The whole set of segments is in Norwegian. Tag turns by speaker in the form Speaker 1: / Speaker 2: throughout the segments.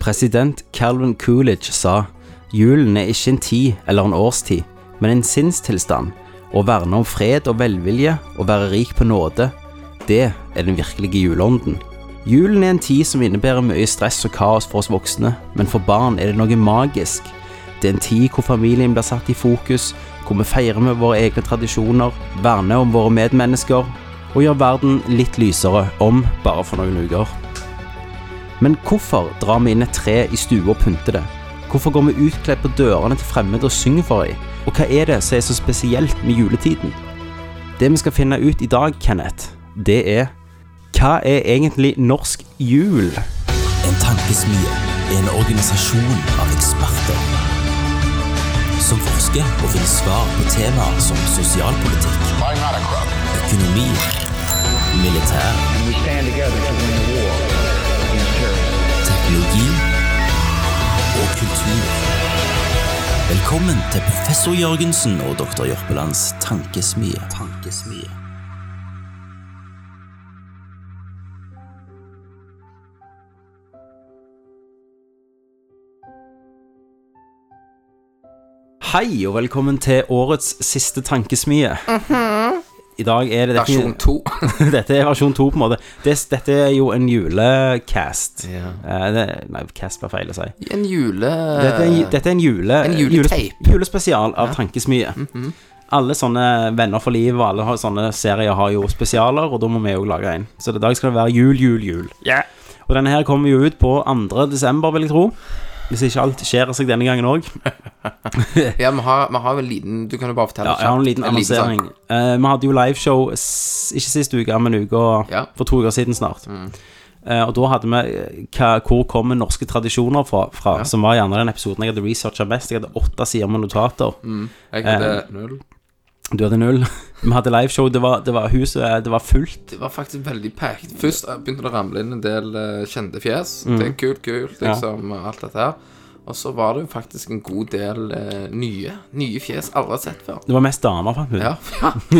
Speaker 1: President Calvin Coolidge sa julen er ikke en tid eller en årstid, men en sinnstilstand. Å verne om fred og velvilje og være rik på nåde, det er den virkelige juleånden. Julen er en tid som innebærer mye stress og kaos for oss voksne, men for barn er det noe magisk. Det er en tid hvor familien blir satt i fokus, hvor vi feirer med våre egne tradisjoner, verner om våre medmennesker og gjør verden litt lysere om bare for noen uker. Men hvorfor drar vi inn et tre i stua og pynter det? Hvorfor går vi utkledd på dørene til fremmede og synger for dem? Og hva er det som er så spesielt med juletiden? Det vi skal finne ut i dag, Kenneth, det er Hva er egentlig norsk jul?
Speaker 2: En tankesmie er en organisasjon av eksperter som forsker og finner svar på temaer som sosialpolitikk, økonomi, militær,
Speaker 3: We stand together to win the war against terrorism.
Speaker 2: teknologi og kultur. Velkommen til professor Jørgensen og doktor Jørpelands tankesmie. tankesmie.
Speaker 1: Hei, og velkommen til årets siste tankesmie. I dag er det
Speaker 4: Versjon
Speaker 1: definitivt-
Speaker 4: 2.
Speaker 1: dette er versjon 2 på en måte det, Dette er jo en julecast Eh, det, Nei, cast var feil å si
Speaker 4: En jule...
Speaker 1: Dette er en, dette er en jule
Speaker 4: Eh, En
Speaker 1: jules-
Speaker 4: juletape.
Speaker 1: Julespesial av Tankesmye
Speaker 4: Mhm.
Speaker 1: Alle sånne venner for liv Og alle har- sånne serier har jo spesialer Og da må vi jo lage en Så i dag skal det være jul, jul, jul Og denne her kommer jo ut på 2. desember vil jeg tro Hvis ikke alt skjer seg denne gangen også
Speaker 4: Ja, vi har, vi har jo en liten Du kan jo bare fortelle
Speaker 1: Ja, jeg har en liten annonsering.
Speaker 4: sak.
Speaker 1: Eh, vi hadde jo liveshow s- ikke sist uke, men uka
Speaker 4: Ja.
Speaker 1: for to uker siden snart.
Speaker 4: Mm.
Speaker 1: Eh, og da hadde vi eh, hva, Hvor kommer norske tradisjoner fra? fra Som var gjerne den episoden jeg hadde researcha mest. Jeg hadde åtte sider med notater.
Speaker 4: Mm. Jeg hadde
Speaker 1: Eh.
Speaker 4: null.
Speaker 1: Du hadde null. vi hadde liveshow. Det var, det var huset eh, Det var fullt.
Speaker 4: Det var faktisk veldig packed. Først eh, begynte det å ramle inn en del eh, kjente fjes.
Speaker 1: Mm.
Speaker 4: Det er kult, kult, liksom, alt dette her. Og så var det jo faktisk en god del eh, nye. Nye fjes aldri har sett før.
Speaker 1: Det var mest damer, fant vi ut.
Speaker 4: Ja.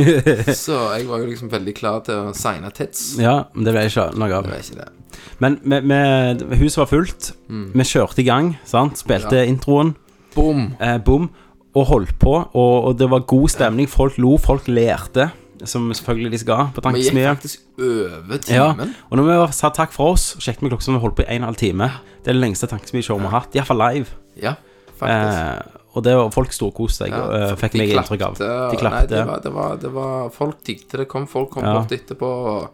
Speaker 4: så jeg var jo liksom veldig klar til å signe tits.
Speaker 1: Ja, men det ble ikke noe av.
Speaker 4: Det var ikke det.
Speaker 1: Men vi- vi- huset var fullt.
Speaker 4: Mm.
Speaker 1: Vi kjørte i gang, sant? Spilte introen.
Speaker 4: Bom!
Speaker 1: eh, bom, og holdt på, og, og det var god stemning. Folk lo, folk lærte, som selvfølgelig de skal på
Speaker 4: Vi gikk
Speaker 1: tankesmia.
Speaker 4: faktisk over
Speaker 1: Ja,
Speaker 4: timen.
Speaker 1: og når vi var- sa takk for oss, sjekket vi klokka, så vi holdt på i en og en halv time. Det er det lengste tankesmieshowet vi har hatt, iallfall live.
Speaker 4: Ja, faktisk.
Speaker 1: Eh, og det var folk storkoste seg,
Speaker 4: Ja,
Speaker 1: og, eh,
Speaker 4: for
Speaker 1: fikk
Speaker 4: de
Speaker 1: meg
Speaker 4: klapte,
Speaker 1: inntrykk av. De
Speaker 4: og- Nei, det
Speaker 1: klapte.
Speaker 4: var, det var, det var Folk digte det. Kom, folk kom
Speaker 1: Ja.
Speaker 4: bort etterpå og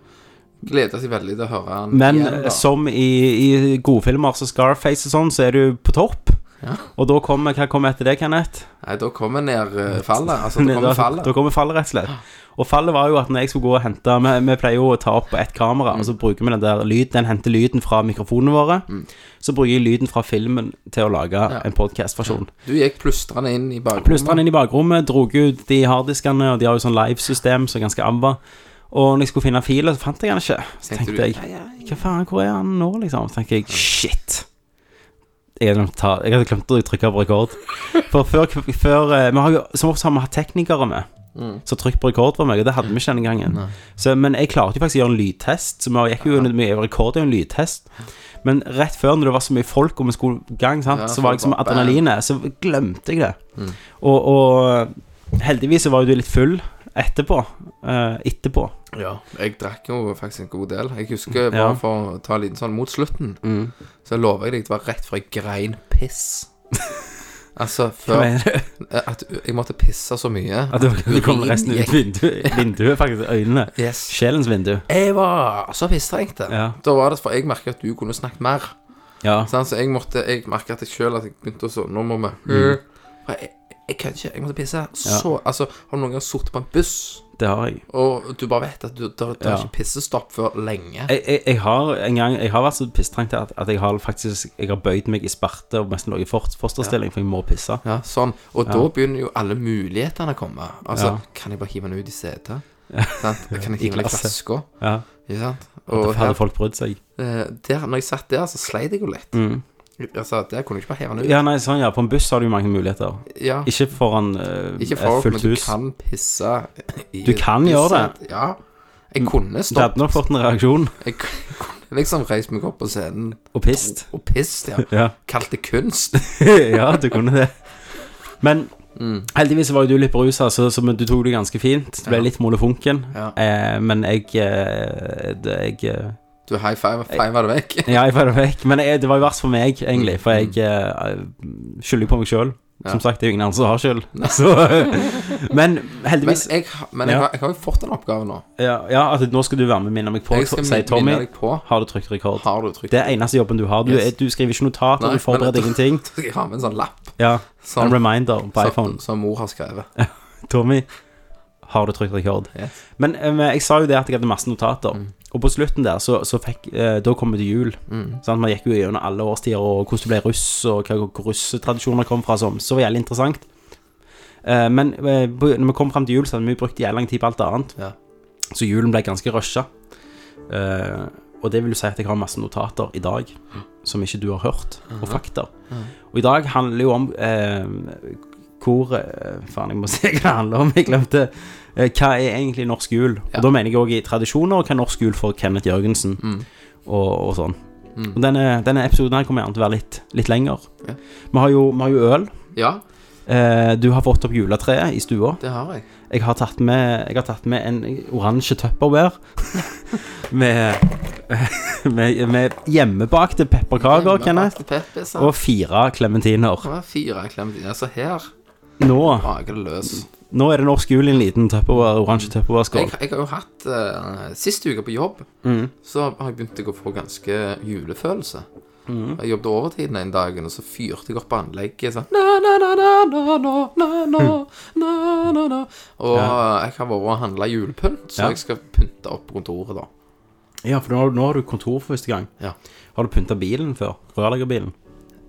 Speaker 4: gleda seg veldig til å høre han
Speaker 1: Men
Speaker 4: igjen.
Speaker 1: eh,
Speaker 4: da.
Speaker 1: som i, i godfilmer som Scarface og sånn, så er du på topp.
Speaker 4: Ja.
Speaker 1: Og da kommer Hva kommer etter det, Kenneth?
Speaker 4: Nei, da kommer ned eh, fallet. Altså, da kommer fallet.
Speaker 1: Da kommer fallet, rett og slett. Og fallet var jo at når jeg skulle gå og hente Vi, vi pleier jo å ta opp på ett
Speaker 4: Mm.
Speaker 1: kamera, og så bruker vi den der lyd, den henter lyden fra mikrofonene våre.
Speaker 4: Mm.
Speaker 1: Så bruker jeg lyden fra filmen til å lage en podkastversjon.
Speaker 4: Du gikk plustrende inn i
Speaker 1: Plustret den
Speaker 4: bakrommet.
Speaker 1: inn i bakrommet, dro ut de harddiskene, og de har jo sånn livesystem som så er ganske amba. Og når jeg skulle finne filen, så fant jeg den ikke. Så
Speaker 4: Tenkte
Speaker 1: tenkte
Speaker 4: du,
Speaker 1: jeg Hva faen, hvor er han nå, liksom? Så tenkte jeg shit. Jeg hadde glemt, å ta, jeg hadde glemt å trykke på rekord. For før, før eh, vi har jo, Som ofte har vi hatt teknikere med.
Speaker 4: Mm.
Speaker 1: Så trykk på rekord for meg, og det hadde vi ikke denne gangen. Så, men jeg klarte jo faktisk å gjøre en lydtest, så vi gikk jo under mye rekord i en lydtest. Men rett før, når det var så mye folk og vi skulle i gang, sant,
Speaker 4: Ja,
Speaker 1: så var
Speaker 4: folk
Speaker 1: liksom
Speaker 4: var Mm. bam.
Speaker 1: adrenalinet Så glemte jeg det. Og, og heldigvis så var jo du litt full etterpå. eh, etterpå.
Speaker 4: Ja, jeg drakk jo faktisk en god del. Jeg husker bare
Speaker 1: Ja.
Speaker 4: for å ta en liten sånn mot slutten, så lover jeg deg det var rett fra jeg grein piss. altså, før eh,
Speaker 1: mener
Speaker 4: At jeg måtte pisse så mye.
Speaker 1: At det, det kom resten ut
Speaker 4: gikk
Speaker 1: vinduet, vinduet faktisk. Øynene.
Speaker 4: Yes.
Speaker 1: Sjelens vindu.
Speaker 4: Jeg var så pisstrengte.
Speaker 1: Ja.
Speaker 4: Da var det for jeg merket at du kunne snakket mer.
Speaker 1: Ja.
Speaker 4: Sant? Så jeg måtte, jeg merket at jeg selv at jeg begynte å sånn, nå må
Speaker 1: Mm.
Speaker 4: vi For jeg, jeg kan ikke, jeg måtte pisse. Så, altså, har du noen gang sittet på en buss,
Speaker 1: Det har jeg.
Speaker 4: og du bare vet at du, der, der
Speaker 1: Ja.
Speaker 4: er ikke pissestopp før lenge?
Speaker 1: Jeg, jeg, jeg har en gang Jeg har vært så pisstrengt at, at jeg har faktisk Jeg har bøyd meg i sparte og nesten ligget i fort- fosterstilling, for jeg må pisse.
Speaker 4: Ja, sånn. Og da begynner jo alle mulighetene å komme. Altså,
Speaker 1: Ja.
Speaker 4: kan jeg bare hive den ut i setet? Sant? Kan jeg hive den i
Speaker 1: glasset.
Speaker 4: flaska?
Speaker 1: Ja.
Speaker 4: Ikke sant?
Speaker 1: Og
Speaker 4: Og her,
Speaker 1: hadde folk brydd seg.
Speaker 4: eh, der, når jeg satt der, så sleit jeg jo litt. Altså, der kunne jeg ikke bare hive den ut.
Speaker 1: Mm. Ja, nei, sånn, ja. På en buss har du jo mange muligheter.
Speaker 4: Ja.
Speaker 1: Ikke foran eh,
Speaker 4: Ikke
Speaker 1: et
Speaker 4: folk, men
Speaker 1: fullt
Speaker 4: du
Speaker 1: hus.
Speaker 4: kan pisse i
Speaker 1: Du kan
Speaker 4: et
Speaker 1: gjøre Mm.
Speaker 4: pissete- Ja. Jeg kunne
Speaker 1: Du hadde
Speaker 4: stoppet.
Speaker 1: nok fått en reaksjon.
Speaker 4: Jeg kunne liksom reist meg opp på scenen
Speaker 1: Og pist.
Speaker 4: og pisset, ja.
Speaker 1: Ja.
Speaker 4: Kalt det kunst.
Speaker 1: ja, du kunne det. Men heldigvis var jo du litt berusa, så, så men du tok det ganske fint. Du ble
Speaker 4: Ja.
Speaker 1: litt molefonken.
Speaker 4: Ja.
Speaker 1: Eh, men jeg, eh, det, jeg eh,
Speaker 4: Du high five, five det vekk.
Speaker 1: Ja, jeg var det vekk. Men jeg, det var jo verst for meg, egentlig. For jeg eh, skylder jo på meg sjøl.
Speaker 4: Mm. Ja.
Speaker 1: Som sagt, det er jo ingen andre som har skyld. Så, men
Speaker 4: Men,
Speaker 1: heldigvis
Speaker 4: jeg, ha- men jeg,
Speaker 1: Ja.
Speaker 4: har, jeg har jo fått en oppgave nå.
Speaker 1: ja, ja, at nå skal du være med og minne meg på,
Speaker 4: Jeg skal
Speaker 1: sier
Speaker 4: minne
Speaker 1: Tommy.
Speaker 4: deg på.
Speaker 1: Har du trykt rekord?
Speaker 4: Har du trykt
Speaker 1: Det er eneste jobben du har. Du,
Speaker 4: Yes.
Speaker 1: er- du skriver ikke notat,
Speaker 4: Nei,
Speaker 1: og du forbereder
Speaker 4: men-
Speaker 1: ingenting.
Speaker 4: Jeg har med en sånn lapp
Speaker 1: Ja,
Speaker 4: som,
Speaker 1: En reminder på iPhone.
Speaker 4: som, som mor har skrevet.
Speaker 1: Tommy, har du trykt rekord?
Speaker 4: Yes. Mm.
Speaker 1: Men eh, jeg sa jo det at jeg hadde masse notater. Og på slutten der, så, så fikk eh, Da kom vi til jul.
Speaker 4: Mm.
Speaker 1: Sant? Man gikk jo gjennom alle årstider, og hvordan det ble russ, og hva hvor russetradisjoner kom fra, som så var jævlig interessant. Eh, men eh, på- når vi kom fram til jul, så hadde vi brukt jævlig lang tid på alt annet.
Speaker 4: Ja.
Speaker 1: Så julen ble ganske rusha. Eh, og det vil jo si at jeg har masse notater i dag som ikke du har hørt, og fakta. Og i dag handler det jo om eh, hvor eh, Faen, jeg må se hva det handler om. Jeg glemte. Eh, hva er egentlig norsk jul?
Speaker 4: Ja.
Speaker 1: Og da mener jeg òg i tradisjoner, og hva er norsk jul for Kenneth Jørgensen, og, og sånn.
Speaker 4: Mm.
Speaker 1: Og denne, denne episoden her kommer gjerne til å være litt, litt lenger.
Speaker 4: Ja.
Speaker 1: Vi har jo, vi har jo øl.
Speaker 4: Ja,
Speaker 1: Eh, du har fått opp juletreet i stua.
Speaker 4: det har jeg.
Speaker 1: Jeg har tatt med, jeg har tatt med en oransje tupperware med, med, med hjemmebakte pepperkaker, Kenneth.
Speaker 4: Peppis,
Speaker 1: Og fire klementiner.
Speaker 4: Det var fire klemt inn. Altså her
Speaker 1: Nå,
Speaker 4: rager det løs.
Speaker 1: nå er det norsk jul i en liten tupperware, oransje
Speaker 4: Jeg,
Speaker 1: tupperware-skål. Mm.
Speaker 4: jeg har jo hatt eh, Sist uke på jobb så har jeg begynt å få ganske julefølelse. Jeg jobbet overtiden en dag, og så fyrte jeg opp anlegget sånn na, na, na, na, na, na, na, na,
Speaker 1: Hmm.
Speaker 4: na, na, na. Og jeg har vært og handla julepynt, så
Speaker 1: Ja.
Speaker 4: jeg skal pynte opp kontoret, da.
Speaker 1: Ja, for nå, har- nå har du kontor for første gang.
Speaker 4: Ja.
Speaker 1: Har du pynta bilen før? Rørleggerbilen?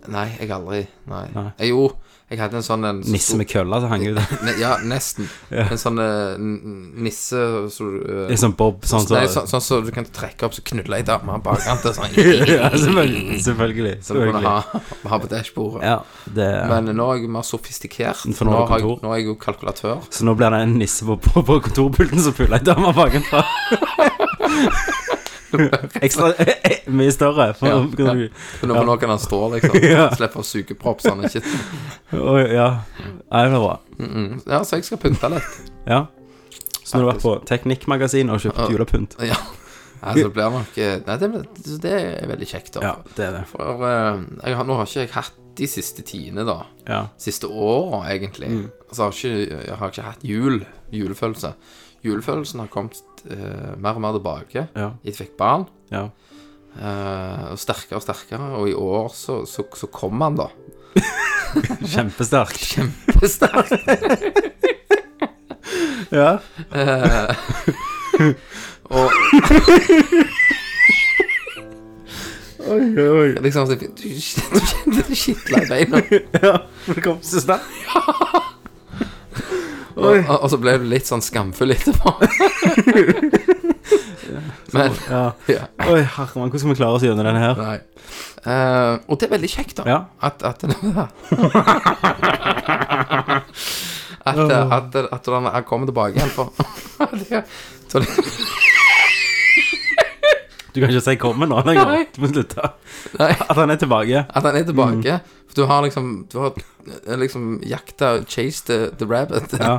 Speaker 4: Nei, jeg aldri. Nei.
Speaker 1: Nei.
Speaker 4: Eh, Jo, jeg hadde en sånn en så
Speaker 1: Nisse med kølla som hang ut.
Speaker 4: stor- Ne- Ja, nesten. En sånn eh, n- nisse så, eh,
Speaker 1: Det er sånn Bob. Sånn
Speaker 4: Nei,
Speaker 1: så,
Speaker 4: sånn som så, du kan trekke opp, så knulle ei dame bak han til sånn
Speaker 1: ja, selvfølgelig. Selvfølgelig.
Speaker 4: Som du kunne
Speaker 1: selvfølgelig.
Speaker 4: ha, ha på dashbordet.
Speaker 1: Ja, det,
Speaker 4: Men nå er jeg mer sofistikert.
Speaker 1: For nå har du
Speaker 4: har jeg,
Speaker 1: kontor.
Speaker 4: nå er jeg jo kalkulatør.
Speaker 1: så nå blir det en nisse på, på, på kontorpulten som puller ei dame bakenfra. Ekstra eh, Mye større. For,
Speaker 4: Ja,
Speaker 1: ja, ja.
Speaker 4: For nå, for nå kan han stå, liksom.
Speaker 1: Ja.
Speaker 4: Slippe å suge propp, så han ikke
Speaker 1: ja. Nei, det var bra.
Speaker 4: Mm. Ja, så jeg skal pynte litt.
Speaker 1: Ja. Så nå har du vært på Teknikkmagasinet og kjøpt julepynt?
Speaker 4: Ja. Altså, det blir nok eh, Nei, det, blir- det er veldig kjekt, da.
Speaker 1: det er det.
Speaker 4: For eh, jeg har, nå har ikke jeg hatt de siste tidene, da.
Speaker 1: Ja.
Speaker 4: Siste åra, egentlig.
Speaker 1: Mm.
Speaker 4: Altså, har ikke, jeg har ikke hatt jul. Julefølelse. Julefølelsen har kommet eh, mer og mer tilbake.
Speaker 1: Ja.
Speaker 4: Jeg fikk barn.
Speaker 1: ja.
Speaker 4: eh, og sterkere og sterkere. Og i år så, så, så kom han, da.
Speaker 1: Kjempesterkt.
Speaker 4: Sterkt.
Speaker 1: Ja.
Speaker 4: Eh, Og
Speaker 1: Oi, oi.
Speaker 4: liksom så, Du kjente det skitla i beina.
Speaker 1: Ja, for det kom så sterkt.
Speaker 4: Og, og, og så ble du litt sånn skamfull etterpå.
Speaker 1: sånn.
Speaker 4: Men
Speaker 1: Ja.
Speaker 4: ja,
Speaker 1: Oi, herremann, hvordan skal vi klare oss gjennom denne her?
Speaker 4: Nei. Eh, og det er veldig kjekt, da.
Speaker 1: Ja.
Speaker 4: At, at, at, at, at den her kommer tilbake igjen. For det, så det,
Speaker 1: Du kan ikke si 'kommer' nå lenger.
Speaker 4: Nei.
Speaker 1: Du må slutte.
Speaker 4: nei,
Speaker 1: At han er tilbake.
Speaker 4: at den er tilbake.
Speaker 1: Mm.
Speaker 4: For du har liksom Du har eh, liksom jakta Chase the, the rabbit.
Speaker 1: Ja.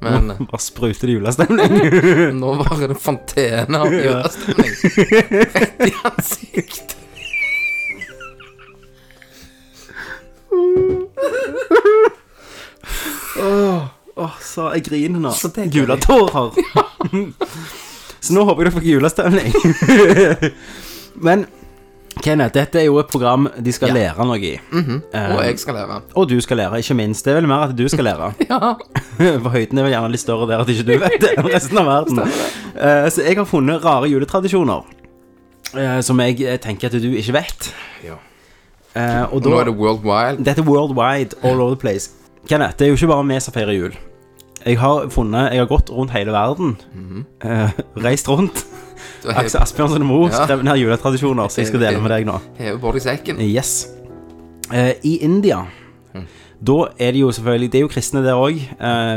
Speaker 4: Men
Speaker 1: Bare spruter det julestemning.
Speaker 4: nå var det en fontene av
Speaker 1: Ja.
Speaker 4: julestemning rett i ansiktet.
Speaker 1: Åh, så jeg griner nå.
Speaker 4: Så det er
Speaker 1: Gule
Speaker 4: gøy.
Speaker 1: tårer. så nå håper jeg du fikk julestemning. Men Kenneth, dette er jo et program de skal
Speaker 4: Ja.
Speaker 1: lære noe i. Eh,
Speaker 4: Mhm. Og jeg skal leve.
Speaker 1: og du skal lære, ikke minst. Det er vel mer at du skal lære.
Speaker 4: Ja.
Speaker 1: For høyden er vel gjerne litt større der at ikke du vet det enn resten av verden. Eh, så jeg har funnet rare juletradisjoner eh, som jeg eh, tenker at du ikke vet.
Speaker 4: Ja.
Speaker 1: Eh, og
Speaker 4: Nå
Speaker 1: da
Speaker 4: er det World Wild.
Speaker 1: dette er worldwide, all over the place. Kenneth, det er jo ikke bare vi som feirer jul. Jeg har funnet, jeg har gått rundt hele verden.
Speaker 4: Mhm.
Speaker 1: eh, reist rundt.
Speaker 4: Du har
Speaker 1: Aksel Asbjørnsen og Mo
Speaker 4: Ja.
Speaker 1: skrev ned juletradisjoner, så jeg skal dele med deg nå.
Speaker 4: hevet både i sekken.
Speaker 1: Yes. Eh, I India, Eh, da er det jo selvfølgelig Det er jo kristne der òg.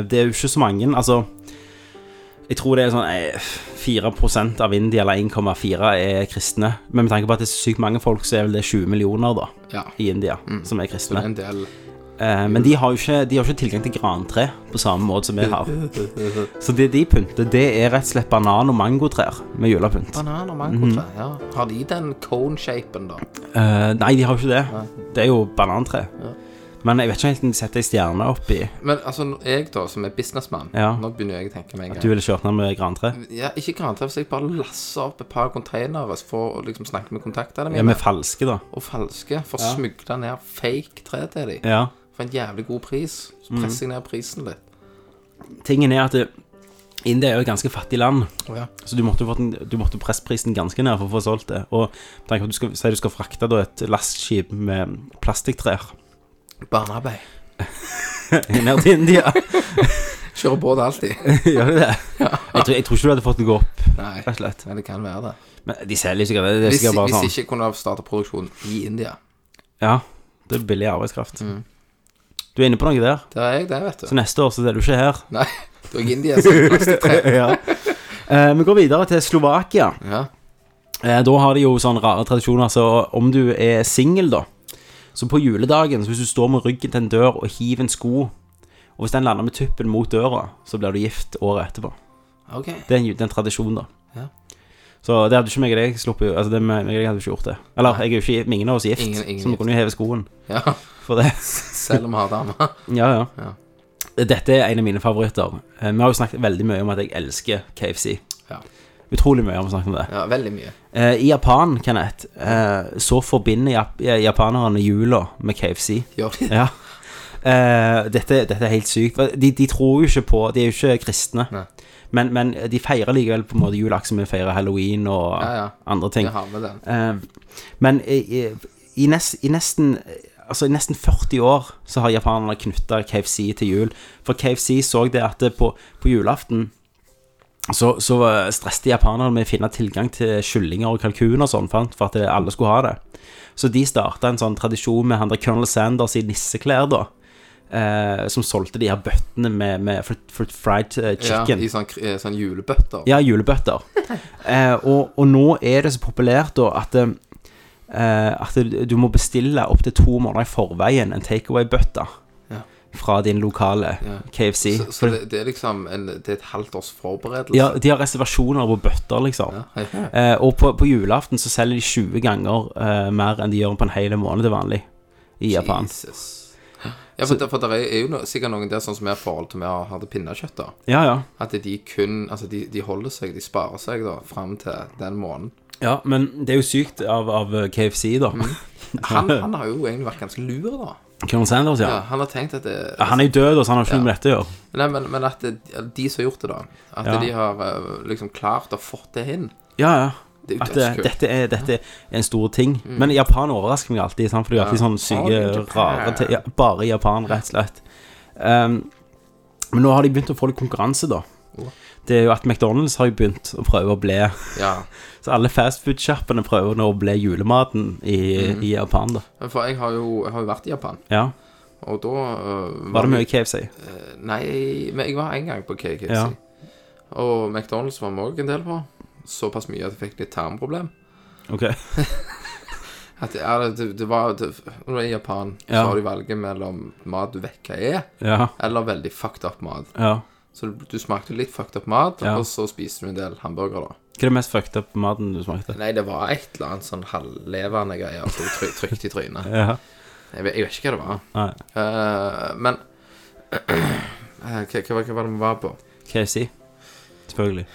Speaker 1: det er jo ikke så mange. Altså Jeg tror det er sånn eh, 4 av India, eller 1,4, er kristne. Men med tanke på at det er så sykt mange folk, så er vel det 20 millioner da,
Speaker 4: Ja.
Speaker 1: i India som er
Speaker 4: Så det
Speaker 1: kristne.
Speaker 4: er en del
Speaker 1: Eh, men de har, jo ikke, de har ikke tilgang til grantre på samme måte som vi har. Så det de pynter, det er rett og slett banan- og mangotrær med julepynt.
Speaker 4: Banan og mangotre,
Speaker 1: Mhm.
Speaker 4: ja. Har de den cone-shapen, da?
Speaker 1: Eh, nei, de har jo ikke det. Det er jo banantre. Men jeg vet ikke helt om de setter ei stjerne oppi.
Speaker 4: Men altså, når jeg da, som er businessman
Speaker 1: Ja.
Speaker 4: Nå begynner jeg å tenke meg en
Speaker 1: Du
Speaker 4: gang.
Speaker 1: ville kjørt ned med grantre?
Speaker 4: Ja, ikke garanter, hvis jeg bare lasser opp et par containere for å liksom snakke med kontaktene
Speaker 1: Ja,
Speaker 4: mine,
Speaker 1: med falske, da.
Speaker 4: og falske, for å smugle ned fake tre til dem,
Speaker 1: Ja. Mhm.
Speaker 4: for en jævlig god pris, så presser jeg ned prisen litt.
Speaker 1: Tingen er at det, India er jo et ganske fattig land,
Speaker 4: ja.
Speaker 1: så du måtte, jo fått den, du måtte presse prisen ganske ned for å få solgt det. Og tenk at du skal, si du skal frakte da et lastskip med plastikktrær
Speaker 4: Barnearbeid.
Speaker 1: ned til India.
Speaker 4: Kjører båt alltid.
Speaker 1: Gjør du det? Jeg tror, jeg tror ikke du hadde fått den gå opp,
Speaker 4: Nei,
Speaker 1: rett og slett.
Speaker 4: men det kan være det.
Speaker 1: Men de selger sikkert det. Det er
Speaker 4: Hvis,
Speaker 1: sikkert bare
Speaker 4: hvis
Speaker 1: sånn.
Speaker 4: ikke kunne jeg starta produksjonen i India.
Speaker 1: Ja, det er billig arbeidskraft.
Speaker 4: Mm.
Speaker 1: Du er inne på noe der.
Speaker 4: Der er jeg det, vet
Speaker 1: Så
Speaker 4: du.
Speaker 1: neste år så er du ikke her.
Speaker 4: Nei, det var ikke India som var plastikktre.
Speaker 1: ja. Eh, vi går videre til Slovakia.
Speaker 4: Ja.
Speaker 1: Eh, da har de jo sånne rare tradisjoner, så om du er singel, da Så på juledagen, så hvis du står med ryggen til en dør og hiver en sko, og hvis den lander med tuppen mot døra, så blir du gift året etterpå.
Speaker 4: OK.
Speaker 1: Det er en, det er en tradisjon, da.
Speaker 4: Ja.
Speaker 1: Så det hadde ikke meg og deg sluppet Altså, det, meg og deg hadde ikke gjort det. Eller, jeg er jo ikke ingen av oss er gift,
Speaker 4: Ingen- ingen
Speaker 1: så vi
Speaker 4: gift.
Speaker 1: kunne jo heve skoen
Speaker 4: Ja.
Speaker 1: for det.
Speaker 4: Selv om vi har damer.
Speaker 1: Ja, ja.
Speaker 4: Ja.
Speaker 1: Dette er en av mine favoritter. Eh, Vi har jo snakket veldig mye om at jeg elsker KFC.
Speaker 4: Ja.
Speaker 1: Utrolig mye har vi snakket om det.
Speaker 4: Ja, veldig mye.
Speaker 1: Eh, I Japan, Kenneth, eh, så forbinder jap eh, japanerne jula med KFC.
Speaker 4: Gjør de det?
Speaker 1: Ja. Eh, dette, dette er helt sykt. De, de tror jo ikke på De er jo ikke kristne.
Speaker 4: Nei.
Speaker 1: Men, men de feirer likevel på en måte jul, akkurat som vi feirer halloween og
Speaker 4: Ja, ja.
Speaker 1: andre ting.
Speaker 4: Jeg har med den.
Speaker 1: Eh, men i, i- i, nes- i nesten Altså i nesten 40 år så har japanerne knytta KFC til jul. For KFC så det at det på, på julaften så, så eh, stresste japanerne med å finne tilgang til kyllinger og kalkuner og sånn, for for at alle skulle ha det. Så de starta en sånn tradisjon med han der Colonel Sanders i nisseklær, da. Eh, som solgte de her bøttene med, med fr fr fried eh,
Speaker 4: Ja,
Speaker 1: chicken.
Speaker 4: I sånn, kr- eh, sånn julebøtter.
Speaker 1: Ja, julebøtter. Eh, og, og nå er det så populært da at eh, At du må bestille opptil to måneder i forveien en takeaway-bøtte
Speaker 4: Ja.
Speaker 1: fra din lokale
Speaker 4: Ja.
Speaker 1: KFC.
Speaker 4: Så, så det, det er liksom en, det er et halvt års forberedelse.
Speaker 1: ja, de har reservasjoner på bøtter, liksom.
Speaker 4: Ja.
Speaker 1: Eh, og på, på julaften så selger de 20 ganger eh, mer enn de gjør på en hel måned til vanlig i Japan.
Speaker 4: Jesus. Ja, for, det, for det er jo no, sikkert noen der sånn som er i forhold til vi har hatt pinnekjøtt, da.
Speaker 1: Ja, ja.
Speaker 4: At de kun Altså, de, de holder seg, de sparer seg, da, fram til den måneden.
Speaker 1: ja. Men det er jo sykt av, av eh, KFC, da.
Speaker 4: Han, han har jo egentlig vært ganske lur, da.
Speaker 1: Colonel Sanders,
Speaker 4: Ja,
Speaker 1: ja.
Speaker 4: han har tenkt at det,
Speaker 1: Han er jo død, da, så han har ikke noe med dette å gjøre.
Speaker 4: Nei, men, men at det, de som har gjort det, da. At
Speaker 1: Ja.
Speaker 4: de har eh, liksom klart å fått det inn.
Speaker 1: Ja, ja.
Speaker 4: Det er jo
Speaker 1: At det,
Speaker 4: dødskult.
Speaker 1: dette, er, dette er en stor ting. Men Japan overrasker meg alltid, sant? for de har alltid sånne
Speaker 4: All in
Speaker 1: syke,
Speaker 4: Japan.
Speaker 1: rare ting. Ja, bare Japan, rett og slett. Um, men nå har de begynt å få litt konkurranse, da. Det er jo at McDonald's har jo begynt å prøve å bli
Speaker 4: Ja.
Speaker 1: Så alle fastfood-sjappene prøver nå å bli julematen i, i Japan, da.
Speaker 4: For jeg har jo, jeg har jo vært i Japan,
Speaker 1: Ja.
Speaker 4: og da eh,
Speaker 1: Var det mye KFC?
Speaker 4: Nei, men jeg var en gang på KKC.
Speaker 1: Ja.
Speaker 4: Og McDonald's var vi òg en del på. Såpass mye at jeg fikk litt tarmproblem.
Speaker 1: Ok.
Speaker 4: At ja, det, det var det, Når du er i Japan,
Speaker 1: Ja.
Speaker 4: så har du valget mellom mat du vet hva er,
Speaker 1: Ja.
Speaker 4: eller veldig fucked up mat.
Speaker 1: ja.
Speaker 4: Så du, du smakte litt fucked up mat,
Speaker 1: Ja.
Speaker 4: og så spiste du en del hamburger, da.
Speaker 1: Hva er det mest fucked up maten du smakte?
Speaker 4: Nei, det var et eller annet sånn halvlevende greier som try, trykt i trynet.
Speaker 1: Ja.
Speaker 4: Jeg vet, jeg vet ikke hva det var.
Speaker 1: Nei.
Speaker 4: Eh, men eh, hva, hva, hva var det vi var på?
Speaker 1: KFC. Selvfølgelig.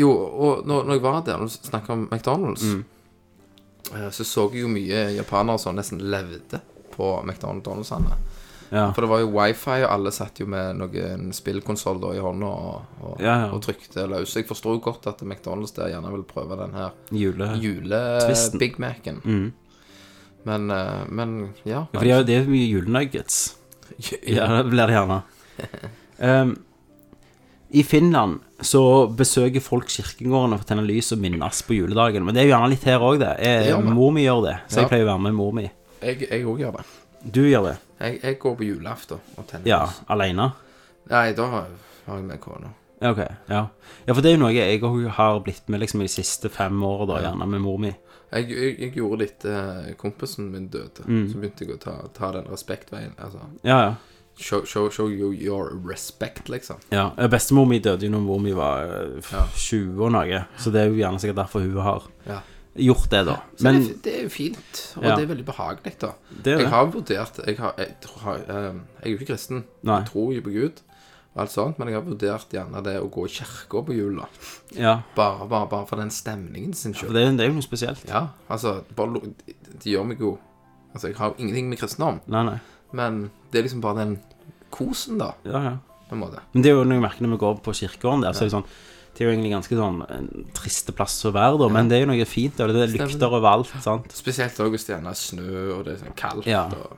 Speaker 4: Jo, og når, når jeg var der, når du snakker om McDonald's,
Speaker 1: Mm.
Speaker 4: eh, så så jeg jo mye japanere som nesten levde på McDonald's-ene.
Speaker 1: Ja.
Speaker 4: For det var jo wifi, og alle satt jo med noen spillkonsoll da i hånda og, og,
Speaker 1: Ja, ja.
Speaker 4: og trykte løs. Jeg forstår jo godt at McDonald's der gjerne vil prøve den her
Speaker 1: Jule... Mm. Twisten.
Speaker 4: jule-Big Mac-en. Men, eh, men ja.
Speaker 1: Ja, for de har- det er jo mye julenuggets. Ja, det blir det gjerne. Ehm, I Finland så besøker folk kirkegården og forteller lys og minnes på juledagen. Men det er jo gjerne litt her òg, det. Eh,
Speaker 4: Det gjør vi.
Speaker 1: mor mi gjør det, så jeg
Speaker 4: Ja.
Speaker 1: pleier å være med mor mi.
Speaker 4: Jeg jeg òg gjør det.
Speaker 1: Du gjør det?
Speaker 4: Jeg, jeg går på julaften og tenner.
Speaker 1: Ja, aleine?
Speaker 4: Nei, da har jeg med kona.
Speaker 1: Ja, Ok, ja. ja, for det er jo noe jeg og hun har blitt med liksom i de siste fem årene da, gjerne med mor mi.
Speaker 4: Jeg, jeg, jeg gjorde det etter kompisen min døde.
Speaker 1: Mm.
Speaker 4: Så begynte jeg å ta, ta den respektveien. Altså,
Speaker 1: Ja, ja.
Speaker 4: show, show, show you your respect, liksom.
Speaker 1: ja. eh, Bestemor mi døde jo når mor mi var eh, f-
Speaker 4: Ja.
Speaker 1: 20 og noe, så det er jo gjerne sikkert derfor hun har
Speaker 4: Ja.
Speaker 1: gjort det, da.
Speaker 4: Så
Speaker 1: Men
Speaker 4: det, er f- det er jo fint, og
Speaker 1: Ja.
Speaker 4: det er veldig behagelig, da.
Speaker 1: det er
Speaker 4: Jeg
Speaker 1: det.
Speaker 4: har vurdert Jeg, har, jeg, tror, eh, jeg er jo ikke kristen.
Speaker 1: Nei.
Speaker 4: Jeg tror jo på Gud, og alt sånt, men jeg har vurdert gjerne det å gå i kirka på jula.
Speaker 1: Ja,
Speaker 4: Bare, bare, bare for den stemningen sin
Speaker 1: for
Speaker 4: sjøl.
Speaker 1: det er, det er jo noe spesielt.
Speaker 4: Ja, altså bare, lo- de, de gjør meg jo Altså, jeg har jo ingenting med kristendom,
Speaker 1: Nei, nei.
Speaker 4: men det er liksom bare den kosen, da,
Speaker 1: Ja, ja.
Speaker 4: på en måte.
Speaker 1: Men det er jo når jeg merker når vi går på kirkegården der, så er det sånn det er jo egentlig ganske sånn en triste plass å være, da, men det er jo noe fint. Og det er
Speaker 4: Stemmer.
Speaker 1: lykter overalt, sant.
Speaker 4: Spesielt også hvis det gjerne er snø, og det er sånn kaldt,
Speaker 1: Ja.
Speaker 4: og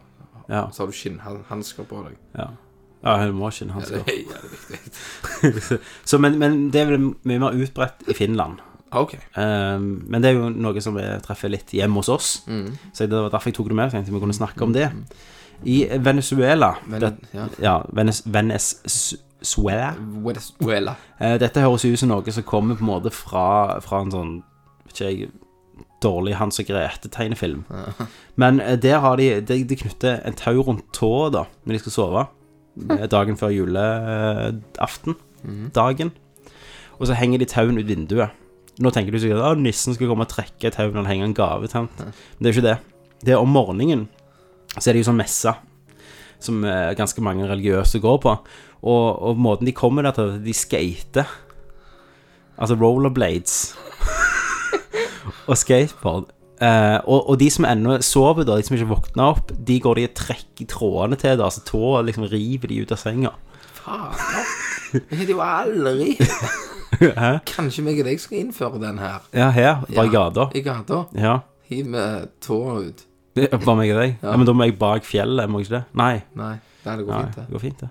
Speaker 1: Ja.
Speaker 4: så har du skinnhansker på deg.
Speaker 1: ja. ja hun må ikke en
Speaker 4: Ja, det
Speaker 1: hanske.
Speaker 4: er jævlig viktig.
Speaker 1: Så, men, men det er vel mye mer utbredt i Finland.
Speaker 4: OK.
Speaker 1: Ehm, men det er jo noe som jeg treffer litt hjemme hos oss.
Speaker 4: Mm.
Speaker 1: Så det var derfor jeg tok det med. Jeg tenkte vi kunne snakke om det. I Venezuela
Speaker 4: Men,
Speaker 1: det,
Speaker 4: ja.
Speaker 1: Ja, Venez, Venezuela
Speaker 4: Venezuela.
Speaker 1: Eh, Dette høres ut som noe som kommer på en måte fra, fra en sånn vet ikke jeg, dårlig Hans og Grete-tegnefilm. Men eh, der har de De, de knytter en tau rundt tåa da når de skal sove. eh, Dagen før julaften. Dagen. Og så henger de tauen ut vinduet. Nå tenker du sikkert at nissen skal komme og trekke et tau når han henger en gave til han. Men det er jo ikke det. Det er om morgenen så er det jo sånn messe som eh, ganske mange religiøse går på. Og, og måten de kommer der til, er at de skater. Altså rollerblades. og skateboard. Eh, og, og de som ennå sover, da, de som ikke våkner opp, de går de og trekker trådene til det. Altså tåa liksom river de ut av senga.
Speaker 4: Faen. Jeg heter jo aldri
Speaker 1: Hæ?
Speaker 4: Kanskje meg og deg skal innføre den her.
Speaker 1: Ja, her. Bare i gata.
Speaker 4: I gata.
Speaker 1: Ja.
Speaker 4: Hiv med tåa ut.
Speaker 1: Det er Bare meg og deg. Ja. men da må jeg bak fjellet, må jeg ikke det? Nei.
Speaker 4: Nei, nei, det går
Speaker 1: Nei,
Speaker 4: fint,
Speaker 1: det
Speaker 4: det.
Speaker 1: går fint, det.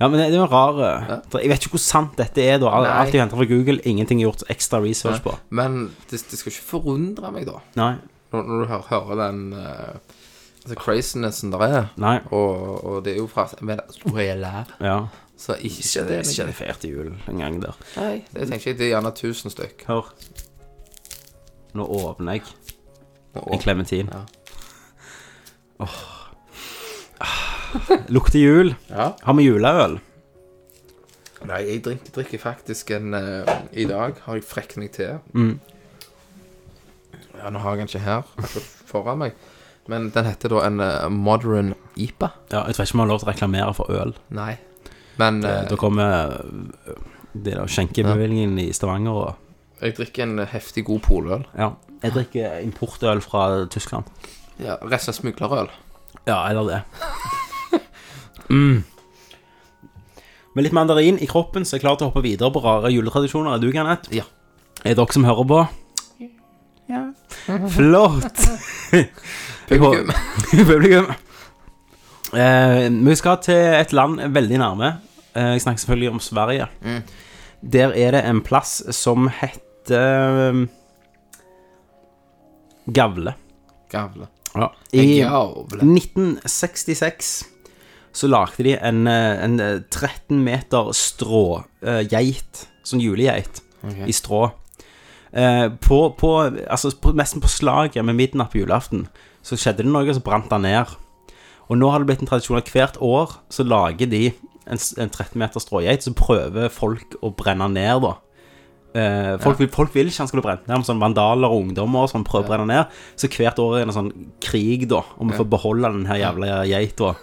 Speaker 1: Ja, men det det er jo en rar eh, Jeg vet ikke hvor sant dette er, da. Alt-
Speaker 4: Nei.
Speaker 1: Alt jeg henter fra Google, ingenting er gjort ekstra research på.
Speaker 4: Men det, det skal ikke forundre meg, da,
Speaker 1: Nei.
Speaker 4: når, når du hører, hører den eh, altså crazinessen der er.
Speaker 1: Nei.
Speaker 4: Og, og det er jo fra Venezuela.
Speaker 1: Ja.
Speaker 4: Så ikke
Speaker 1: Det
Speaker 4: det.
Speaker 1: er ikke det fælt i jul en gang der.
Speaker 4: Nei, det tenker jeg. Det er gjerne 1000 stykk.
Speaker 1: Hør. Nå åpner jeg
Speaker 4: Og-
Speaker 1: en klementin.
Speaker 4: Ja.
Speaker 1: Åh. Ah, Lukter jul.
Speaker 4: Ja.
Speaker 1: Har vi juleøl?
Speaker 4: Nei, jeg drikker, drikker faktisk en eh, I dag har jeg frekket meg til.
Speaker 1: Mm.
Speaker 4: Ja, nå har jeg den ikke her akkurat foran meg. Men den heter da en eh, Modern IPA.
Speaker 1: Ja, jeg tror ikke vi har lov til å reklamere for øl.
Speaker 4: Nei. Men
Speaker 1: Eh,
Speaker 4: eh,
Speaker 1: Da kommer eh, det der skjenkebevilgningen i Stavanger og
Speaker 4: jeg drikker en heftig god poløl.
Speaker 1: Ja. Jeg drikker importøl fra Tyskland.
Speaker 4: Ja, Resten er smuglerøl.
Speaker 1: Ja, eller det. mm. Med litt mandarin i kroppen, så er jeg klar til å hoppe videre på rare juletradisjoner. Er du, Kenneth?
Speaker 4: Ja.
Speaker 1: Er dere som hører på? Ja. Flott! Jeg hå-
Speaker 4: Publikum.
Speaker 1: Publikum. Eh, vi skal til et land veldig nærme. Eh, jeg snakker selvfølgelig om Sverige. Der er det en plass som heter eh, Gavle.
Speaker 4: Gavle.
Speaker 1: Ja. I,
Speaker 4: Gavle.
Speaker 1: 1966 så lagde de en, eh, en eh, 13 meter strå eh, geit, sånn julegeit,
Speaker 4: Ok.
Speaker 1: i strå. Eh, på, på, altså, på, nesten på slaget med midnatt på julaften så skjedde det noe, så brant den ned. Og nå har det blitt en tradisjon at hvert år så lager de en, s- en 13 meter strågeit, så prøver folk å brenne ned, da. Eh, folk, vil, folk vil ikke han skulle brent ned, men sånn vandaler og ungdommer og sånn prøver å brenne ned. Så hvert år er det en sånn krig, da, om å få beholde den her jævla geita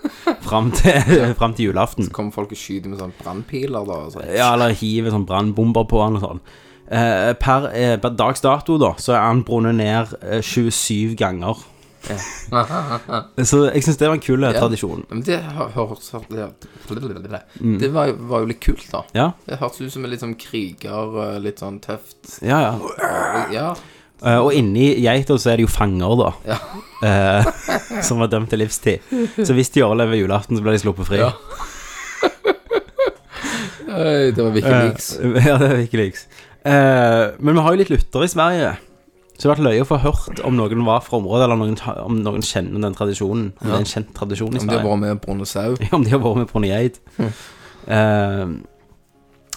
Speaker 1: fram til, fram til julaften.
Speaker 4: Kommer folk og skyter med sånne brannpiler, da? Og sånn.
Speaker 1: Ja, eller hiver sånn brannbomber på han og sånn. Eh, per, eh, per dags dato, da, så er han brunnet ned eh, 27 ganger. så jeg syns det var en kul eh, tradisjon.
Speaker 4: Men det hø- høres det, det var, jo- var jo litt kult, da.
Speaker 1: Ja,
Speaker 4: Det hørtes ut som en litt sånn kriger, eh, litt sånn tøft
Speaker 1: ja, ja.
Speaker 4: Ja.
Speaker 1: Eh, og inni geita så er det jo fanger, da. eh, som var dømt til livstid. Så hvis de overlever julaften, så blir de sluppet fri.
Speaker 4: Ja. Oi, det var Wikileaks.
Speaker 1: Eh, ja, det er Wikileaks. Eh, men vi har jo litt lyttere i Sverige. Så det har vært løye å få hørt om noen var fra området, eller noen, ta- om noen kjenner den tradisjonen. Om det er en kjent tradisjon i
Speaker 4: Om de
Speaker 1: Sverige.
Speaker 4: har vært med Brunne Sau.
Speaker 1: Ja, om de har vært med på Niaid. Ehm,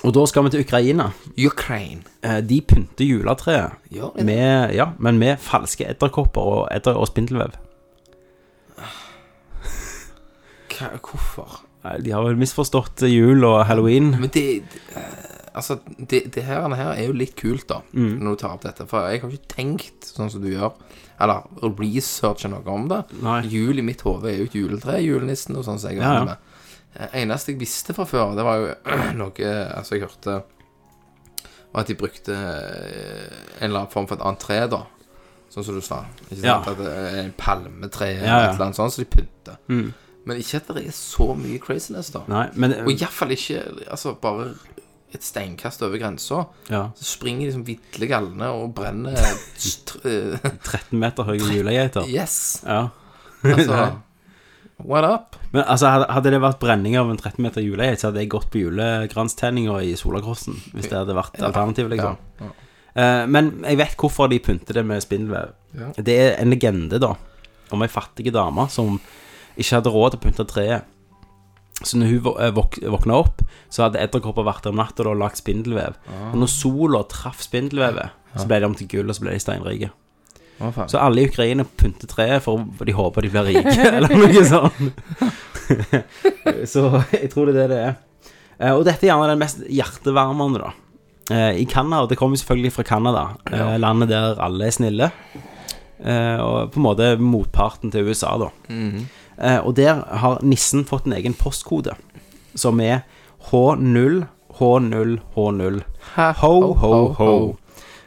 Speaker 1: Og da skal vi til Ukraina.
Speaker 4: Ukraine.
Speaker 1: Eh, De pynter juletreet
Speaker 4: Gjør de det?
Speaker 1: med, ja, men med falske edderkopper og, edder og spindelvev.
Speaker 4: Hva, hvorfor?
Speaker 1: Nei, De har vel misforstått jul og halloween.
Speaker 4: Men det eh, Altså, det, det her, det her er jo litt kult, da,
Speaker 1: Mm.
Speaker 4: når du tar opp dette. For jeg har ikke tenkt sånn som du gjør, eller researcha noe om det.
Speaker 1: Nei.
Speaker 4: Jul i mitt hode er jo et juletre, julenissen og sånn som jeg
Speaker 1: Ja, ja.
Speaker 4: har med. Eh, Eneste jeg visste fra før, det var jo noe Altså, jeg hørte var at de brukte eh, en eller annen form for et annet tre, da. Sånn som du sa. Ikke sant?
Speaker 1: Ja.
Speaker 4: At det er en palmetre eller
Speaker 1: Ja, ja.
Speaker 4: et eller annet sånt, så de pynter. Men ikke at det er så mye craziness, da.
Speaker 1: Mm. Nei, men eh,
Speaker 4: Og iallfall ikke altså, bare et steinkast over grensa.
Speaker 1: ja,
Speaker 4: Så springer de som vidle galne og brenner st- eh,
Speaker 1: 13 meter høye julegeiter.
Speaker 4: Yes!
Speaker 1: Ja.
Speaker 4: Altså What up?
Speaker 1: Men altså, hadde- hadde det vært brenning av en 13 meter julegeit, så hadde jeg gått på julegranstenninga i Solakrossen. Hvis det hadde vært alternativet, liksom.
Speaker 4: Ja.
Speaker 1: Eh, men jeg vet hvorfor de pynter det med spindelvev.
Speaker 4: Ja.
Speaker 1: Det er en legende, da, om ei fattig dame som ikke hadde råd til å pynte treet. Så når hun vå- eh, våk våkna opp, så hadde edderkopper vært der om natta og lagd spindelvev. Og når sola traff spindelvevet, så ble de om til gull, og så ble de steinrike.
Speaker 4: Hva faen?
Speaker 1: Så alle i Ukraina pynter treet for for de håper de blir rike, eller noe sånt. så jeg tror det er det det er. Eh, Og dette er gjerne den mest hjertevarmende, da. Eh, I Canada, det kommer jo selvfølgelig fra Canada, eh,
Speaker 4: Ja.
Speaker 1: landet der alle er snille. Eh, Og på en måte motparten til USA, da.
Speaker 4: Mhm.
Speaker 1: Eh, Og der har nissen fått en egen postkode, som er H0, H0, H0.
Speaker 4: Ha,
Speaker 1: Ho, ho, ho.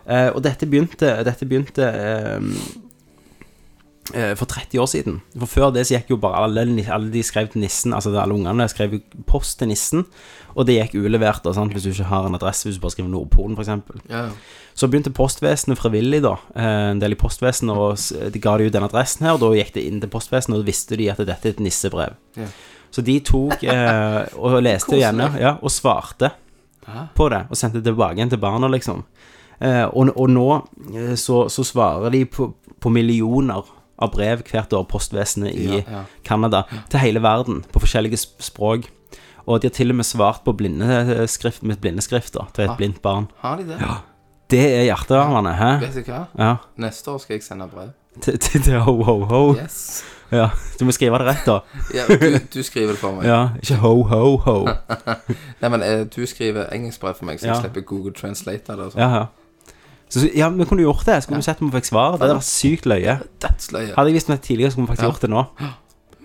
Speaker 1: Eh, og dette begynte, dette begynte eh, eh, for 30 år siden. For før det så gikk jo bare alle, alle de skrev til nissen, altså alle ungene skrev jo post til nissen, og det gikk ulevert, da, sant? hvis du ikke har en adresse, hvis du bare skriver Nordpolen, f.eks.
Speaker 4: Ja, ja.
Speaker 1: Så begynte postvesenet frivillig, da. eh, En del i postvesenet, og s- de ga de ut den adressen her. og Da gikk det inn til postvesenet, og da visste de at dette er et nissebrev.
Speaker 4: Ja.
Speaker 1: Så de tok eh, og leste igjennom, ja, og svarte på det. Og sendte det tilbake igjen til barna, liksom. Eh, og, og nå eh, så, så svarer de på, på millioner av brev hvert år, postvesenet i
Speaker 4: ja.
Speaker 1: Canada, til hele verden, på forskjellige sp- språk. Og de har til og med svart på blindeskrift, med blindeskrift da,
Speaker 4: Ah.
Speaker 1: til et blindt barn.
Speaker 4: Har de det?
Speaker 1: Det er hjertevarmende, hæ?
Speaker 4: Vet du hva?
Speaker 1: Ja.
Speaker 4: Neste år skal jeg sende brev.
Speaker 1: Til- Til til ho, ho, ho.
Speaker 4: Yes.
Speaker 1: Ja, du må skrive det rett, da.
Speaker 4: Ja, du, du skriver det for meg.
Speaker 1: Ja, ikke ho, ho, ho.
Speaker 4: Nei, men eh, du skriver engelskbrev for meg, så jeg
Speaker 1: Ja.
Speaker 4: slipper Google Translate eller sånn. sånt.
Speaker 1: Ja, ja. Så, så- ja, vi kunne gjort det. Skulle vi sett om vi fikk svar? Det hadde vært sykt løye.
Speaker 4: That's løye.
Speaker 1: Hadde jeg visst om det tidligere, skulle vi faktisk
Speaker 4: Ja.
Speaker 1: gjort det nå.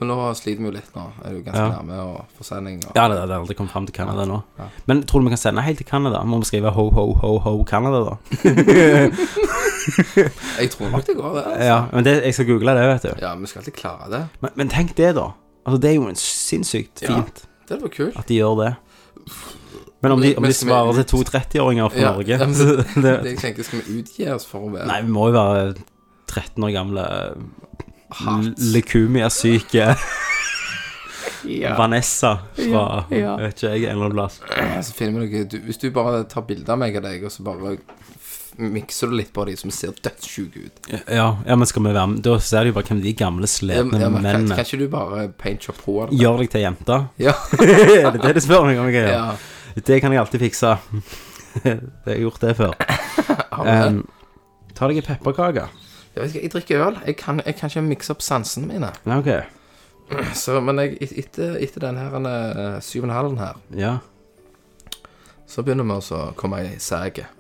Speaker 4: Men nå sliter vi jo litt nå. Er du ganske
Speaker 1: Ja.
Speaker 4: nærme og forsending og
Speaker 1: Ja, det det hadde aldri kommet fram til Canada nå. Men tror du vi kan sende helt til Canada? Må vi skrive ho, ho, ho, ho, Canada, da?
Speaker 4: Jeg tror nok det går, det. altså.
Speaker 1: Ja, men det, jeg skal google det, vet du.
Speaker 4: Ja, men vi skal alltid klare det.
Speaker 1: Men, men tenk det, da. Altså, det er jo en sinnssykt
Speaker 4: Ja.
Speaker 1: fint
Speaker 4: Det var kult.
Speaker 1: at de gjør det. Men om de, om
Speaker 4: Men
Speaker 1: de
Speaker 4: skal vi-
Speaker 1: svarer til to 30-åringer fra
Speaker 4: Ja,
Speaker 1: Norge
Speaker 4: ja, men
Speaker 1: så
Speaker 4: Det
Speaker 1: det,
Speaker 4: jeg tenker, skal vi utgi oss for å være
Speaker 1: Nei, vi må jo være 13 år gamle
Speaker 4: Hardt.
Speaker 1: Lekumia-syke eh, Vanessa fra Vet ikke jeg, en eller annen plass.
Speaker 4: Så finner vi noe du, Hvis du bare tar bilder av meg og deg, og så bare f- mikser du litt på dem som ser dødssjuke ut
Speaker 1: Ja, ja, men skal vi være med? Da ser du jo bare hvem de gamle,
Speaker 4: Jeg-
Speaker 1: slepne
Speaker 4: jeg- Kan
Speaker 1: mennene
Speaker 4: kan ikke du bare painte på det?
Speaker 1: Gjør deg til jente.
Speaker 4: Ja.
Speaker 1: er det det du spør meg om? Jeg gjør?
Speaker 4: ja.
Speaker 1: Det kan jeg alltid fikse. det har jeg gjort det før. Um, ta deg en pepperkake.
Speaker 4: Jeg, vet ikke, jeg drikker øl. Jeg kan, jeg kan ikke mikse opp sansene mine.
Speaker 1: Ja, OK.
Speaker 4: Så, men jeg, et- etter, etter den her eh, syvende hallen her,
Speaker 1: Ja.
Speaker 4: så begynner vi også å komme i sæget.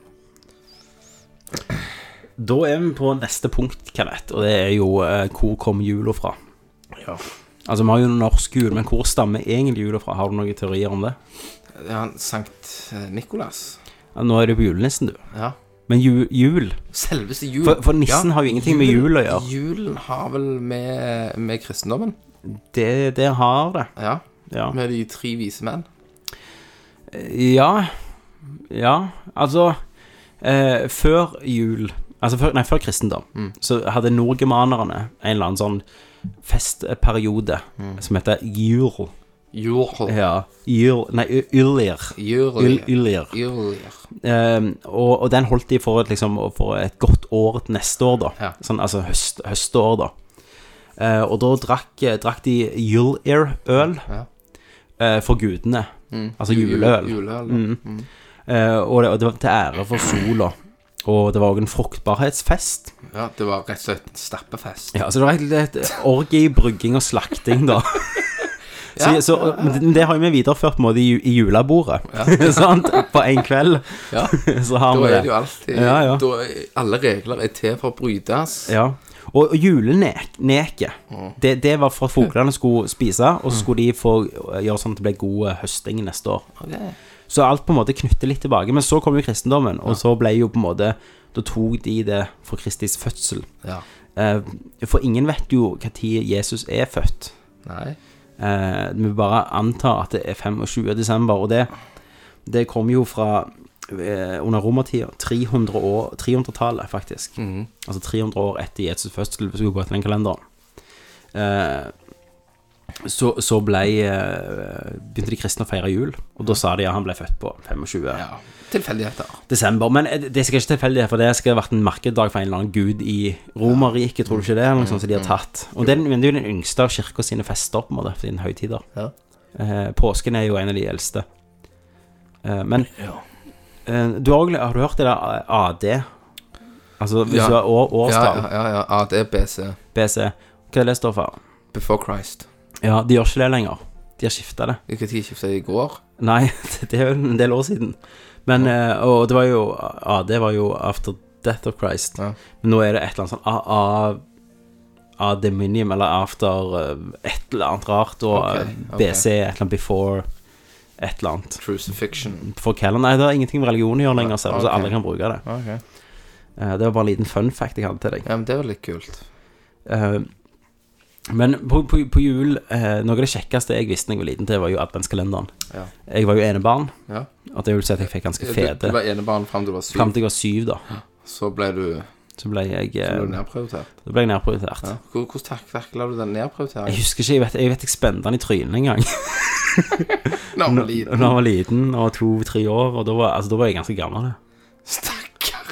Speaker 1: Da er vi på neste punkt, Kanett, og det er jo eh, hvor kom jula fra?
Speaker 4: Ja.
Speaker 1: Altså, vi har jo norsk jul, men hvor stammer egentlig jula fra? Har du noen teorier om det?
Speaker 4: Det er han Sankt eh, Nikolas.
Speaker 1: Ja, nå er det på julenissen, du.
Speaker 4: Ja.
Speaker 1: Men ju, jul
Speaker 4: Selveste jul.
Speaker 1: For- for nissen har jo ingenting med jul å gjøre.
Speaker 4: Julen har vel med, med kristendommen.
Speaker 1: Det, det har det.
Speaker 4: Ja.
Speaker 1: Ja.
Speaker 4: Med de tre vise menn.
Speaker 1: Ja. Ja, altså eh, Før jul Altså før, nei, før kristendom så hadde nordgermanerne en eller annen sånn festperiode som heter jul.
Speaker 4: Jurl.
Speaker 1: Ja. Jul Nei, y- ylir. Yl-
Speaker 4: Jurl.
Speaker 1: Ylir. Ehm, og, og den holdt de for et, liksom, for et godt år til neste år, da.
Speaker 4: Ja.
Speaker 1: Sånn, altså høst, høstår, da. Eh, og da drakk, eh, drakk de Yul-Ear-øl
Speaker 4: Ja. Mm.
Speaker 1: for gudene. Altså juleøl.
Speaker 4: Juleøl.
Speaker 1: Mm.
Speaker 4: Mm.
Speaker 1: Eh, og, det, og det var til ære for sola. Og det var òg en fruktbarhetsfest.
Speaker 4: Ja, det var rett og slett en stappefest.
Speaker 1: Ja, Så det var rett og slett orgie, brygging og slakting, da. Så,
Speaker 4: Ja.
Speaker 1: så, men det- men det har jo vi videreført på en måte i, ju- i julebordet. sant? På én kveld
Speaker 4: Ja.
Speaker 1: så har
Speaker 4: Da
Speaker 1: vi det.
Speaker 4: er det jo alltid
Speaker 1: Ja, ja.
Speaker 4: Da er, Alle regler er til for å brytes.
Speaker 1: Ja. Og, og juleneket, det, det var for at fuglene skulle spise, og så skulle de få gjøre sånn at det ble god eh, høsting neste år.
Speaker 4: Ok.
Speaker 1: Så alt på en måte knytter litt tilbake. Men så kom jo kristendommen, og så ble jo på en måte Da tok de det for Kristis fødsel.
Speaker 4: Ja.
Speaker 1: Eh, for ingen vet jo når Jesus er født.
Speaker 4: Nei.
Speaker 1: Eh, vi bare antar at det er 25. desember, og det, det kom jo fra eh, under romertida. 300 år- 300-tallet, faktisk. Altså 300 år etter Jesus fødsel, hvis vi går til den kalenderen. Eh, så, så ble, eh, begynte de kristne å feire jul, og da sa de at han ble født på 25.
Speaker 4: Ja. Tilfeldigheter.
Speaker 1: desember. Men eh, det er sikkert ikke tilfeldig, for det skal ha vært en markeddag for en eller annen gud i Romerriket, tror du ikke det? Eller noe sånt som de har
Speaker 4: Mm.
Speaker 1: tatt. Og den, men det er jo den yngste av kirka sine fester, på en måte, sine høytider.
Speaker 4: Ja.
Speaker 1: Eh, påsken er jo en av de eldste. Eh, men eh, du har, også- har du hørt det der eh, AD? Altså hvis
Speaker 4: Ja.
Speaker 1: du har år,
Speaker 4: Ja,
Speaker 1: årstall,
Speaker 4: ja, ja, ja. ja. Det er BC.
Speaker 1: BC. Hva er det det står for?
Speaker 4: Before Christ.
Speaker 1: Ja, de gjør ikke det lenger. De har skifta det.
Speaker 4: Hvilken tid skiftet jeg i går?
Speaker 1: Nei, det er jo en del år siden. Men, eh, og det var jo AD var jo After Death of Christ.
Speaker 4: Ja.
Speaker 1: Men nå er det et eller annet sånn A- A- AD Minium eller After eh, et eller annet rart, og
Speaker 4: Ok,
Speaker 1: eh,
Speaker 4: ok.
Speaker 1: BC et eller annet Before et eller annet.
Speaker 4: Crucifixion.
Speaker 1: For Callan Nei, det har ingenting med religion å gjøre lenger, ser du, så
Speaker 4: Ok.
Speaker 1: alle kan bruke det.
Speaker 4: Okay.
Speaker 1: Eh, Det var bare en liten fun fact jeg hadde til deg.
Speaker 4: Ja, men det er jo litt kult.
Speaker 1: Eh, Men på, på, på jul eh, Noe av det kjekkeste jeg visste da jeg var liten til, var jo adventskalenderen.
Speaker 4: Ja.
Speaker 1: Jeg var jo enebarn,
Speaker 4: Ja. Eh,
Speaker 1: og det vil si at jeg fikk ganske
Speaker 4: Du,
Speaker 1: fete
Speaker 4: du var enebarn fram til du var syv,
Speaker 1: Fram til jeg var syv, da.
Speaker 4: så ble du,
Speaker 1: Så ble jeg,
Speaker 4: så ble du
Speaker 1: eh,
Speaker 4: nedprioritert.
Speaker 1: da ble jeg nedprioritert.
Speaker 4: Ja. Hvor- Hvordan tak- takla du den nedprioriteringen?
Speaker 1: Jeg husker ikke, jeg vet jeg, vet, jeg spente den i trynet en gang
Speaker 4: Når
Speaker 1: da
Speaker 4: man
Speaker 1: jeg
Speaker 4: liten.
Speaker 1: var liten, og to-tre år. Og da var, altså, da var jeg ganske gammel.
Speaker 4: Stakkar.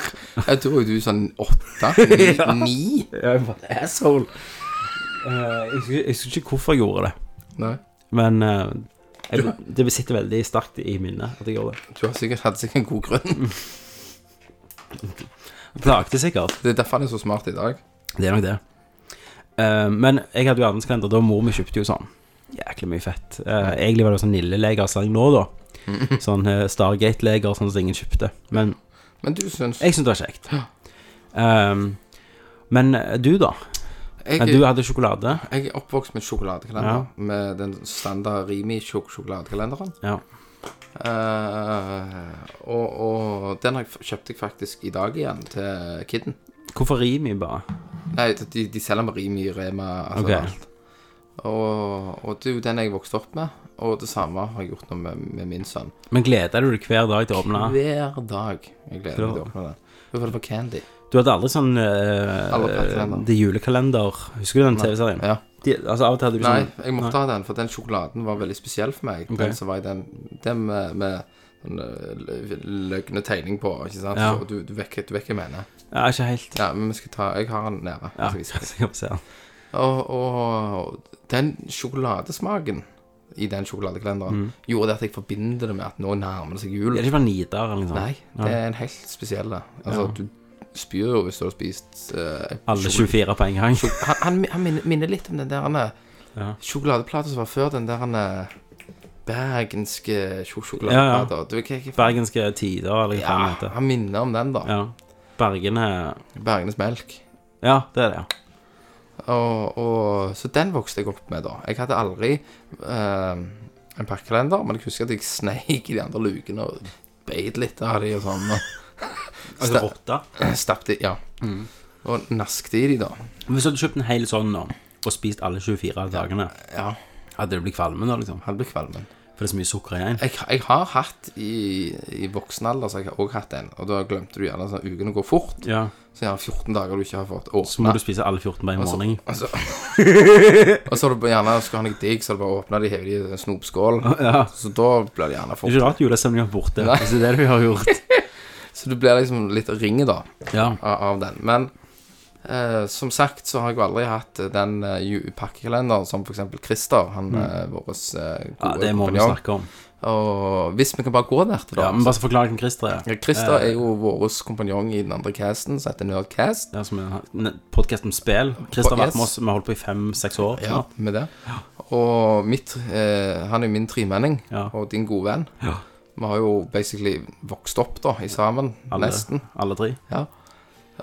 Speaker 4: Jeg tror jo du er sånn åtte, ni, ni.
Speaker 1: Jeg var en asshole. Eh, jeg, husker, jeg husker ikke hvorfor jeg gjorde det,
Speaker 4: Nei.
Speaker 1: men eh, jeg, det sitter veldig sterkt i minnet at jeg gjorde det.
Speaker 4: Du har sikkert hatt sikkert en god grunn.
Speaker 1: Plagte sikkert.
Speaker 4: Det er derfor han er så smart i dag.
Speaker 1: Det er nok det. Eh, men jeg hadde jo adventskalender da mor mi kjøpte jo sånn jæklig mye fett. Eh, egentlig var det sånn Nille-leger sang nå, da. Sånn eh, Stargate-leger sånn som ingen kjøpte. Men
Speaker 4: Men du syns
Speaker 1: jeg syntes det var kjekt. Ehm, men eh, du, da? Eh,
Speaker 4: jeg,
Speaker 1: Du hadde sjokolade.
Speaker 4: jeg er oppvokst med sjokoladekalender. Med den standard Rimi-sjokoladekalenderen.
Speaker 1: Ja.
Speaker 4: Eh, og, og den har jeg, f- kjøpte jeg faktisk i dag igjen til kidden.
Speaker 1: Hvorfor Rimi, bare?
Speaker 4: Nei, de, de selger med Rimi, Rema, altså
Speaker 1: Ok.
Speaker 4: alt. Og, og det er jo den jeg vokste opp med, og det samme har jeg gjort nå med, med min sønn.
Speaker 1: Men gleder du deg hver dag til å åpne?
Speaker 4: Hver dag. Jeg gleder
Speaker 1: Klar.
Speaker 4: meg til å åpne den. Jo, for det var candy.
Speaker 1: Du hadde aldri sånn eh,
Speaker 4: Alle pakkekalender.
Speaker 1: Det julekalender. Husker du den TV-serien?
Speaker 4: Ja.
Speaker 1: De- Altså, av og til hadde du
Speaker 4: Nei,
Speaker 1: sånn
Speaker 4: jeg måtte ha den, for den sjokoladen var veldig spesiell for meg.
Speaker 1: Ok.
Speaker 4: Den som var i den, den med, med sånn eh, lø- løgne tegning på, ikke sant?
Speaker 1: Ja.
Speaker 4: Så Du, du vekker, du vekker mene.
Speaker 1: Ja, ikke helt.
Speaker 4: Ja, men vi skal ta, jeg har den nede.
Speaker 1: Ja,
Speaker 4: så vi
Speaker 1: så
Speaker 4: skal-
Speaker 1: jeg får se den.
Speaker 4: Og, og den sjokoladesmaken i den sjokoladekalenderen gjorde det at jeg forbinder det med at nå nærmer det seg jul.
Speaker 1: Mm. Er det ikke bare Nidar eller noe sånt?
Speaker 4: Nei, det er en helt spesiell Altså, du spyr jo hvis du har spist eh,
Speaker 1: Alle
Speaker 4: sjokol-
Speaker 1: 24 på en gang.
Speaker 4: sjok- Han, han, min- han minner, minner litt om den der han,
Speaker 1: Ja.
Speaker 4: sjokoladeplata som var før den der han, bergenske sjo- sjokoladeplata. Du, hva, hva,
Speaker 1: Bergenske tider, eller hva
Speaker 4: ja,
Speaker 1: faen det heter.
Speaker 4: han minner om den, da.
Speaker 1: Ja. Bergene
Speaker 4: Bergenes melk.
Speaker 1: Ja, det er det, ja.
Speaker 4: Og, og, så den vokste jeg opp med, da. Jeg hadde aldri eh, en pakkekalender, men jeg husker at jeg sneik i de andre lukene og beit litt av de og sånn. Og
Speaker 1: Altså rotta.
Speaker 4: stappet i, ja.
Speaker 1: Mm.
Speaker 4: Og nasket i de, da.
Speaker 1: Hvis du hadde kjøpt en hel sånn nå, og spist alle 24 dagene,
Speaker 4: Ja,
Speaker 1: hadde du blitt kvalm da, liksom?
Speaker 4: hadde blitt kvalmen.
Speaker 1: For det er så mye sukker igjen.
Speaker 4: Jeg, jeg har hatt i, i voksen alder, så jeg har også hatt en, og da glemte du gjerne sånn ukene går fort,
Speaker 1: Ja.
Speaker 4: så gjerne 14 dager du ikke har fått
Speaker 1: Så må
Speaker 4: åpna.
Speaker 1: du spise alle 14 hver
Speaker 4: Og så-
Speaker 1: morgen.
Speaker 4: Og så, og så har du gjerne skal ha noe digg, så har du bare åpna de, hevet de i en snopskål.
Speaker 1: Ja.
Speaker 4: Så da blir det gjerne
Speaker 1: Det
Speaker 4: fort.
Speaker 1: er ikke rart julestemningen er borte. Hvis det er det vi har gjort.
Speaker 4: Så du blir liksom litt ringe da
Speaker 1: Ja.
Speaker 4: av, av den. Men Eh, som sagt så har jeg jo aldri hatt eh, den eh, ju- pakkekalenderen som f.eks. Christer, han eh, vår eh,
Speaker 1: Mm. Ja,
Speaker 4: gode
Speaker 1: det må vi
Speaker 4: kompanjong.
Speaker 1: snakke om.
Speaker 4: Og hvis vi kan bare gå der til
Speaker 1: Ja,
Speaker 4: da.
Speaker 1: men
Speaker 4: altså.
Speaker 1: bare så forklar hvem Christer er. Eh,
Speaker 4: Ja, Christer er jo vår kompanjong i den andre casten, som heter Nerdcast.
Speaker 1: Det er som en podkast om spill. Christer har vært med
Speaker 4: Yes.
Speaker 1: oss, vi har holdt på i fem-seks år.
Speaker 4: Ja, med det. Og mitt, eh, han er jo min tremenning,
Speaker 1: Ja.
Speaker 4: og din gode venn.
Speaker 1: Ja.
Speaker 4: Vi har jo basically vokst opp da, i sammen,
Speaker 1: Alle,
Speaker 4: nesten.
Speaker 1: alle tre.
Speaker 4: Eh,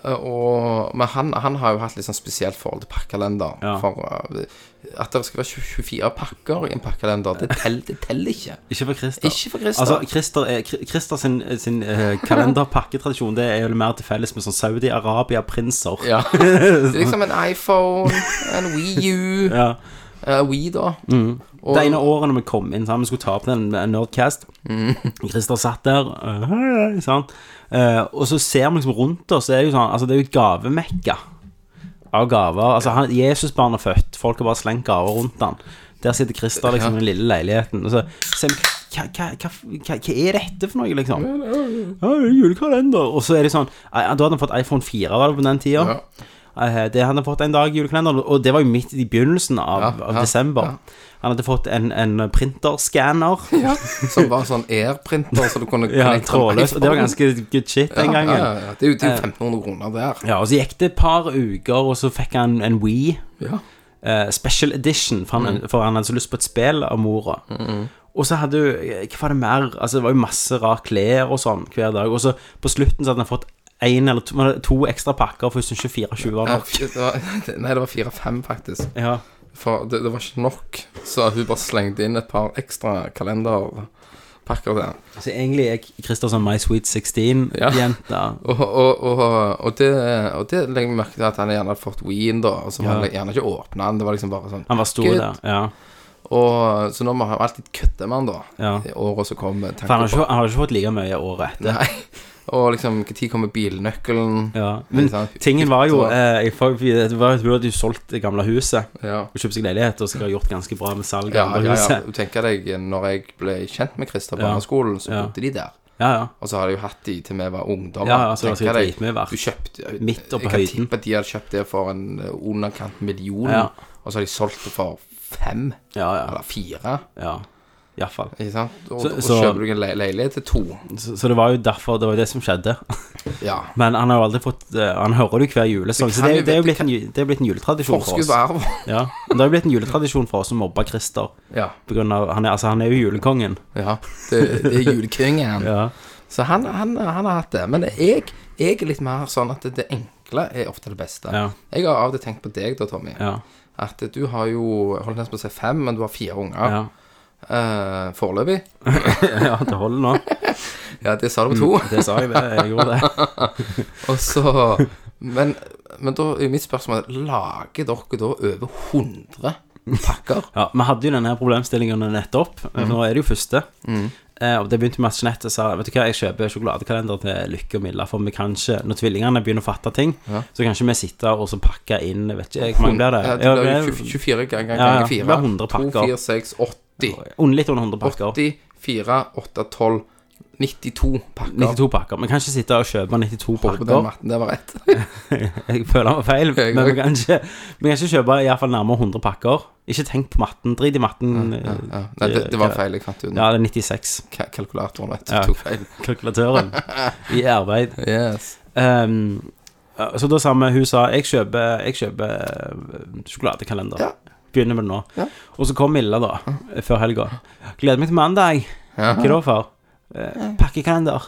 Speaker 4: Og, men han, han har jo hatt litt sånn spesielt forhold til pakkalender.
Speaker 1: Ja.
Speaker 4: For eh, at det skal være 20 24 pakker i en pakkalender, det teller det teller ikke.
Speaker 1: Ikke for Christer.
Speaker 4: Ikke for Christer.
Speaker 1: Altså, Christer, er, Kri- Christer sin, sin eh, kalenderpakketradisjon Det er jo mer til felles med sånn Saudi-Arabia-prinser.
Speaker 4: ja. Det er liksom en iPhone, en Wii U,
Speaker 1: Ja.
Speaker 4: eh, Wii da. Og,
Speaker 1: Det ene året når vi kom inn sammen, skulle ta opp den med Nerdcast Christer satt der, øh, hei, sant? Eh, og så ser vi liksom rundt oss, det er jo sånn Altså, det er jo et gavemekka av gaver. Altså, han, Jesusbarn er født, folk har bare slengt gaver rundt han. Der sitter Christer liksom i den lille leiligheten, og så ser vi hva, hva, hva, hva, hva er dette for noe, liksom? Ja, det er julekalender. Og så er det sånn eh, Da hadde han fått iPhone 4 var det på den tida.
Speaker 4: Ja.
Speaker 1: Eh, Det han hadde fått en dag i julekalenderen, og det var jo midt i begynnelsen av,
Speaker 4: Ja,
Speaker 1: av
Speaker 4: ja,
Speaker 1: desember. Han hadde fått en, en printerskanner.
Speaker 4: ja, som var sånn airprinter, så du kunne
Speaker 1: Ja,
Speaker 4: connecte en
Speaker 1: trådløs. Og det var
Speaker 4: iPhone.
Speaker 1: ganske good shit den gangen.
Speaker 4: Ja,
Speaker 1: Ja,
Speaker 4: ja, ja. Det er jo det er jo 1500 kroner der.
Speaker 1: og så gikk det et par uker, og så fikk han en Wii
Speaker 4: Ja.
Speaker 1: eh, Special Edition, for
Speaker 4: Mm.
Speaker 1: han, for han hadde så lyst på et spill av mora. Og så hadde jo Hva var det mer? Altså, det var jo masse rar klær og sånn hver dag. Og så på slutten så hadde han fått én eller to, to ekstra pakker, for hun syntes ikke 24 var
Speaker 4: Ja,
Speaker 1: nok.
Speaker 4: det var, nei, det var fire-fem, faktisk.
Speaker 1: Ja.
Speaker 4: For det, det var ikke nok. Så hun bare slengte inn et par ekstra kalenderpakker der.
Speaker 1: Så egentlig er Christer sånn My Sweet 16-jente.
Speaker 4: Ja. Og, og, og, og, det, og det legger jeg merke til at han gjerne hadde fått Wien, da. Og så var han gjerne ikke åpna den. Det var liksom bare sånn.
Speaker 1: Han var stor
Speaker 4: Good.
Speaker 1: der. Ja.
Speaker 4: Og, så nå må han alltid kødde med han, da.
Speaker 1: Ja.
Speaker 4: I året som kommer.
Speaker 1: For han har,
Speaker 4: tenker
Speaker 1: ikke, han har ikke fått like mye året
Speaker 4: på-
Speaker 1: etter.
Speaker 4: Nei. Og liksom, når kommer bilnøkkelen?
Speaker 1: Ja. Men
Speaker 4: Ikke sant?
Speaker 1: tingen var jo eh, jeg, får- Det var jo at du solgte det gamle huset
Speaker 4: Ja.
Speaker 1: og kjøpte seg leilighet, og skal ha gjort ganske bra med salg
Speaker 4: Ja,
Speaker 1: av det
Speaker 4: ja,
Speaker 1: gamle
Speaker 4: ja.
Speaker 1: huset.
Speaker 4: Du tenker deg, når jeg ble kjent med Christer på
Speaker 1: Ja.
Speaker 4: barneskolen, så
Speaker 1: Ja.
Speaker 4: bodde de der.
Speaker 1: Ja, ja.
Speaker 4: Og så har de jo hatt de til vi var ungdommer.
Speaker 1: Ja, ja, så det var
Speaker 4: Tenker
Speaker 1: sikkert
Speaker 4: deg,
Speaker 1: dritmye verdt.
Speaker 4: Du kjøpte
Speaker 1: Midt oppe
Speaker 4: Jeg kan
Speaker 1: høyden.
Speaker 4: tippe at de hadde kjøpt det for en eh, underkant million,
Speaker 1: Ja.
Speaker 4: og så har de solgt det for fem,
Speaker 1: Ja, ja.
Speaker 4: eller fire.
Speaker 1: ja. Iallfall.
Speaker 4: Ikke sant? Og,
Speaker 1: Så-
Speaker 4: og så
Speaker 1: så-
Speaker 4: kjøper du en le leilighet til to.
Speaker 1: Så, så det var jo derfor Det var jo det som skjedde.
Speaker 4: Ja.
Speaker 1: Men han har jo aldri fått eh, Han hører det jo hver julesang,
Speaker 4: Det
Speaker 1: så
Speaker 4: kan
Speaker 1: det, er
Speaker 4: jo-
Speaker 1: jo- det er jo
Speaker 4: det
Speaker 1: blitt en, ju- det er blitt en juletradisjon for
Speaker 4: Forskudd
Speaker 1: oss.
Speaker 4: på arv.
Speaker 1: Ja. Men det har jo blitt en juletradisjon for oss å mobbe Christer.
Speaker 4: Ja.
Speaker 1: På grunn av, han, er, altså, han er jo julekongen.
Speaker 4: ja. Det, det er julekingen.
Speaker 1: Ja.
Speaker 4: Så han, han, han har hatt det. Men jeg, jeg er litt mer sånn at det enkle er ofte det beste.
Speaker 1: Ja.
Speaker 4: Jeg har av og til tenkt på deg da, Tommy.
Speaker 1: Ja.
Speaker 4: At du har jo, jeg holdt nesten på å si fem, men du har fire unger
Speaker 1: Ja,
Speaker 4: eh, foreløpig.
Speaker 1: ja det holder nå.
Speaker 4: Ja, det sa du på to.
Speaker 1: Det sa jeg, det. Jeg gjorde det.
Speaker 4: Og så Men, men da er mitt spørsmål Lager dere da over 100 pakker?
Speaker 1: Ja, Vi hadde jo denne problemstillingen nettopp.
Speaker 4: Mm.
Speaker 1: For Nå er det jo første. Eh, og Det begynte med at Jeanette sa Vet du hva, jeg kjøper sjokoladekalender til Lykke og Milla. For vi kan ikke, når tvillingene begynner å fatte ting, så kan ikke vi sitte og så pakke inn Vet ikke, jeg, hvor mange blir det?
Speaker 4: Ja,
Speaker 1: Ja,
Speaker 4: det blir jo
Speaker 1: det
Speaker 4: 24 ganger
Speaker 1: Ja, ja,
Speaker 4: ganger
Speaker 1: det
Speaker 4: 4.
Speaker 1: blir 100
Speaker 4: 2,
Speaker 1: pakker.
Speaker 4: 4, 6, 80.
Speaker 1: er under- litt under 100 pakker.
Speaker 4: 80, 4, 8, 12, 92 pakker.
Speaker 1: 92 pakker. Vi kan ikke sitte og kjøpe 92
Speaker 4: Håper den
Speaker 1: pakker.
Speaker 4: matten der var rett.
Speaker 1: Jeg føler det var feil,
Speaker 4: Jeg
Speaker 1: men vi
Speaker 4: òg.
Speaker 1: kan ikke, vi kan ikke kjøpe i hvert fall nærmere 100 pakker. Ikke tenk på matten. Drit i matten.
Speaker 4: Ja, ja. Nei, det, det var feil. Jeg fant ut den.
Speaker 1: Ja, det er 96.
Speaker 4: Ka- Kalkulatoren vet du,
Speaker 1: Ja.
Speaker 4: tok feil.
Speaker 1: Kalkulatøren i arbeid.
Speaker 4: Yes.
Speaker 1: Ehm, så da sa vi Hun sa jeg kjøper, jeg kjøper eh, sjokoladekalender.
Speaker 4: Ja.
Speaker 1: Begynner med det nå.
Speaker 4: Ja.
Speaker 1: Og så kom Milla, da, før helga. Gleder meg til mandag.
Speaker 4: Ja.
Speaker 1: Hva da, far? Eh, pakkekalender.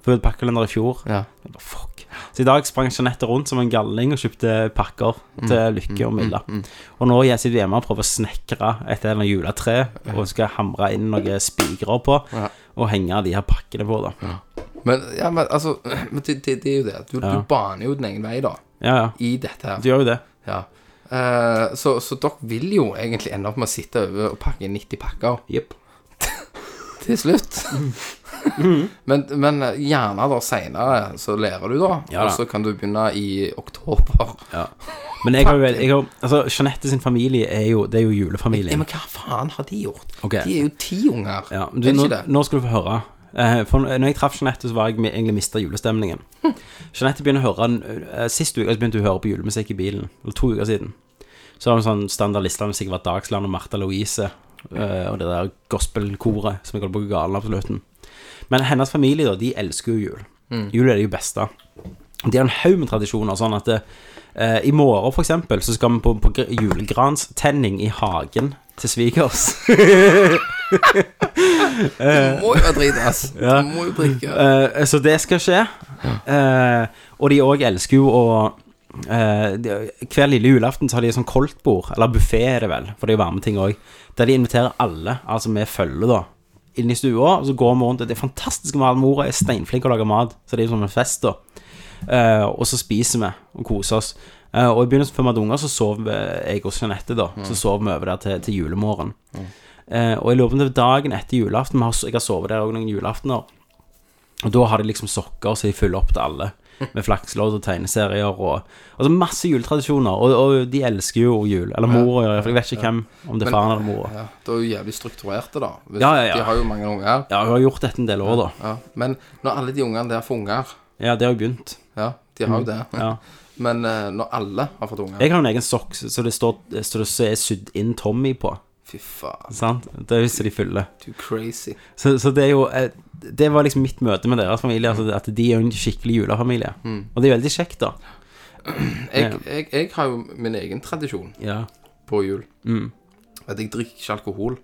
Speaker 1: For vi hadde pakkekalender i fjor.
Speaker 4: Ja.
Speaker 1: Jeg bare, Fuck. Så i dag sprang Jeanette rundt som en galning og kjøpte pakker
Speaker 4: Mm.
Speaker 1: til Lykke og Milla. Og nå jeg sitter vi hjemme og prøver å snekre et eller annet juletre og skal hamre inn noen spigrer på
Speaker 4: Ja.
Speaker 1: og henge de her pakkene på, da.
Speaker 4: Men, ja, men altså men det, det, det er jo det. Du, du baner jo din egen vei, da,
Speaker 1: Ja, ja.
Speaker 4: i dette her.
Speaker 1: Du gjør jo det.
Speaker 4: Ja. Eh, så, så dere vil jo egentlig ende opp med å sitte over og pakke inn 90 pakker
Speaker 1: Jepp.
Speaker 4: til slutt. men, men gjerne da seinere så lærer du, da.
Speaker 1: Ja da.
Speaker 4: Og så kan du begynne i oktober.
Speaker 1: Men jeg har jo vel jeg har, Altså, Jeanette sin familie er jo Det er jo
Speaker 4: Ja,
Speaker 1: julefamilien.
Speaker 4: men hva faen har de gjort?
Speaker 1: Ok.
Speaker 4: De er jo ti unger.
Speaker 1: Ja, men du,
Speaker 4: er det
Speaker 1: nå,
Speaker 4: ikke det?
Speaker 1: nå skal du få høre Eh, For når jeg traff Jeanette, så var jeg med- egentlig mista julestemningen. Jeanette begynner å høre en- eh, Sist uke så begynte hun å høre på julemusikk i bilen. Eller to uker siden. Så har hun sånn standard listemusikk av Dagsland og Martha Louise. eh, Og det der gospelkoret som jeg holder på å gå galen av på slutten. Men hennes familie, da, de elsker jo jul.
Speaker 4: Mm.
Speaker 1: Jul er det jo beste. De har en haug med tradisjoner, sånn at eh, i morgen for eksempel så skal vi på, på gr- julegranstenning i hagen til svigers.
Speaker 4: Du må jo være drit, ass. Du må jo drikke.
Speaker 1: Eh, så det skal skje. Eh, og de òg elsker jo å eh, de- Hver lille julaften så har de sånn koldtbord, eller buffé er det vel, for det er jo varme ting òg, der de inviterer alle, altså med følge, da, inn i stua. Og så går vi rundt. og Det er fantastisk mat. Mora er steinflink til å lage mat, så det er jo som en fest, da. Eh, og så spiser vi og koser oss. Eh, og i begynnelsen før vi hadde unger, så sov eh, jeg og Jeanette, da. Så sov vi over der til, til julemorgen. Eh, og jeg lurer på om det var dagen etter julaften. vi har- Jeg har sovet der også noen julaftener. Og da har de liksom sokker så de fyller opp til alle. Med flakslodd og tegneserier og Altså masse juletradisjoner. Og, og de elsker jo jul. Eller mora gjør det, for jeg vet ikke hvem. Om det er faren eller mora.
Speaker 4: Ja, det er jo jævlig strukturert, da. Hvis,
Speaker 1: Ja, ja, ja.
Speaker 4: De har jo mange unger.
Speaker 1: Ja, hun har gjort dette en del år, da.
Speaker 4: Ja. Men når alle de ungene der får unger
Speaker 1: Ja, det har jeg begynt.
Speaker 4: Ja, de har jo det.
Speaker 1: Mm. Ja.
Speaker 4: Men eh, når alle har fått unger
Speaker 1: Jeg har en egen sokk så det står Så det er sydd inn Tommy på.
Speaker 4: Fy faen,
Speaker 1: Sant? Det er jo så de fyller.
Speaker 4: du crazy.
Speaker 1: Så, så det er jo eh, Det var liksom mitt møte med deres familie. Altså, at de er jo en skikkelig julefamilie. Og det er veldig kjekt, da.
Speaker 4: Jeg, jeg, jeg har jo min egen tradisjon
Speaker 1: Ja.
Speaker 4: på jul.
Speaker 1: Mm.
Speaker 4: At jeg drikker ikke alkohol.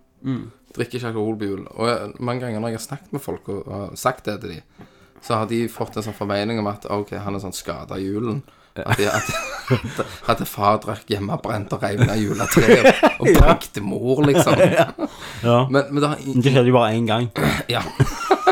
Speaker 4: Drikker ikke alkohol på jul. Og jeg, mange ganger når jeg har snakket med folk og, og sagt det til dem, så har de fått en sånn formening om at OK, han er sånn skada i julen. At, de, at, at far drakk hjemmebrent og rev ned juletreet og brakte mor, liksom.
Speaker 1: Ja.
Speaker 4: Men, men det har i-
Speaker 1: Det skjedde jo bare én gang.
Speaker 4: Ja.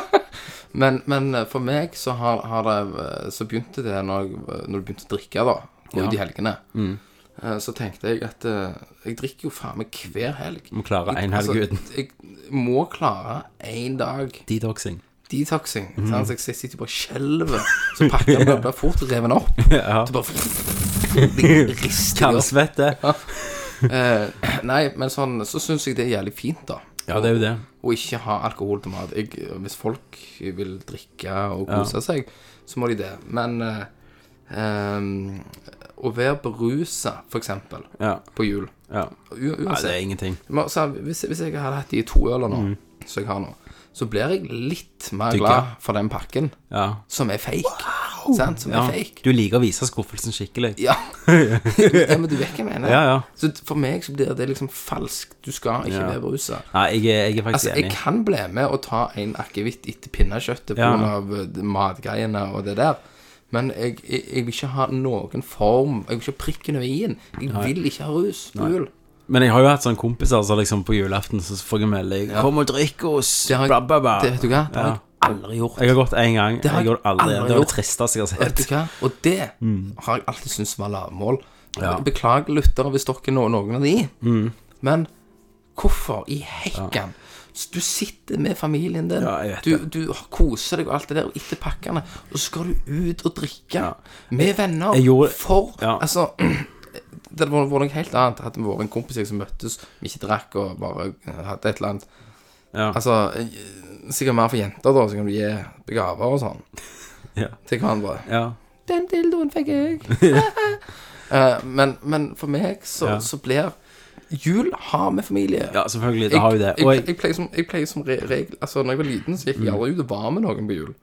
Speaker 4: men, men eh, for meg så, har, har det, eh, så begynte det når, jeg, eh, når du begynte å drikke, da. Gå ut i helgene.
Speaker 1: Mm.
Speaker 4: Eh, Så tenkte jeg at eh, jeg drikker jo faen meg hver helg.
Speaker 1: Må klare én helg uten
Speaker 4: Altså, jeg må klare én dag
Speaker 1: detoxing.
Speaker 4: detoxing.
Speaker 1: Mm.
Speaker 4: sant? Så jeg sitter jo bare og skjelver. Så pakker jeg blir fort revet opp.
Speaker 1: Ja.
Speaker 4: Så bare de rister de opp.
Speaker 1: Kaldsvette.
Speaker 4: Eh, Nei, men sånn, så syns jeg det er jævlig fint, da.
Speaker 1: Ja, det er jo det.
Speaker 4: Og ikke ha alkohol til mat. Jeg, hvis folk vil drikke og kose seg, så må de det. Men eh, ehm, å være berusa, for eksempel,
Speaker 1: Ja.
Speaker 4: på jul
Speaker 1: ja. Altså,
Speaker 4: u
Speaker 1: Nei, det er
Speaker 4: Uansett.
Speaker 1: ingenting.
Speaker 4: Men, så, hvis, hvis jeg hadde hatt de to øler
Speaker 1: Mm.
Speaker 4: nå, som jeg har nå, så blir jeg litt mer
Speaker 1: Digga.
Speaker 4: glad for den pakken
Speaker 1: Ja.
Speaker 4: som er fake. Sant? Som
Speaker 1: ja.
Speaker 4: er fake.
Speaker 1: Du liker å vise skuffelsen skikkelig.
Speaker 4: Ja. ja, men du vet hva jeg mener.
Speaker 1: Ja, ja.
Speaker 4: Så for meg så blir det liksom falskt. Du skal ikke
Speaker 1: Ja.
Speaker 4: være berusa.
Speaker 1: Nei, jeg, er- jeg er faktisk
Speaker 4: Altså, jeg
Speaker 1: enig.
Speaker 4: kan bli med og ta en akevitt etter pinnekjøttet
Speaker 1: Ja.
Speaker 4: pga. eh, matgreiene og det der. Men jeg, jeg, jeg vil ikke ha noen form Jeg vil ikke ha prikken over i-en. Jeg vil ikke ha rus på jul.
Speaker 1: Men jeg har jo hatt sånne kompiser som liksom på julaften så får jeg melding 'Kom og drikk oss!'
Speaker 4: Det har jeg-
Speaker 1: bla, bla, bla.
Speaker 4: det vet du hva? Det har
Speaker 1: Ja.
Speaker 4: jeg aldri gjort.
Speaker 1: Jeg har gått én gang.
Speaker 4: har
Speaker 1: jeg
Speaker 4: jeg
Speaker 1: gjorde aldri.
Speaker 4: aldri
Speaker 1: Det var
Speaker 4: gjort. Altså,
Speaker 1: det tristeste jeg har
Speaker 4: Vet
Speaker 1: sett.
Speaker 4: du hva? Og det har jeg alltid syntes var lavmål.
Speaker 1: Mm. Ja. Mm.
Speaker 4: Beklager lyttere hvis dere nå noen av de. Men hvorfor i heikan? Du sitter med familien din,
Speaker 1: Ja, jeg vet
Speaker 4: du, du koser deg og alt det der, og etter pakkene, og så skal du ut og drikke med venner
Speaker 1: jeg gjorde-
Speaker 4: for
Speaker 1: Ja.
Speaker 4: Altså Det hadde vært vært noe helt annet hadde det vært en kompis jeg som møttes, vi ikke drakk og bare eh, hadde et eller annet
Speaker 1: Ja.
Speaker 4: Altså, eh, sikkert mer for jenter, da, så kan du gi gaver og sånn
Speaker 1: Ja.
Speaker 4: til hverandre.
Speaker 1: ja.
Speaker 4: Den dildoen fikk jeg. Eh, men, men for meg så,
Speaker 1: Ja.
Speaker 4: så blir jul har med familie.
Speaker 1: ja, selvfølgelig. Det
Speaker 4: Jeg,
Speaker 1: har jo det.
Speaker 4: jeg,
Speaker 1: Og Mm.
Speaker 4: jeg,
Speaker 1: jeg,
Speaker 4: pleier som, jeg pleier som re regel Altså, når jeg var liten, så gikk jeg aldri ut og var med noen på jul.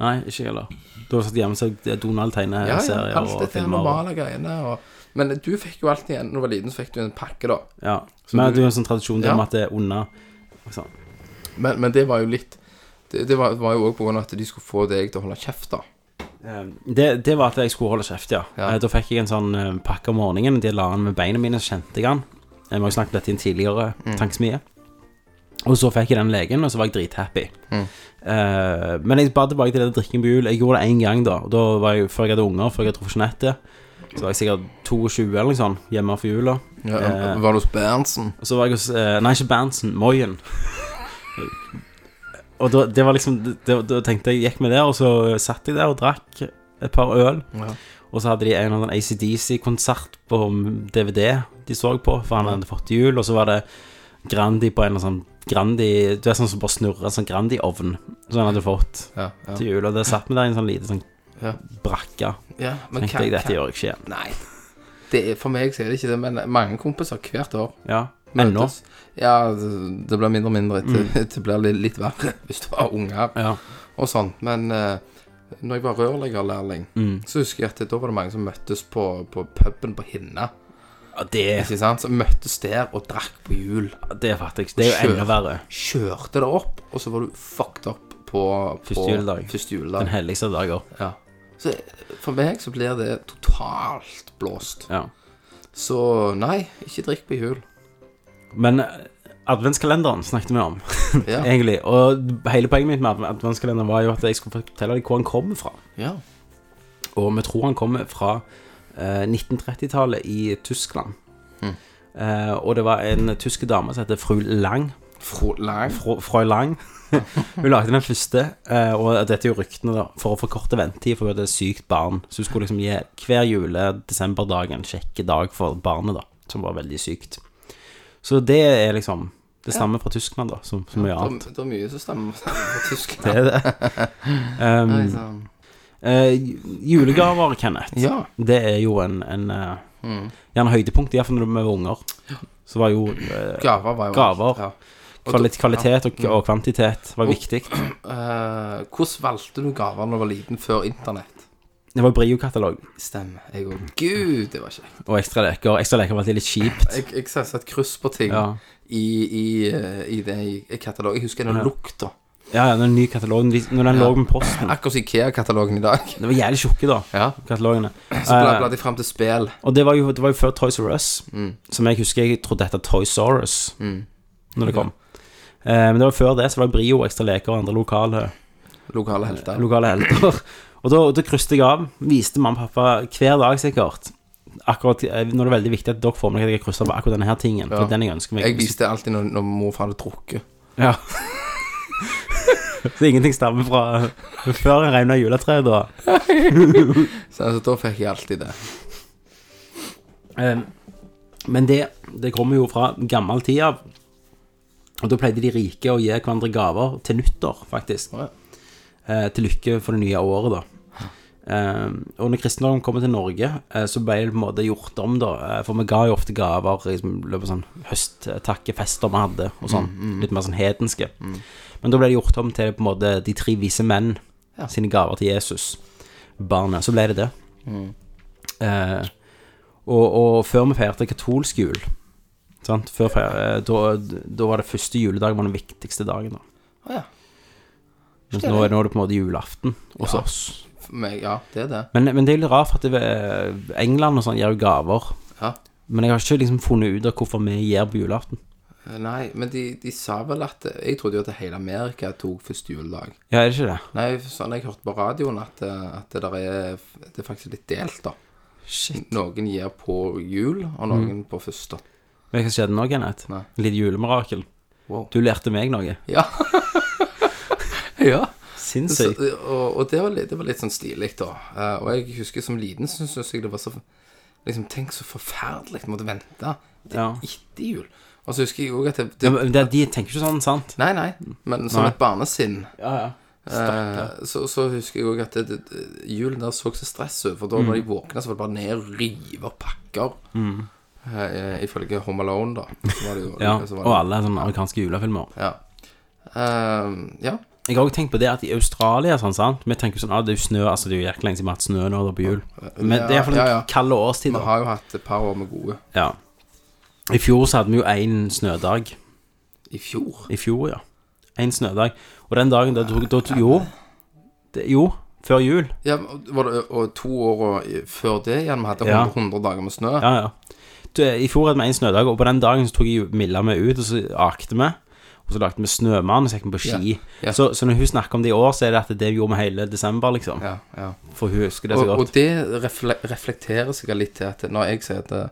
Speaker 1: nei, ikke jeg heller. Du har satt hjemme og sett
Speaker 4: Ja, ja,
Speaker 1: Donald-tegneserier
Speaker 4: alt
Speaker 1: og
Speaker 4: dette her
Speaker 1: filmer. Og,
Speaker 4: normale greiene. Og, men du fikk jo alltid en Når du var liten, så fikk du en pakke, da.
Speaker 1: ja. Men
Speaker 4: du-
Speaker 1: det er jo en sånn tradisjon
Speaker 4: Ja.
Speaker 1: om at det er unna. Sånn.
Speaker 4: Men, men det var jo litt Det, det var, var jo òg på grunn av at de skulle få deg til å holde kjeft, da.
Speaker 1: Eh, Det, det var at jeg skulle holde kjeft, ja.
Speaker 4: Ja.
Speaker 1: Eh, Da fikk jeg en sånn eh, pakke om morgenen. De la den med beina mine, så kjente jeg den. Ehm, Jeg må jo snakke om dette i en tidligere
Speaker 4: Mm.
Speaker 1: tankesmie. Og så fikk jeg den legen, og så var jeg drithappy.
Speaker 4: Mm.
Speaker 1: Eh, men jeg bare tilbake til det drikking på jul. Jeg gjorde det én gang, da. Og Da var jeg, Før jeg hadde unger, før jeg hadde truffet Jeanette. Så var jeg sikkert 22 eller noe sånt, hjemme for jula.
Speaker 4: Ja,
Speaker 1: Eh.
Speaker 4: var du hos Berntsen?
Speaker 1: Og så var jeg hos eh, Nei, ikke Berntsen, Moyen. og da, det var liksom da, da tenkte jeg gikk med der, og så satt jeg der og drakk et par øl.
Speaker 4: Ja.
Speaker 1: Og så hadde de en eller annen um, ACDC-konsert på DVD de så på, for han hadde fått til jul. Og så var det Grandi på en eller annen sånn Grandi Du er sånn som bare snurrer en sånn Grandi-ovn. Sånn hadde du fått
Speaker 4: Ja, ja.
Speaker 1: til jul. Og det satt vi der i en sånn liten sånn
Speaker 4: Ja.
Speaker 1: brakke.
Speaker 4: ja men
Speaker 1: Tenkte jeg, dette gjør jeg ikke igjen.
Speaker 4: Nei. Det er, for meg så er det ikke det, men mange kompiser hvert år
Speaker 1: Ja. Ennå.
Speaker 4: møtes. Ja, det det blir mindre og mindre.
Speaker 1: Mm.
Speaker 4: Det, det blir litt, litt verre hvis du har unger
Speaker 1: Ja.
Speaker 4: og sånn. Men eh, når jeg var rørleggerlærling,
Speaker 1: Mm.
Speaker 4: så husker jeg at da var det mange som møttes på, på puben på Hinna.
Speaker 1: Ja, det,
Speaker 4: Ikke sant? Som møttes der og drakk på hjul.
Speaker 1: det fatter jeg ikke. Det er jo
Speaker 4: Kjør.
Speaker 1: enda verre.
Speaker 4: Kjørte det opp, og så var du fucked up på
Speaker 1: Første
Speaker 4: på,
Speaker 1: juledag.
Speaker 4: Første
Speaker 1: Den
Speaker 4: juledag.
Speaker 1: helligste av dager.
Speaker 4: Ja. Så eh, for meg så blir det totalt blåst.
Speaker 1: Ja.
Speaker 4: Så nei, ikke drikk på jul.
Speaker 1: Men eh, adventskalenderen snakket vi om,
Speaker 4: Ja.
Speaker 1: egentlig. Og hele poenget mitt med adv- adventskalenderen var jo at jeg skulle fortelle deg hvor han kommer fra.
Speaker 4: ja.
Speaker 1: Og vi tror han kommer fra eh, 1930-tallet i Tyskland. Eh, og det var en tysk dame som heter fru Lang.
Speaker 4: Fro, nei,
Speaker 1: Fro- Fräulein. hun lagde den første, eh, og dette er jo ryktene, da, for å forkorte ventetid for hun hadde et sykt barn. Så hun skulle liksom gi hver jule-desemberdag en kjekk dag for barnet, da, som var veldig sykt. Så det er liksom Det stammer fra Tyskland, da, som, som mye annet.
Speaker 4: Det, det er mye som stemmer på tysk.
Speaker 1: Det er det. Um,
Speaker 4: Nei, sånn. så-
Speaker 1: eh, julegaver, Kenneth.
Speaker 4: Ja.
Speaker 1: Det er jo en, en eh, gjerne høydepunkt, iallfall når vi var unger. Så var jo eh,
Speaker 4: Gaver var jo
Speaker 1: Gaver.
Speaker 4: Ja. Og
Speaker 1: kvali- kvalitet og, og kvantitet var viktig.
Speaker 4: Eh, hvordan valgte du gaver når du var liten, før internett?
Speaker 1: Det var Brio-katalog
Speaker 4: Stemmer. Jeg òg. Gud, det var kjekt.
Speaker 1: og ekstra leker. Ekstra leker var alltid litt kjipt.
Speaker 4: Jeg, jeg satte et kryss på ting
Speaker 1: Ja.
Speaker 4: i, i, eh, i det i katalogen. Jeg husker den lukta.
Speaker 1: Ja, ja, den nye katalogen, de- når den lå med posten.
Speaker 4: Akkurat som Ikea-katalogen i dag.
Speaker 1: Det var jævlig tjukke, da,
Speaker 4: Ja.
Speaker 1: katalogene.
Speaker 4: Så bla-
Speaker 1: Eh,
Speaker 4: bladde jeg fram til spill. Mm,
Speaker 1: og det var, jo, det var jo før Toys R Us, som jeg husker jeg trodde het Toysaurus når det kom. Eh, men det var før det, så var det Brio, ekstra leker og andre lokale
Speaker 4: Lokale helter.
Speaker 1: lokale helter. Og da, da krysset jeg av. Viste mamma og pappa hver dag, sikkert. Akkurat eh, Når det er veldig viktig at dere får med dere at jeg krysser på akkurat denne her tingen. For
Speaker 4: Ja.
Speaker 1: den jeg ønsker meg.
Speaker 4: jeg viste alltid når, når mor og far hadde drukket.
Speaker 1: Ja. Så ingenting stammer fra før en regna juletreet, da.
Speaker 4: Så altså, da fikk jeg alltid det.
Speaker 1: Eh, Men det, det kommer jo fra gammel tid av. Og da pleide de rike å gi hverandre gaver til nyttår, faktisk.
Speaker 4: Å,
Speaker 1: Eh, til lykke for det nye året, da. Eh, og når kristendommen kommer til Norge, eh, så ble det på en måte gjort om, da. Eh, for vi ga jo ofte gaver i liksom, løpet av sånn høsttakkefester vi hadde, og sånn. Litt mer sånn hedenske. Men da ble det gjort om til på en måte de tre vise menn sine gaver til Jesus, barnet. Så ble det det.
Speaker 4: Mm.
Speaker 1: Eh, og, og før vi feirte katolsk jul sant? Før feir, eh, da, da var det første juledag var den viktigste dagen. da
Speaker 4: Å ja.
Speaker 1: Mens nå, er- nå er det på en måte julaften hos oss.
Speaker 4: For meg, ja, det er det.
Speaker 1: Men, men det er jo litt rart, for at det, eh, England og sånn gir jo gaver.
Speaker 4: Ja.
Speaker 1: Men jeg har ikke liksom funnet ut av hvorfor vi gir på julaften.
Speaker 4: Eh, Nei, men de, de sa vel at eh, Jeg trodde jo at hele Amerika tok første juledag.
Speaker 1: Ja, er det ikke det?
Speaker 4: Nei, sånn jeg hørte på radioen at, eh, at det, der er, det er faktisk litt delt, da.
Speaker 1: Shit.
Speaker 4: Noen gir på jul,
Speaker 1: Mm.
Speaker 4: og noen på første.
Speaker 1: Vet du hva som skjedde nå, Kenneth?
Speaker 4: Nei.
Speaker 1: Litt julemirakel.
Speaker 4: Wow.
Speaker 1: Du lærte meg noe.
Speaker 4: Ja. ja. Så, eh,
Speaker 1: Sinnssykt.
Speaker 4: og og det, var litt, det var litt sånn stilig, da. Eh, Og jeg husker som liten så syntes jeg det var så liksom, Tenk så forferdelig å måtte vente til
Speaker 1: Ja.
Speaker 4: etter jul. Og så husker jeg òg at det,
Speaker 1: Ja,
Speaker 4: det
Speaker 1: men det, de tenker ikke sånn, sant?
Speaker 4: Nei, nei, men som
Speaker 1: Nei.
Speaker 4: et barnesinn
Speaker 1: Ja, ja.
Speaker 4: Eh, så, så husker jeg òg at det, det, det- julen der så så stress ut. For
Speaker 1: Mm.
Speaker 4: da når jeg våkna, så var det bare ned og rive opp pakker. Eh, ifølge Home Alone, da. Så var det jo,
Speaker 1: ja.
Speaker 4: så var det-
Speaker 1: Og alle sånne amerikanske julefilmer.
Speaker 4: Ja. Eh, ja.
Speaker 1: Jeg har også tenkt på det at i Australia sånn, sant? Vi tenker jo sånn, ah, det er jo snø, altså det er jo jækla lenge siden vi har hatt snø nå da på jul Men det er i hvert fall
Speaker 4: Ja,
Speaker 1: en
Speaker 4: ja, ja.
Speaker 1: kald årstid
Speaker 4: Vi
Speaker 1: da
Speaker 4: har jo hatt et par år med gode.
Speaker 1: ja. I fjor så hadde vi jo en snødag
Speaker 4: I fjor?
Speaker 1: I fjor, ja En snødag Og den dagen, da tok, da, tok- jo det, Jo, før jul
Speaker 4: Ja, men var det og to år og, i- før det igjen? Vi hadde
Speaker 1: Ja.
Speaker 4: 100, 100 dager med snø.
Speaker 1: Ja, ja Du, I fjor hadde vi en snødag Og på den dagen så tok jeg jo Milla meg ut Og så akte vi Og så lagde vi snømann Og så gikk vi på ski
Speaker 4: Ja, ja.
Speaker 1: Så, så når hun snakker om det i år Så er det at det gjorde vi hele desember liksom
Speaker 4: Ja, ja.
Speaker 1: For hun husker det så godt
Speaker 4: Og, og det refle reflekterer seg litt til at når jeg sier at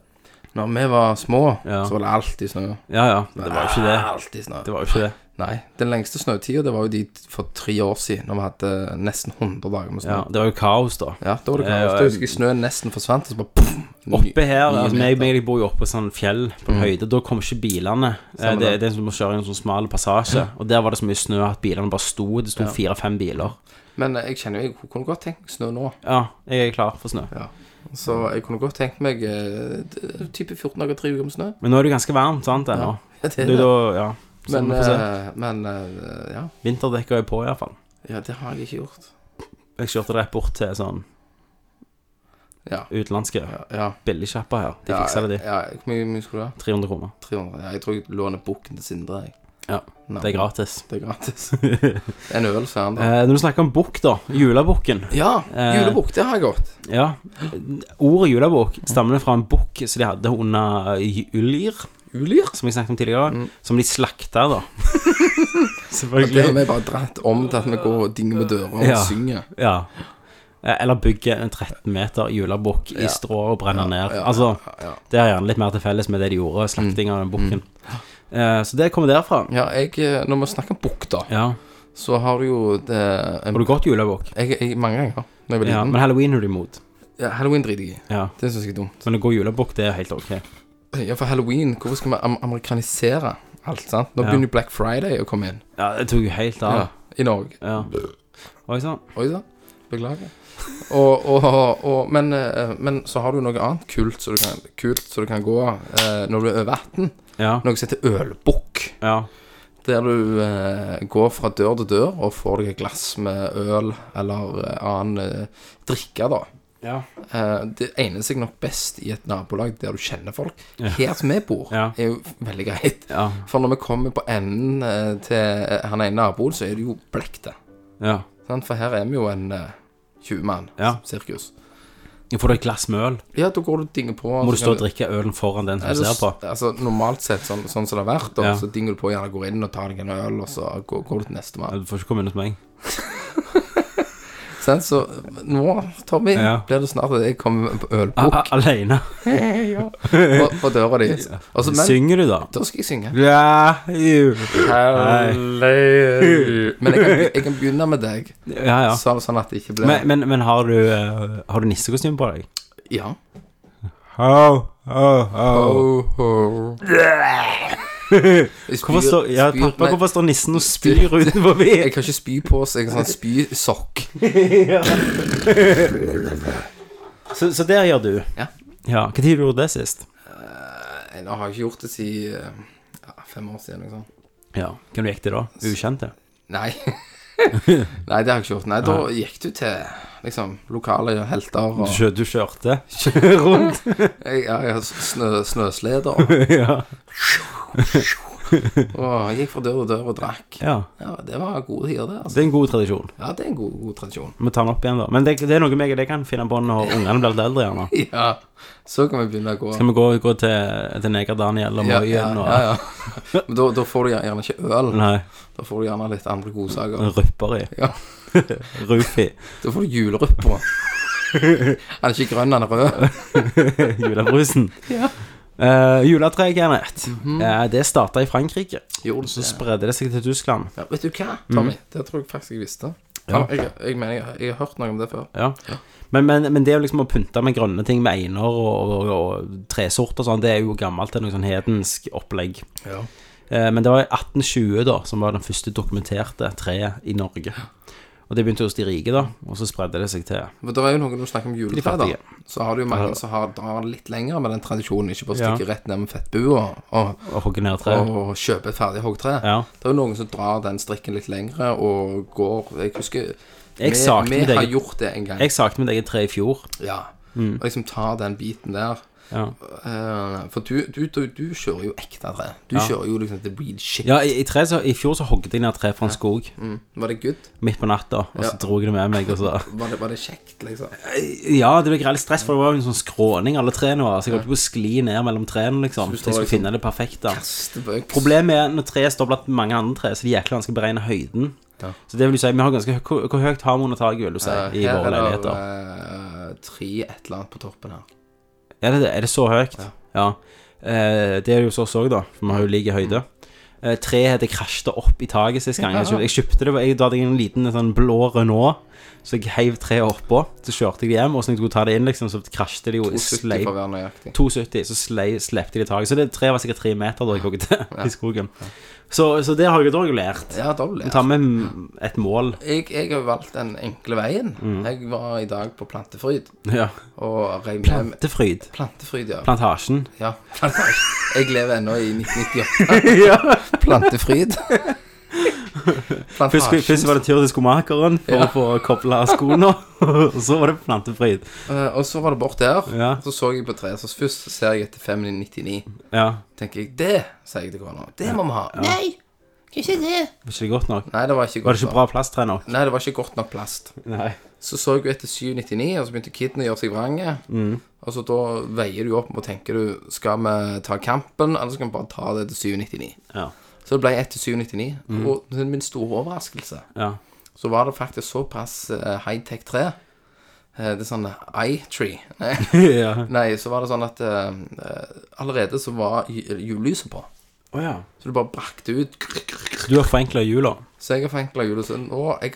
Speaker 4: Når vi var små,
Speaker 1: Ja.
Speaker 4: så var det alltid snø.
Speaker 1: Ja, ja. Det var jo ikke det.
Speaker 4: Alltid snø.
Speaker 1: Det var jo ikke det.
Speaker 4: Nei. Den lengste snøtida, det var jo de for tre år siden, når vi hadde nesten 100 dager med snø.
Speaker 1: Ja, det var jo kaos, da.
Speaker 4: Ja, da var det
Speaker 1: Ja,
Speaker 4: klart.
Speaker 1: ja.
Speaker 4: Da husker jeg snøen nesten forsvant, og så bare pum, ny-
Speaker 1: Oppe her,
Speaker 4: nye
Speaker 1: altså, meg,
Speaker 4: meter.
Speaker 1: meg, jeg bor jo oppe på sånn fjell på en
Speaker 4: Mm.
Speaker 1: høyde. Da kom ikke bilene. Eh, Det, det er som å kjøre i en sånn smal passasje. Og der var det så mye snø at bilene bare sto. Det sto fire-fem biler.
Speaker 4: Men eh, jeg kjenner jo, jeg kunne godt tenkt meg snø nå.
Speaker 1: Ja, jeg er klar for snø.
Speaker 4: Så jeg kunne godt tenkt meg eh, d- type 14 dager, 3 uker med snø.
Speaker 1: Men nå er det jo ganske varmt, sant, ennå.
Speaker 4: Det
Speaker 1: Det
Speaker 4: er
Speaker 1: er
Speaker 4: det.
Speaker 1: da, ja. Så
Speaker 4: Men,
Speaker 1: vi får se.
Speaker 4: eh, men eh, ja.
Speaker 1: Vinterdekka er på, iallfall.
Speaker 4: ja, det har jeg ikke gjort.
Speaker 1: Jeg kjørte rett bort til sånn
Speaker 4: Ja.
Speaker 1: utenlandske
Speaker 4: Ja, ja.
Speaker 1: billigsjappa her. De
Speaker 4: ja,
Speaker 1: fiksa det, de.
Speaker 4: Ja, Hvor mye, mye skulle du ha?
Speaker 1: 300 kroner.
Speaker 4: 300? Ja, jeg tror jeg låner bukken til Sindre. Jeg.
Speaker 1: Ja,
Speaker 4: Nå,
Speaker 1: Det er gratis.
Speaker 4: Det er gratis. en øl, sa han da.
Speaker 1: Eh, når du snakker om bukk, da. Julebukken.
Speaker 4: Ja,
Speaker 1: eh,
Speaker 4: julebukk, det har jeg godt.
Speaker 1: Ja. Ordet julebukk stammer fra en bukk som de hadde under eh, ulir,
Speaker 4: Ulyr? Mm.
Speaker 1: som jeg snakket om tidligere, som de slakta, da.
Speaker 4: Det har
Speaker 1: Selvfølgelig.
Speaker 4: vi bare dratt om til at vi går og dinger med dører og
Speaker 1: Ja.
Speaker 4: synger.
Speaker 1: Ja. Eh, Eller bygge en 13 meter julebukk i strå og brenne ned.
Speaker 4: ja,
Speaker 1: Altså,
Speaker 4: ja.
Speaker 1: det er gjerne litt mer til felles med det de gjorde, slakting
Speaker 4: Mm.
Speaker 1: av den bukken. Eh, så det kommer derfra.
Speaker 4: Ja, jeg, eh, når vi snakker om bukk, da,
Speaker 1: Ja.
Speaker 4: så har du jo det en,
Speaker 1: Har du gått julebukk?
Speaker 4: jeg, jeg, Mange ganger da jeg var
Speaker 1: Ja,
Speaker 4: liten.
Speaker 1: men halloween er du imot.
Speaker 4: Ja, Halloween driter jeg i.
Speaker 1: Ja.
Speaker 4: Det syns jeg er dumt. Eh,
Speaker 1: Men å gå julebukk, det er helt ok.
Speaker 4: Ja, for halloween, hvorfor skal vi am amerikanisere alt, sant? Nå
Speaker 1: Ja.
Speaker 4: begynner jo Black Friday å komme inn
Speaker 1: Ja, det tok jo helt av.
Speaker 4: ja. i Norge.
Speaker 1: Ja. Oi sann.
Speaker 4: Oi sann. Beklager. Og, og, og, men, eh, men så har du noe annet kult som du kan, kult, så du kan gå eh, når du er over 18.
Speaker 1: Ja.
Speaker 4: Noe som heter ølbukk.
Speaker 1: ja.
Speaker 4: Der du eh, går fra dør til dør og får deg et glass med øl eller eh, annen eh, drikke, da.
Speaker 1: Ja.
Speaker 4: Eh, det egner seg nok best i et nabolag der du kjenner folk. Her som vi bor,
Speaker 1: Ja.
Speaker 4: er jo veldig greit.
Speaker 1: Ja.
Speaker 4: For når vi kommer på enden eh, til eh, han ene naboen, så er det jo blekte.
Speaker 1: ja.
Speaker 4: Sant? For her er vi jo en eh, 20-mann
Speaker 1: Ja.
Speaker 4: sirkus.
Speaker 1: Får du et glass med øl?
Speaker 4: Ja, da går du og dinger på.
Speaker 1: Må
Speaker 4: så
Speaker 1: du stå
Speaker 4: kan
Speaker 1: og drikke ølen foran den som
Speaker 4: Eller,
Speaker 1: ser på?
Speaker 4: altså, normalt sett, sånn, sånn som det har vært, da,
Speaker 1: Ja.
Speaker 4: så dinger du på gjerne går inn og tar deg en øl, og så går, går du til nestemann.
Speaker 1: Ja, Du får ikke komme inn hos meg.
Speaker 4: Sant, så nå, Tommy,
Speaker 1: Ja. Ah,
Speaker 4: blir det snart at jeg kommer på
Speaker 1: A
Speaker 4: ølbukk
Speaker 1: -a Alene.
Speaker 4: på, på døra di. Og så- men
Speaker 1: Synger du, da?
Speaker 4: da skal jeg synge.
Speaker 1: Ja, jo.
Speaker 4: Men jeg kan, be- jeg kan begynne med deg,
Speaker 1: ja. ja.
Speaker 4: så, sånn at det ikke blir
Speaker 1: Men, men, men har du, eh, har du nissekostyme på deg?
Speaker 4: Ja.
Speaker 1: Ho, ho, ho. Hvorfor står, ja, pappa, hvorfor står nissen og spyr utenfor
Speaker 4: Jeg
Speaker 1: meg?
Speaker 4: kan ikke spy på så jeg kan sånn spysokk.
Speaker 1: Så, så der gjør du.
Speaker 4: Ja.
Speaker 1: Ja, Når gjorde du det sist?
Speaker 4: Nei, Nå har jeg ikke gjort det siden eh, ja, fem år siden. Liksom.
Speaker 1: Ja, Hvem du gikk til da? Ukjente?
Speaker 4: Nei. Nei, det har jeg ikke gjort. Nei, da gikk du til liksom, lokale helter og
Speaker 1: Du, kjø- du kjørte rundt?
Speaker 4: jeg, ja, jeg har snø, snøsleder. Og,
Speaker 1: Ja.
Speaker 4: og gikk fra dør til dør og drakk.
Speaker 1: ja.
Speaker 4: Ja, det var gode tider, det.
Speaker 1: Det
Speaker 4: Altså.
Speaker 1: er en god tradisjon.
Speaker 4: Ja, det er en god, god tradisjon.
Speaker 1: Vi tar den opp igjen, da. Men det, det er noe meg det kan finne på når ungene blir litt eldre. gjerne
Speaker 4: Ja, så kan vi begynne å gå.
Speaker 1: Skal vi gå, gå til, til Neger Daniel og
Speaker 4: Ja,
Speaker 1: Møyen
Speaker 4: ja,
Speaker 1: og
Speaker 4: ja, ja. Men da, da får du gjerne ikke øl.
Speaker 1: Nei,
Speaker 4: Da får du gjerne litt andre godsaker.
Speaker 1: rupper i.
Speaker 4: Ja.
Speaker 1: Rufi.
Speaker 4: Da får du juleruppa. Han er ikke grønn, han er rød.
Speaker 1: Julebrusen. Eh, juletreet, Kenneth.
Speaker 4: Mhm.
Speaker 1: Eh, det starta i Frankrike.
Speaker 4: Gjorde
Speaker 1: Så
Speaker 4: det.
Speaker 1: spredde det seg til Tyskland.
Speaker 4: Ja, vet du hva, Tommy? Det tror jeg faktisk jeg visste. Ja. Jeg, jeg mener, jeg, jeg har hørt noe om det før.
Speaker 1: Ja. Men, men, men det å liksom å pynte med grønne ting med einer og, og, og tresort og sånn, det er jo gammelt. Det er noe sånn hedensk opplegg.
Speaker 4: Ja.
Speaker 1: Eh, men det var i 1820 da, som var den første dokumenterte treet i Norge. Og det begynte hos de rike, da, og så spredde det seg til
Speaker 4: Men det er jo noe når du snakker om juletre, da.
Speaker 1: fattige.
Speaker 4: Så har du jo mange som har, drar litt lenger med den tradisjonen, ikke bare stikker rett ned med fettbua og,
Speaker 1: å hogge ned treet.
Speaker 4: og, og kjøper et ferdig hoggtre.
Speaker 1: Ja.
Speaker 4: Det er jo noen som drar den strikken litt lengre og går Jeg husker
Speaker 1: Jeg sakner
Speaker 4: vi,
Speaker 1: deg.
Speaker 4: vi har gjort det en gang.
Speaker 1: Jeg Mm. saknet mitt eget tre i fjor.
Speaker 4: Ja. Og liksom tar den biten der.
Speaker 1: Ja,
Speaker 4: Eh, for du, du, du, du kjører jo ekte tre. Du kjører jo liksom the real shit.
Speaker 1: ja i, i, tre, så, i fjor så hogde jeg ned tre fra en skog
Speaker 4: Var det good?
Speaker 1: midt på natta, og så
Speaker 4: Mm. Ja.
Speaker 1: dro jeg det med meg. Og så.
Speaker 4: Var det, var det kjekt, liksom?
Speaker 1: Ah. Ja, det ble greit stress, for det var jo en sånn skråning, alle trærne var. Så jeg holdt på å skli ned mellom trærne, liksom. Så jeg skulle finne det perfekte.
Speaker 4: Kastebøks.
Speaker 1: Problemet er når treet står blant mange andre trær, så det er jækla vanskelig å beregne høyden.
Speaker 4: Ja. Eh,
Speaker 1: Så det vil du si, vi har ganske hø- Hvor, hvor høyt har vi under taket, vil du si, i
Speaker 4: her
Speaker 1: våre
Speaker 4: er det
Speaker 1: leiligheter?
Speaker 4: eh, tre et eller annet på toppen her.
Speaker 1: Er det det? Er det så høyt? Ja. Eh, det er det hos oss òg, da. For vi har jo lik høyde. Eh, treet hadde krasjet opp i taket sist gang. Jeg, kjøpte, jeg kjøpte det jeg, Da hadde jeg en liten sånn blå Renault, så jeg heiv treet oppå. Så kjørte jeg det hjem, og så når jeg skulle ta det inn, liksom, så krasjet det jo.
Speaker 4: 70
Speaker 1: Sleip
Speaker 4: for å være nøyaktig.
Speaker 1: 2,70, så slei, slepte de taket. Så det treet var sikkert tre meter da jeg hogget det i skogen. Så, så det har jeg jo da regulert.
Speaker 4: Ja, da ble
Speaker 1: Vi
Speaker 4: det.
Speaker 1: tar med m- et mål.
Speaker 4: Jeg, jeg har valgt den enkle veien.
Speaker 1: Mm.
Speaker 4: Jeg var i dag på Plantefryd
Speaker 1: Ja.
Speaker 4: og reiv hjem
Speaker 1: Plantefryd.
Speaker 4: Plantefryd, ja.
Speaker 1: Plantasjen.
Speaker 4: ja. Plantasje. Jeg lever ennå i 1998. Plantefryd.
Speaker 1: Først,
Speaker 4: Plantasje.
Speaker 1: først var det tur til skomakeren for
Speaker 4: Ja.
Speaker 1: å få kobla skoene, og så var det plantefryd.
Speaker 4: Eh, Og så var det bort der.
Speaker 1: Ja.
Speaker 4: Så så jeg på treet. Så først ser jeg etter 599.
Speaker 1: Ja.
Speaker 4: Tenker jeg, det sier jeg til kona. Det må vi ha. Nei, kan ikke det.
Speaker 1: Var ikke det godt nok?
Speaker 4: Nei, det var ikke godt
Speaker 1: Var det ikke
Speaker 4: nok.
Speaker 1: bra plasttre nok?
Speaker 4: Nei, det var ikke godt nok plast.
Speaker 1: Nei.
Speaker 4: Så så jeg jo etter 799, og så begynte kiden å gjøre seg vrange. Og så da veier du opp og tenker du Skal vi ta kampen, eller skal vi bare ta det til 799?
Speaker 1: Ja.
Speaker 4: Så det ble ett til 799. Og til min store overraskelse
Speaker 1: ja.
Speaker 4: så var det faktisk såpass eh, high-tech tre. Eh, det er sånn eye tree. Nei,
Speaker 1: ja.
Speaker 4: nei, så var det sånn at eh, eh, allerede så var ju- julelyset på.
Speaker 1: Å ja.
Speaker 4: Så du bare brakte ut.
Speaker 1: Du har forenkla jula.
Speaker 4: Så jeg har forenkla julelyset. Nå har jeg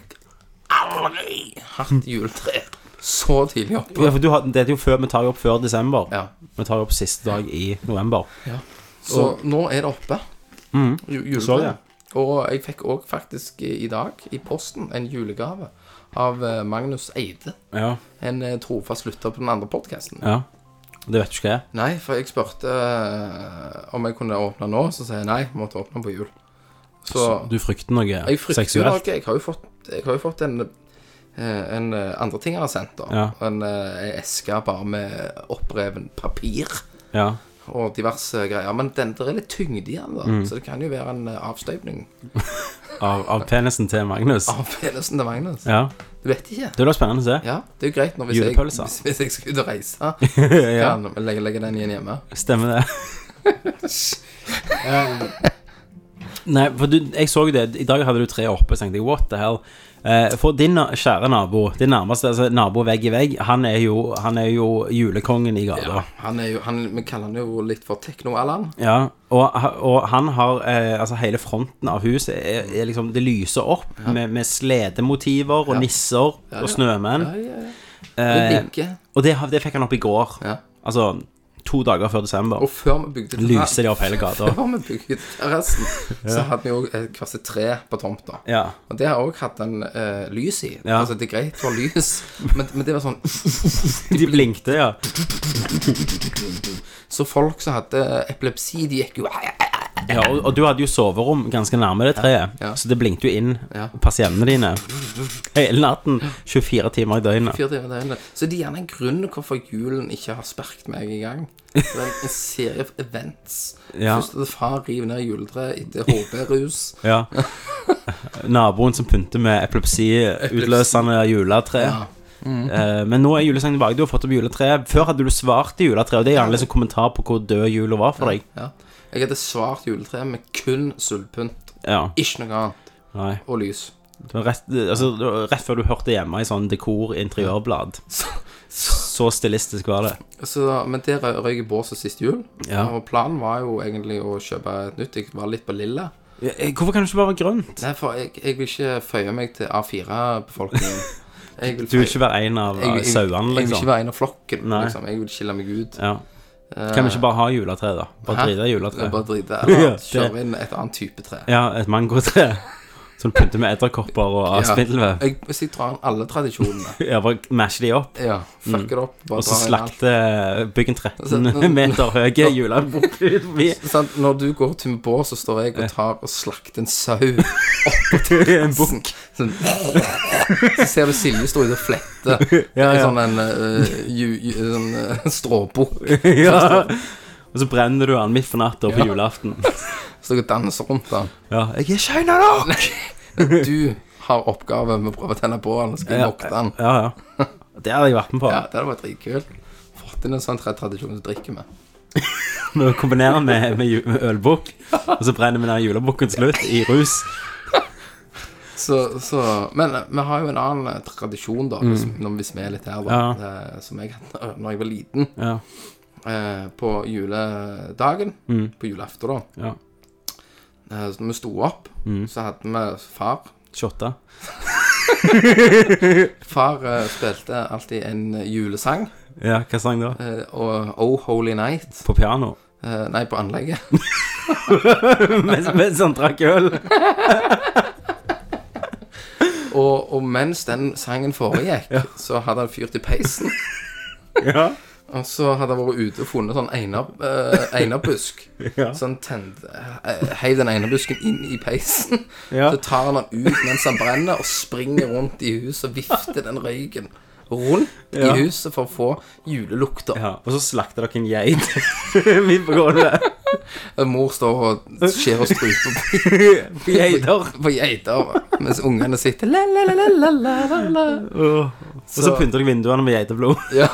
Speaker 4: aldri hatt juletre så tidlig oppe.
Speaker 1: Ja, for du har, det er jo før, vi tar jo opp før desember.
Speaker 4: Ja.
Speaker 1: Vi tar jo opp siste dag i november.
Speaker 4: Så nå er det oppe. Mm.
Speaker 1: Så det.
Speaker 4: Og jeg fikk òg faktisk i dag, i posten, en julegave av eh, Magnus Eide.
Speaker 1: Ja.
Speaker 4: En eh, trofast lytter på den andre podkasten.
Speaker 1: ja. Det vet du ikke hva er.
Speaker 4: Nei, for jeg spurte eh, om jeg kunne åpne nå, så sa jeg nei, måtte åpne på jul. Så,
Speaker 1: Du frykter noe
Speaker 4: jeg frykter jo noe.
Speaker 1: seksuelt.
Speaker 4: Jeg har jo fått, jeg har jo fått en, eh, en eh, andre ting jeg har sendt, da.
Speaker 1: Ja.
Speaker 4: En eh, eske bare med oppreven papir.
Speaker 1: Ja.
Speaker 4: og diverse greier. Men den der er litt tyngde igjen, da.
Speaker 1: Mm.
Speaker 4: Så det kan jo være en eh, avstøpning
Speaker 1: Av, av penisen til Magnus.
Speaker 4: av penisen til Magnus.
Speaker 1: Ja.
Speaker 4: Du vet ikke.
Speaker 1: Det blir spennende å se.
Speaker 4: Ja, det er jo greit når hvis, jeg,
Speaker 1: Julepølser.
Speaker 4: hvis, hvis jeg skal ut og reise,
Speaker 1: Ja,
Speaker 4: kan jeg legge, legge den igjen hjemme.
Speaker 1: stemmer det. Nei, for du, jeg så jo det. I dag hadde du tre oppe, så tenkte jeg what the hell. Eh, for din na- kjære nabo, din nærmeste altså, nabo vegg i vegg, han er jo, han er jo julekongen i gata.
Speaker 4: Han er jo, han, vi kaller han jo litt for Tekno-Allan.
Speaker 1: Ja, og, og han har eh, Altså hele fronten av huset er, er liksom Det lyser opp med, med sledemotiver og nisser og snømenn.
Speaker 4: Vi
Speaker 1: Mm. Eh,
Speaker 4: vinker.
Speaker 1: og det, har- det fikk han opp i går.
Speaker 4: Ja.
Speaker 1: Altså to dager før desember.
Speaker 4: Og før vi bygde
Speaker 1: lyser de opp hele gata.
Speaker 4: Før vi bygde terrassen, så hadde vi jo eh, hvert sitt tre på tomta.
Speaker 1: Ja.
Speaker 4: Og det har òg hatt en eh, lys i.
Speaker 1: Ja.
Speaker 4: Altså, det er greit å ha lys, men, men det var sånn
Speaker 1: De blinkte, ja.
Speaker 4: Så folk som hadde epilepsi, de gikk jo
Speaker 1: ja og, og du hadde jo soverom ganske nærme det treet,
Speaker 4: Ja.
Speaker 1: så det blinkte jo inn
Speaker 4: Ja.
Speaker 1: persiennene dine hele natten. 24 timer i døgnet.
Speaker 4: fire timer i døgnet. Så det er gjerne en grunn hvorfor julen ikke har sparket meg i gang. Det er en- en serie av events.
Speaker 1: Ja.
Speaker 4: Først at far river ned juletreet etter HB-rus.
Speaker 1: Ja. Naboen som pynter med epilepsiutløsende juletre.
Speaker 4: Mm.
Speaker 1: Eh, men nå er julesangen tilbake. Du har fått opp juletreet. Før hadde du svart til juletreet, og det er gjerne liksom kommentar på hvor død jula var for deg.
Speaker 4: Ja. Jeg hadde svart juletre med kun sølvpynt.
Speaker 1: Ja,
Speaker 4: Ikke noe annet.
Speaker 1: nei
Speaker 4: Og lys.
Speaker 1: det var rett, altså, det var rett før du hørte hjemme i sånn dekor-interiørblad. Så stilistisk var det.
Speaker 4: Så, men der rø- røyk jeg båset sist jul.
Speaker 1: Ja.
Speaker 4: Og planen var jo egentlig å kjøpe et nytt. Jeg var litt på lilla.
Speaker 1: Eh, Hvorfor kan det ikke bare være grønt?
Speaker 4: Nei, for jeg, jeg vil ikke føye meg til A4-befolkningen. Jeg vil
Speaker 1: Du vil
Speaker 4: føye-
Speaker 1: ikke være en av eh, sauene,
Speaker 4: Jeg vil
Speaker 1: liksom?
Speaker 4: ikke være en av flokken,
Speaker 1: Nei.
Speaker 4: liksom. Jeg vil skille meg ut.
Speaker 1: Ja. Kan vi ikke bare ha juletre, da? Bare
Speaker 4: Hæ?
Speaker 1: drite i
Speaker 4: Det er
Speaker 1: juletre.
Speaker 4: Bare drite.
Speaker 1: Ja,
Speaker 4: Eller
Speaker 1: det-
Speaker 4: kjøre inn et annet type tre.
Speaker 1: Ja, et mangotre. Som du pynter med edderkopper og spindelvev.
Speaker 4: Jeg, hvis jeg drar inn alle tradisjonene
Speaker 1: Ja, bare mashe de opp,
Speaker 4: Ja, fucker det opp.
Speaker 1: Mm.
Speaker 4: Bare
Speaker 1: og så
Speaker 4: drar inn alt.
Speaker 1: slakte eh, Bygg en 13
Speaker 4: Altså,
Speaker 1: meter høy julebukk ut forbi.
Speaker 4: Sånn, når du går til en bås, så står jeg og tar og slakter en sau oppå
Speaker 1: En
Speaker 4: terrassen. Sånn. Så ser du Silje stå ute og flette
Speaker 1: Ja,
Speaker 4: i
Speaker 1: ja.
Speaker 4: sånn en uh, ju, ju, sånn, eh, stråbukk.
Speaker 1: Ja. Og så brenner du den midt på natta på julaften.
Speaker 4: Så dere danser rundt den.
Speaker 1: Ja, jeg er shina nok!
Speaker 4: Du har oppgave med å prøve å tenne bålen, skal jeg vokte den.
Speaker 1: Ja, ja. Det hadde jeg vært med på.
Speaker 4: Ja, det hadde vært dritkult. Fått inn en sånn tre- tradisjon å drikke med.
Speaker 1: Med å kombinere den med, med, ju- med ølbukk, og så brenner vi den julebukken til slutt i rus.
Speaker 4: så, så, men eh, vi har jo en annen eh, tradisjon, da, hvis, når, hvis vi er litt her, da,
Speaker 1: Ja.
Speaker 4: eh, som jeg hadde da jeg var liten.
Speaker 1: Ja.
Speaker 4: eh, på juledagen, på julaften, da.
Speaker 1: Ja.
Speaker 4: Eh, så vi sto opp, så hadde vi far.
Speaker 1: Shotta.
Speaker 4: Far eh, spilte alltid en julesang,
Speaker 1: Ja, hva sang da?
Speaker 4: eh, og Oh Holy Night
Speaker 1: På piano.
Speaker 4: eh, Nei, på anlegget.
Speaker 1: mens, mens han sånn drakk øl.
Speaker 4: Og, og mens den sangen foregikk, så hadde han fyrt i peisen.
Speaker 1: Ja.
Speaker 4: Og så hadde han vært ute og funnet sånn einar, eh, einarbusk.
Speaker 1: Ja.
Speaker 4: Så han tente eh, Heiv den einarbusken inn i peisen.
Speaker 1: Ja.
Speaker 4: Så tar han den ut mens han brenner, og springer rundt i huset og vifter den røyken rundt
Speaker 1: Ja.
Speaker 4: i huset for å få julelukter.
Speaker 1: ja. Og så slakta dere en geit midt på gulvet.
Speaker 4: Og Mor står og skjærer struper på,
Speaker 1: Geiter.
Speaker 4: på geiter mens ungene sitter la, la, la, la, la, la, la.
Speaker 1: Og så pynter dere vinduene med geiteblod.
Speaker 4: Ja.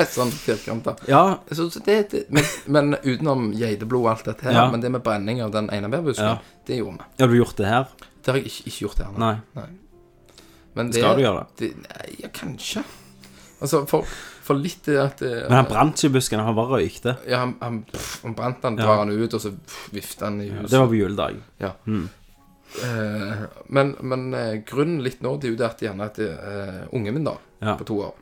Speaker 4: Sånn firkanta.
Speaker 1: Ja,
Speaker 4: Så, så det, det, men, men utenom geiteblod og alt dette her,
Speaker 1: Ja.
Speaker 4: men det med brenning av den einebærbusken,
Speaker 1: Ja.
Speaker 4: det gjorde vi.
Speaker 1: har du gjort det her?
Speaker 4: Det har jeg ikke, ikke gjort her.
Speaker 1: Nei.
Speaker 4: Men
Speaker 1: Skal du gjøre det?
Speaker 4: Nei, ja, kanskje. Altså, for, for litt det at det,
Speaker 1: Men han brant ikke i busken, han bare røykte.
Speaker 4: ja, han, han, pff, han brant den,
Speaker 1: Ja.
Speaker 4: drar han ut, og så pff, vifter han i huset.
Speaker 1: Det var Mm. på juledag.
Speaker 4: Ja. Eh, men men eh, grunnen litt nå, det er jo det at gjerne at eh, ungen min, da,
Speaker 1: Ja. Mm.
Speaker 4: på to år,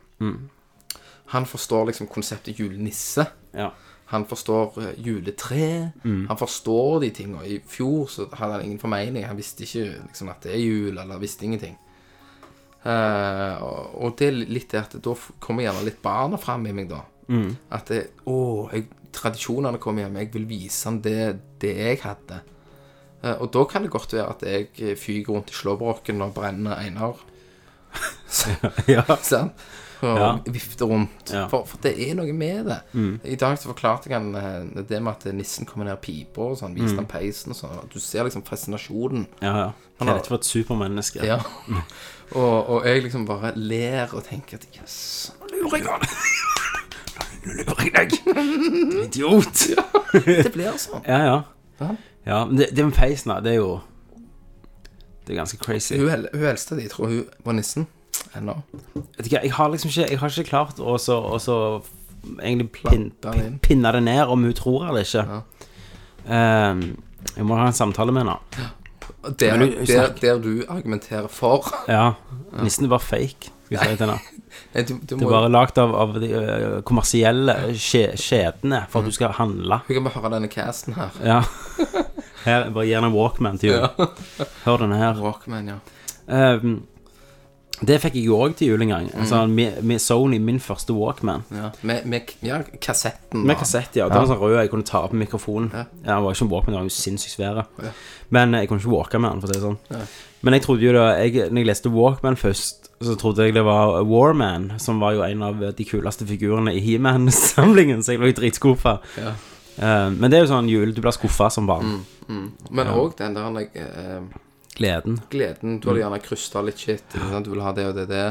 Speaker 4: han forstår liksom konseptet julenisse.
Speaker 1: Ja.
Speaker 4: Han forstår eh, juletre. Han forstår de tingene. I fjor så hadde han ingen formening. Han visste ikke liksom, at det er jul, eller visste ingenting. Eh, og, og det er litt det at da f- kommer gjerne litt barna fram i meg, da. At det, å, jeg, tradisjonene kommer hjem. Jeg vil vise han det, det jeg hadde. Eh, og da kan det godt være at jeg eh, fyker rundt i slåbroken og brenner Einar.
Speaker 1: Ja.
Speaker 4: Sant? Og
Speaker 1: Ja.
Speaker 4: vifter rundt.
Speaker 1: Ja. Mm.
Speaker 4: For, for det er noe med det. I dag så forklarte jeg han eh, det med at nissen kommer ned pipa og sånn.
Speaker 1: Mm.
Speaker 4: Viste han peisen og sånn. og Du ser liksom fascinasjonen.
Speaker 1: ja, ja. Hva er dette for et supermenneske?
Speaker 4: Ja. og, og jeg liksom bare ler og tenker at yes, nå lurer jeg han. Nå lurer jeg deg.
Speaker 1: Idiot!
Speaker 4: Det blir sånn.
Speaker 1: Ja, ja.
Speaker 4: Ja.
Speaker 1: ja men det, det med peisen, da, det er jo Det er ganske crazy.
Speaker 4: Hun, el- hun eldste de tror hun var nissen ennå.
Speaker 1: Vet ikke, jeg har liksom ikke, jeg har ikke klart å så, å så egentlig pin,
Speaker 4: Plante den
Speaker 1: pin,
Speaker 4: inn.
Speaker 1: pinne det ned om hun tror eller ikke. Ehm, jeg må ha en samtale med henne.
Speaker 4: Der,
Speaker 1: Men hun- hun
Speaker 4: der,
Speaker 1: snakker-
Speaker 4: der du argumenterer for
Speaker 1: Ja, Nissen er bare fake. Skal jeg si til henne.
Speaker 4: Nei, du, du
Speaker 1: Det
Speaker 4: må,
Speaker 1: er bare lagd av, av de ø, kommersielle kje- kjedene for at du skal handle.
Speaker 4: Hun kan bare høre denne casten her.
Speaker 1: Ja. Her, bare gi henne en Walkman til jul. Hør denne her.
Speaker 4: Walkman, ja.
Speaker 1: Ehm, det fikk jeg jo òg til jul en gang. Altså,
Speaker 4: Mm.
Speaker 1: med, med Sony, min første Walkman.
Speaker 4: ja. Med, med ja, kassetten.
Speaker 1: Med
Speaker 4: da.
Speaker 1: kassett, ja. Det var en sånn rød jeg kunne ta opp med mikrofonen. Ja. han var ikke en walkman, han var jo sinnssykt svær. Men jeg kunne ikke walke med han, for å si det sånn. Men jeg trodde jo da jeg, Når jeg leste Walkman først, så trodde jeg det var Warman, som var jo en av de kuleste figurene i He-Man-samlingen, så jeg lå jo dritskuffa.
Speaker 4: Ja.
Speaker 1: Eh, men det er jo sånn jul, du blir skuffa som
Speaker 4: Mm.
Speaker 1: barn.
Speaker 4: Men òg den der eh,
Speaker 1: Gleden.
Speaker 4: gleden. Du hadde
Speaker 1: Mm.
Speaker 4: gjerne krysta litt shit. Ikke sant? Du ville ha det og det og det.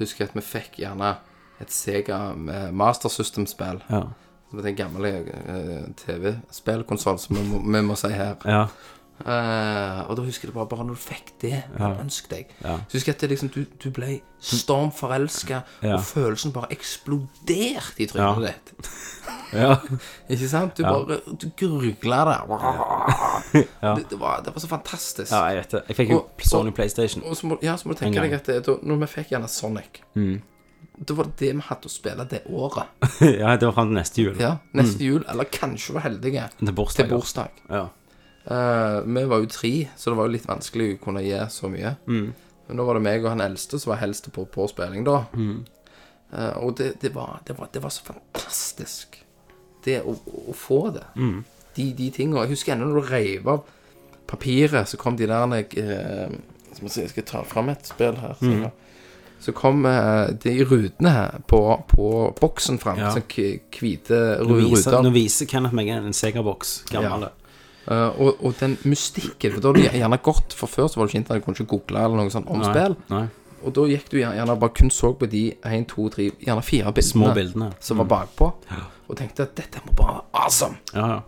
Speaker 4: Husker at vi fikk gjerne et Sega eh, Master System-spill.
Speaker 1: Ja.
Speaker 4: Det var en gammel eh, TV-spillkonsoll, som vi må, vi må si her.
Speaker 1: ja.
Speaker 4: Eh, og da husker jeg det bare, bare når du fikk det du ønsket deg.
Speaker 1: Ja. Mm.
Speaker 4: Så husker jeg at det, liksom, du, du ble stormforelska,
Speaker 1: Ja.
Speaker 4: og følelsen bare eksploderte
Speaker 1: Ja.
Speaker 4: i trynet ditt.
Speaker 1: ja.
Speaker 4: Ikke sant? Du bare du gurgla det. det. Det var, det var så fantastisk.
Speaker 1: Ja, jeg vet det. Jeg fikk jo
Speaker 4: Og-
Speaker 1: Sony
Speaker 4: og-
Speaker 1: PlayStation.
Speaker 4: Og så må, ja, så må du
Speaker 1: En
Speaker 4: tenke
Speaker 1: gang. Mm.
Speaker 4: deg at det, da, når vi fikk gjerne Sonic, da var det det vi hadde å spille det året.
Speaker 1: ja, det var fram til neste jul.
Speaker 4: Ja, Neste
Speaker 1: Mm.
Speaker 4: jul, eller kanskje var heldige
Speaker 1: Til bursdager.
Speaker 4: til bursdag.
Speaker 1: Ja.
Speaker 4: Eh, vi var jo tre, så det var jo litt vanskelig å kunne gi så mye.
Speaker 1: Mm.
Speaker 4: Men nå var det meg og han eldste som var helst på påspilling, da.
Speaker 1: Mm.
Speaker 4: Eh, og det, det, var, det, var, det var så fantastisk, det å, å få det.
Speaker 1: Mm.
Speaker 4: De, de tingene. Jeg husker ennå når du reiv av papiret, så kom de der eh, Skal vi se, jeg skal ta fram et spill her.
Speaker 1: Mm.
Speaker 4: Så, så kom eh, de rutene her på, på boksen fram.
Speaker 1: Ja.
Speaker 4: Sånn k- hvite
Speaker 1: Nå
Speaker 4: ru-
Speaker 1: viser,
Speaker 4: ruter.
Speaker 1: nå viser Kenneth meg en Sega-boks. Gammel.
Speaker 4: Ja. Eh, og, og den mystikken, for da hadde du gjerne gått For før så var det ikke internett, du kunne ikke google eller noe sånt om spill.
Speaker 1: Nei.
Speaker 4: Og da gikk du gjerne, gjerne bare kun så på de 1, 2, 3, gjerne fire bildene
Speaker 1: Små Mm. bildene.
Speaker 4: som var bakpå, og tenkte at dette må bare være awesome.
Speaker 1: Ja, ja.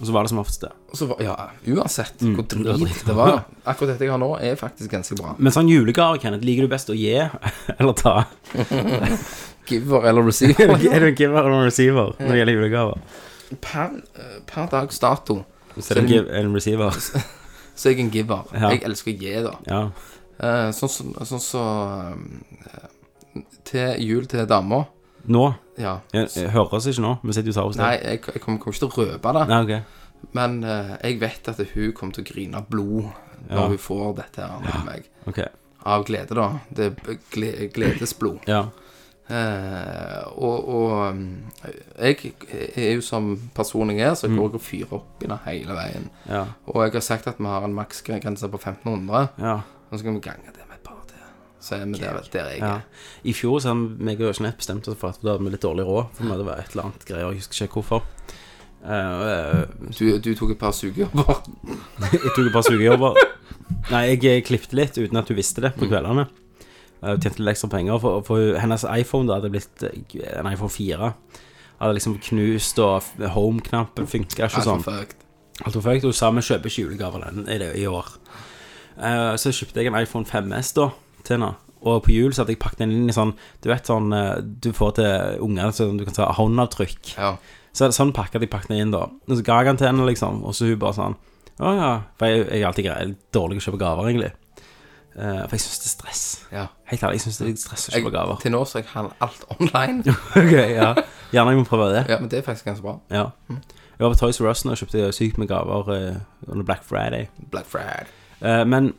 Speaker 1: Og så var det som oftest det.
Speaker 4: Og så var, ja, uansett hvor drit
Speaker 1: Mm, det var
Speaker 4: det var,
Speaker 1: drit.
Speaker 4: akkurat dette jeg har nå, er faktisk ganske bra.
Speaker 1: Men sånn julegave, Kenneth, liker du best å gi eller ta?
Speaker 4: giver eller receiver.
Speaker 1: Er du en giver eller en receiver når det gjelder julegaver?
Speaker 4: Per, eh, per dags dato
Speaker 1: Så er du en giv- en receiver.
Speaker 4: så er jeg en giver.
Speaker 1: Ja.
Speaker 4: Jeg elsker å gi, da.
Speaker 1: Ja.
Speaker 4: Eh, sånn som sånn, så, eh, Til jul til dama.
Speaker 1: Nå?
Speaker 4: Ja.
Speaker 1: Jeg, jeg hører oss ikke nå. Vi sitter jo og tar oss
Speaker 4: Nei, jeg, jeg kommer kommer ikke til å røpe det.
Speaker 1: Nei, ok.
Speaker 4: Men eh, jeg vet at hun kommer til å grine blod når
Speaker 1: Ja.
Speaker 4: hun får dette her med meg.
Speaker 1: Ok.
Speaker 4: Av glede, da. Det er gle- gledesblod.
Speaker 1: Ja.
Speaker 4: Eh, og og um, jeg er jo som person jeg er, så jeg
Speaker 1: Mm.
Speaker 4: går og fyrer opp i det hele veien.
Speaker 1: Ja.
Speaker 4: Og jeg har sagt at vi har en maksgrense på 1500,
Speaker 1: ja.
Speaker 4: og så kan vi gange det med et par til. Så er vi der, der jeg
Speaker 1: ja.
Speaker 4: er.
Speaker 1: I fjor så hadde meg og Jeanette bestemt oss for at da hadde vi litt dårlig råd. For vi hadde vært et eller annet greier, jeg husker ikke hvorfor. Eh,
Speaker 4: Du, du tok et par sugejobber.
Speaker 1: Jeg tok et par sugejobber. Nei, jeg, jeg klippte litt uten at hun visste det på kveldene. Jeg tjente litt ekstra penger, for, for hennes iPhone da hadde blitt eh, en iPhone 4. Hadde liksom knust, og f- home-knappen funka ikke og sånn.
Speaker 4: Fucked.
Speaker 1: Alt var fucked, og hun sa vi kjøper ikke julegaver den i, det- i år. Eh, så kjøpte jeg en iPhone 5S da, til henne. Og på jul så hadde jeg pakket den inn i sånn, du vet sånn, eh, du får til unger, sånn du kan ta håndavtrykk.
Speaker 4: Ja.
Speaker 1: Så er det sånn pakket jeg pakket den inn da. Og så ga jeg den til henne liksom, og så hun bare sånn, å ja, for jeg, jeg er alltid grei, jeg er dårlig å kjøpe gaver egentlig. Eh, for jeg synes det er stress.
Speaker 4: Ja.
Speaker 1: Helt ærlig, jeg synes det er stress å
Speaker 4: Jeg,
Speaker 1: kjøpe gaver.
Speaker 4: til nå så har jeg handlet alt online.
Speaker 1: ok, ja. Gjerne jeg må prøve det.
Speaker 4: Ja, men det er faktisk ganske bra.
Speaker 1: Ja. Jeg var på Toys R Us nå og kjøpte sykt med gaver eh, under Black Friday.
Speaker 4: Black Friday.
Speaker 1: Eh, men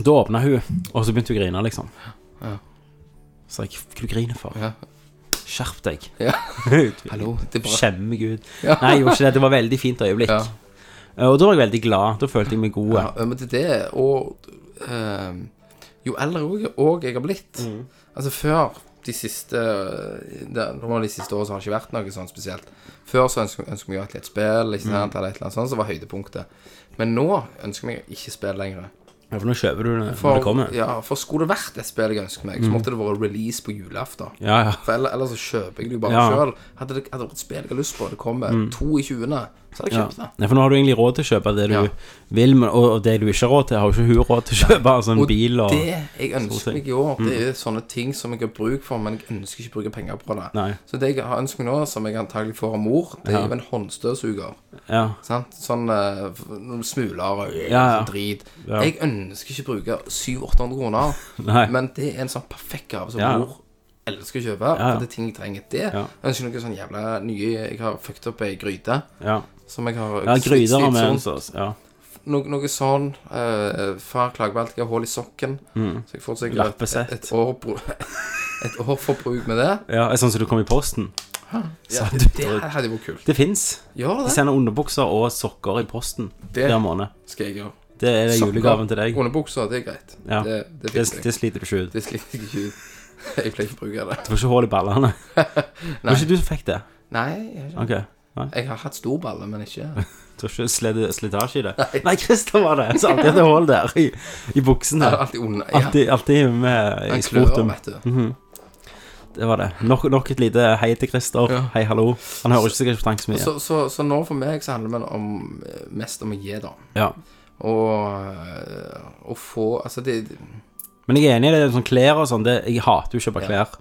Speaker 1: da åpna hun, og så begynte hun å grine, liksom.
Speaker 4: Ja.
Speaker 1: Så jeg Hva du griner for?
Speaker 4: Ja.
Speaker 1: Skjerp deg.
Speaker 4: Ja.
Speaker 1: Du
Speaker 4: Hallo, det er bra.
Speaker 1: Skjemme Gud.
Speaker 4: Ja.
Speaker 1: Nei, jeg gjorde ikke det. Det var veldig fint øyeblikk.
Speaker 4: Ja.
Speaker 1: Eh, Og da var jeg veldig glad. Da følte jeg meg god.
Speaker 4: Ja, men det er det, og ehm, jo eldre også, og jeg har
Speaker 1: Mm.
Speaker 4: blitt Altså før de siste det, Nå de siste årene så har det ikke vært noe sånn spesielt. Før så ønsker ønsker vi jo alltid et spill, ikke
Speaker 1: Mm.
Speaker 4: sant, eller et eller annet sånt, så var høydepunktet. Men nå ønsker vi ikke spill lenger.
Speaker 1: Ja, For nå kjøper du det
Speaker 4: For,
Speaker 1: når det kommer. Mm.
Speaker 4: ja, for skulle det vært et spill jeg ønsker meg, så måtte det vært release på julaften.
Speaker 1: Ja, ja.
Speaker 4: For ellers, ellers så kjøper jeg det jo bare
Speaker 1: Ja. Mm.
Speaker 4: selv sjøl. Hadde det hadde det vært et spill jeg har lyst på, det kommer to i 20., så hadde jeg
Speaker 1: ja.
Speaker 4: kjøpt det.
Speaker 1: Nei, for nå har du egentlig råd til å kjøpe det du
Speaker 4: Ja.
Speaker 1: vil, men, og, og det du ikke har råd til, har jo ikke hun råd til å kjøpe. Altså en bil og
Speaker 4: Det jeg
Speaker 1: sånne
Speaker 4: ønsker
Speaker 1: ting. Mm.
Speaker 4: meg i år, det er sånne ting som jeg har bruk for, men jeg ønsker ikke å bruke penger på det.
Speaker 1: Nei.
Speaker 4: Så det jeg har ønsket meg nå, som jeg antagelig får av mor, det er jo en håndstøvsuger.
Speaker 1: Ja.
Speaker 4: Sant? Sånn eh, f- noen smuler og
Speaker 1: Ja, ja.
Speaker 4: sånn drit.
Speaker 1: Ja.
Speaker 4: Jeg ønsker ikke å bruke 700-800 kroner,
Speaker 1: Nei.
Speaker 4: men det er en sånn perfekt gave som
Speaker 1: Ja.
Speaker 4: mor elsker å kjøpe.
Speaker 1: Ja, ja.
Speaker 4: For det er ting jeg trenger. Det
Speaker 1: Ja.
Speaker 4: jeg ønsker noe sånn jævla nye Jeg har fucked opp ei gryte.
Speaker 1: ja.
Speaker 4: Som jeg har
Speaker 1: ja Gryter har vi
Speaker 4: slitsomt. sånn
Speaker 1: hos oss. Ja.
Speaker 4: Noe, noe sånn. eh, far klager på alt. Jeg har hull i sokken.
Speaker 1: Mm.
Speaker 4: Så jeg får sikkert et,
Speaker 1: Lappesett.
Speaker 4: et, et, år, bru- et år for bruk med det.
Speaker 1: ja. Sånn som du kom i posten.
Speaker 4: Ja,
Speaker 1: Så
Speaker 4: det, det hadde jo vært kult.
Speaker 1: Det fins.
Speaker 4: Gjør
Speaker 1: Jeg
Speaker 4: det?
Speaker 1: sender underbukser og sokker i posten
Speaker 4: Det-
Speaker 1: hver måned.
Speaker 4: Skal jeg gjøre.
Speaker 1: Det er
Speaker 4: Sokker,
Speaker 1: julegaven til deg.
Speaker 4: Underbukser, det er greit.
Speaker 1: Ja.
Speaker 4: Det, det
Speaker 1: Det,
Speaker 4: fikk jeg.
Speaker 1: det sliter du ikke ut.
Speaker 4: Det sliter jeg ikke ut. Jeg pleier ikke å bruke det.
Speaker 1: Du får ikke hull i ballene. Det var ikke du som fikk det.
Speaker 4: Nei, jeg,
Speaker 1: Ok.
Speaker 4: jeg har hatt stor balle, men ikke
Speaker 1: Du har ikke sled, slitasje i det. Nei, Christer var det. Så alltid hadde hull der i, i buksen
Speaker 4: Jeg har
Speaker 1: der.
Speaker 4: alltid under. Ja,
Speaker 1: Alltid, alltid med i
Speaker 4: den klør,
Speaker 1: sportum.
Speaker 4: vet du.
Speaker 1: Det var det. Nok, nok et lite hei til Christer.
Speaker 4: Ja.
Speaker 1: Hei, hallo. Han hører ikke sikkert på tanken så mye.
Speaker 4: Så, så, så nå for meg så handler det om, eh, mest om å gi, da.
Speaker 1: Ja.
Speaker 4: Og eh, å få Altså, det
Speaker 1: Men jeg er enig i det. Sånn klær og sånn. det- Jeg hater jo å kjøpe klær.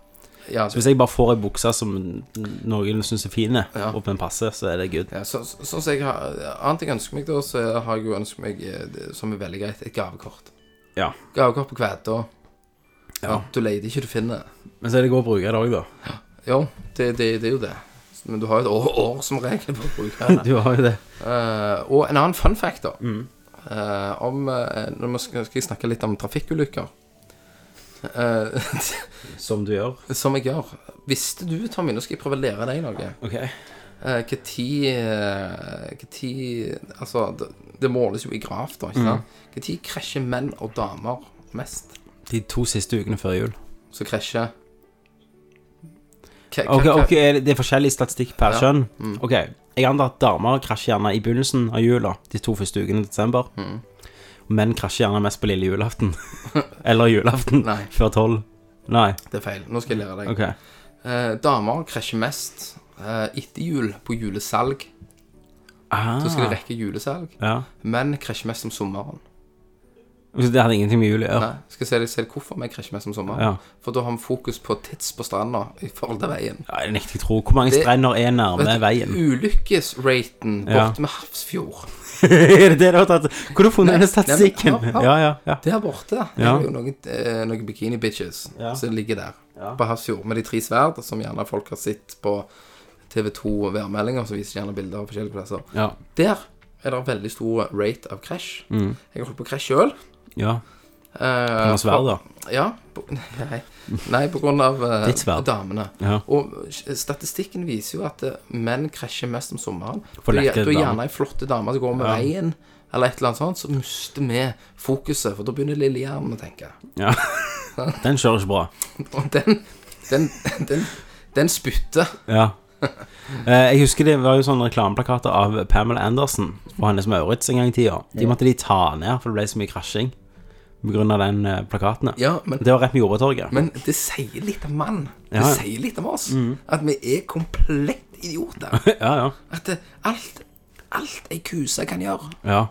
Speaker 4: Ja,
Speaker 1: Så hvis jeg bare får ei bukse som noen syns er fin,
Speaker 4: Ja.
Speaker 1: og den passer, så er det good.
Speaker 4: Ja, så, så, sånn som jeg har Annet jeg ønsker meg da, så har jeg jo ønsket meg, eh, det- som er veldig greit, et gavekort.
Speaker 1: Ja.
Speaker 4: Gavekort på kveta. Ja. Du leter ikke, du finner.
Speaker 1: Men så er det godt å bruke i dag, da.
Speaker 4: Jo, det, det, det er jo det. Men du har jo et år, år som regel på å bruke det.
Speaker 1: Du har jo det.
Speaker 4: Eh, og en annen fun fact, da. Eh, om eh, Nå må- skal skal jeg snakke litt om trafikkulykker. Eh,
Speaker 1: Som du gjør.
Speaker 4: som jeg gjør. Visste du, Tommy, nå skal jeg prøve å lære deg noe.
Speaker 1: Ok.
Speaker 4: Eh, Hva tid eh, hva tid Altså, det, det måles jo i graf, da. ikke sant?
Speaker 1: Mm.
Speaker 4: Hva tid krasjer menn og damer mest?
Speaker 1: De to siste ukene før jul.
Speaker 4: Så krasjer Hva- hva-
Speaker 1: Ok,
Speaker 4: Eh, hva- Mm.
Speaker 1: ok, er det- Det er forskjellig statistikk per kjønn. Ok, Jeg antar at damer krasjer gjerne i begynnelsen av jula, de to første ukene i desember.
Speaker 4: Mm.
Speaker 1: Og Menn krasjer gjerne mest på lille julaften. Eller julaften
Speaker 4: Nei.
Speaker 1: før tolv. Nei.
Speaker 4: Det er feil. Nå skal jeg lære deg.
Speaker 1: Ok.
Speaker 4: Eh, damer krasjer mest eh, etter jul, på julesalg.
Speaker 1: Ah,
Speaker 4: Så skal de rekke julesalg.
Speaker 1: ja.
Speaker 4: Menn krasjer mest om sommeren.
Speaker 1: Så Det hadde ingenting med jul å gjøre.
Speaker 4: Nei, skal jeg se, deg- se deg hvorfor vi krasjer mest om sommeren.
Speaker 1: Ja.
Speaker 4: For da har vi fokus på tids på stranda i forhold til veien.
Speaker 1: Ja, det nekter jeg tro. Hvor mange strender er nærme veien?
Speaker 4: Ulykkesraten borte
Speaker 1: Ja.
Speaker 4: med Hafrsfjord.
Speaker 1: er det det du har tatt? Hvor har du funnet
Speaker 4: Nei,
Speaker 1: denne
Speaker 4: nei,
Speaker 1: statistikken?
Speaker 4: men- ja, ja.
Speaker 1: Ja, ja, ja.
Speaker 4: Der borte ja.
Speaker 1: Ja.
Speaker 4: er jo noen, eh, noen bikini-bitches
Speaker 1: Ja.
Speaker 4: som ligger der på Hafrsfjord med de tre sverd, som gjerne folk har sett på TV2 og værmeldinger, som viser gjerne bilder av forskjellige plasser.
Speaker 1: Ja,
Speaker 4: Der er det veldig stor rate av krasj. Jeg har holdt på å krasje sjøl.
Speaker 1: Mm. ja.
Speaker 4: Uh,
Speaker 1: Noe sverd, da.
Speaker 4: Ja. På, nei, nei, på grunn av eh,
Speaker 1: Ditt sverd.
Speaker 4: damene.
Speaker 1: Ja.
Speaker 4: Og statistikken viser jo at eh, menn krasjer mest om sommeren.
Speaker 1: For
Speaker 4: Da-
Speaker 1: lekte
Speaker 4: da er
Speaker 1: damer.
Speaker 4: gjerne ei flotte dame som går med veien, eller et eller annet sånt, så mister vi fokuset, for da begynner lille hjernen å tenke.
Speaker 1: ja. Den kjører ikke bra.
Speaker 4: Og den, den, den, den spytter.
Speaker 1: Ja. Eh, Jeg husker det var jo sånne reklameplakater av Pamela Andersen og Hannes Maurits en gang i tida. De måtte de ta ned, for det ble så mye krasjing pga. den eh, plakaten.
Speaker 4: Ja, men,
Speaker 1: Det var rett med Jordbærtorget.
Speaker 4: men det sier litt om mann.
Speaker 1: Ja.
Speaker 4: Det
Speaker 1: Mm.
Speaker 4: sier litt om oss. At vi er komplett idioter.
Speaker 1: Ja, ja.
Speaker 4: At det, alt, alt ei kuse kan gjøre,
Speaker 1: ja.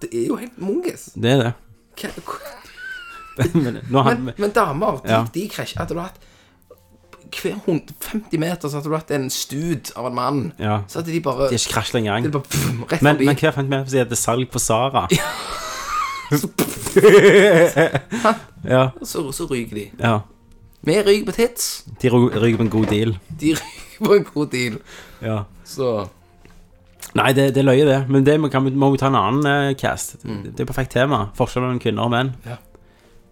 Speaker 4: det er jo helt mongis.
Speaker 1: Det er det.
Speaker 4: Hva, hva,
Speaker 1: Men, nå har
Speaker 4: Men,
Speaker 1: han,
Speaker 4: men damer, de,
Speaker 1: Ja.
Speaker 4: de krasjer. Hadde du hatt hver hund- 50 meter, så hadde du hatt en stud av en mann.
Speaker 1: Ja.
Speaker 4: Så hadde de bare,
Speaker 1: de har ikke krasjet engang.
Speaker 4: de bare pff, rett
Speaker 1: Men,
Speaker 4: forbi.
Speaker 1: men hver fant med si at det er salg på Sara. ja,
Speaker 4: så, så ryker de.
Speaker 1: ja.
Speaker 4: Vi ryker på tits,
Speaker 1: De ro- ryker på en god deal.
Speaker 4: de ryker på en god deal.
Speaker 1: Ja.
Speaker 4: Så
Speaker 1: Nei, det, det er løye, det. Men det må, kan, vi- må vi ta en annen eh, cast. Det, det er perfekt tema. Forskjell mellom kvinner og menn.
Speaker 4: Ja.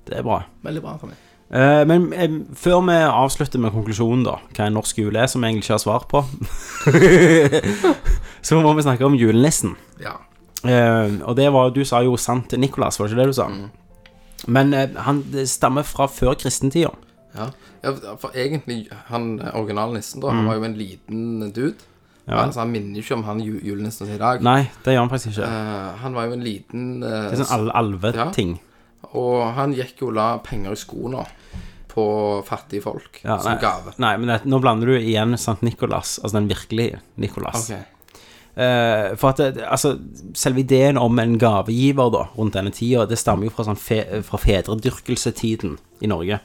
Speaker 1: Det er bra.
Speaker 4: veldig bra for meg.
Speaker 1: Eh, men eh, før vi avslutter med konklusjonen, da, hva en norsk jul er, som vi egentlig ikke har svar på, så må vi snakke om julenissen.
Speaker 4: Ja.
Speaker 1: Eh, og det var, du sa jo Sant Nikolas, var det ikke det du sa? Men eh, han det stammer fra før kristentida.
Speaker 4: Ja. ja, for egentlig, han originalnissen, da, han var jo en liten dude.
Speaker 1: Mm. Ja.
Speaker 4: Altså, han minner jo ikke om han ju- julenissen som er i dag.
Speaker 1: Nei, det gjør han faktisk ikke.
Speaker 4: Eh, han var jo en liten eh,
Speaker 1: Det er sånn al alveting.
Speaker 4: Og han gikk jo og la penger i skoene på fattige folk
Speaker 1: Ja,
Speaker 4: som
Speaker 1: nei,
Speaker 4: gave.
Speaker 1: nei, men det, nå blander du igjen Sankt Nikolas, altså den virkelige Nikolas.
Speaker 4: Ok.
Speaker 1: Eh, for at det, altså, selve ideen om en gavegiver da, rundt denne tida, det stammer jo fra, sånn fe fra fedredyrkelsetiden i Norge.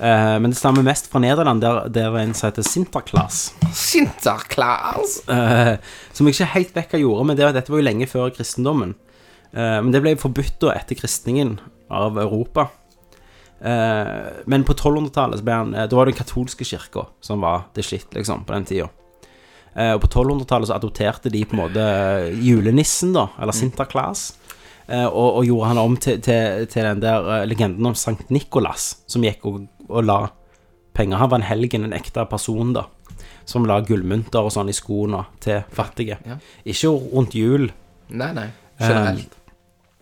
Speaker 1: Eh, men det stammer mest fra Nederland, der, der en som heter Sinterklaas.
Speaker 4: Sinterklaas!
Speaker 1: Eh, som jeg ikke helt vekk hva gjorde, men det, var- dette var jo lenge før kristendommen. Eh, men det ble forbudt da etter kristningen av Europa. Eh, men på 1200-tallet så ble han eh, Da var det den katolske kirka som var det shit, liksom, på den tida. Eh, og på 1200-tallet så adopterte de på en måte eh, julenissen, da, eller Sinterklaas. Eh, og, og gjorde han om til, til, til den der eh, legenden om Sankt Nikolas, som gikk og, og la penger. Han var en helgen, en ekte person, da som la gullmynter og sånn i skoene til fattige.
Speaker 4: Ja.
Speaker 1: Ikke rundt jul
Speaker 4: Nei, nei. Generelt.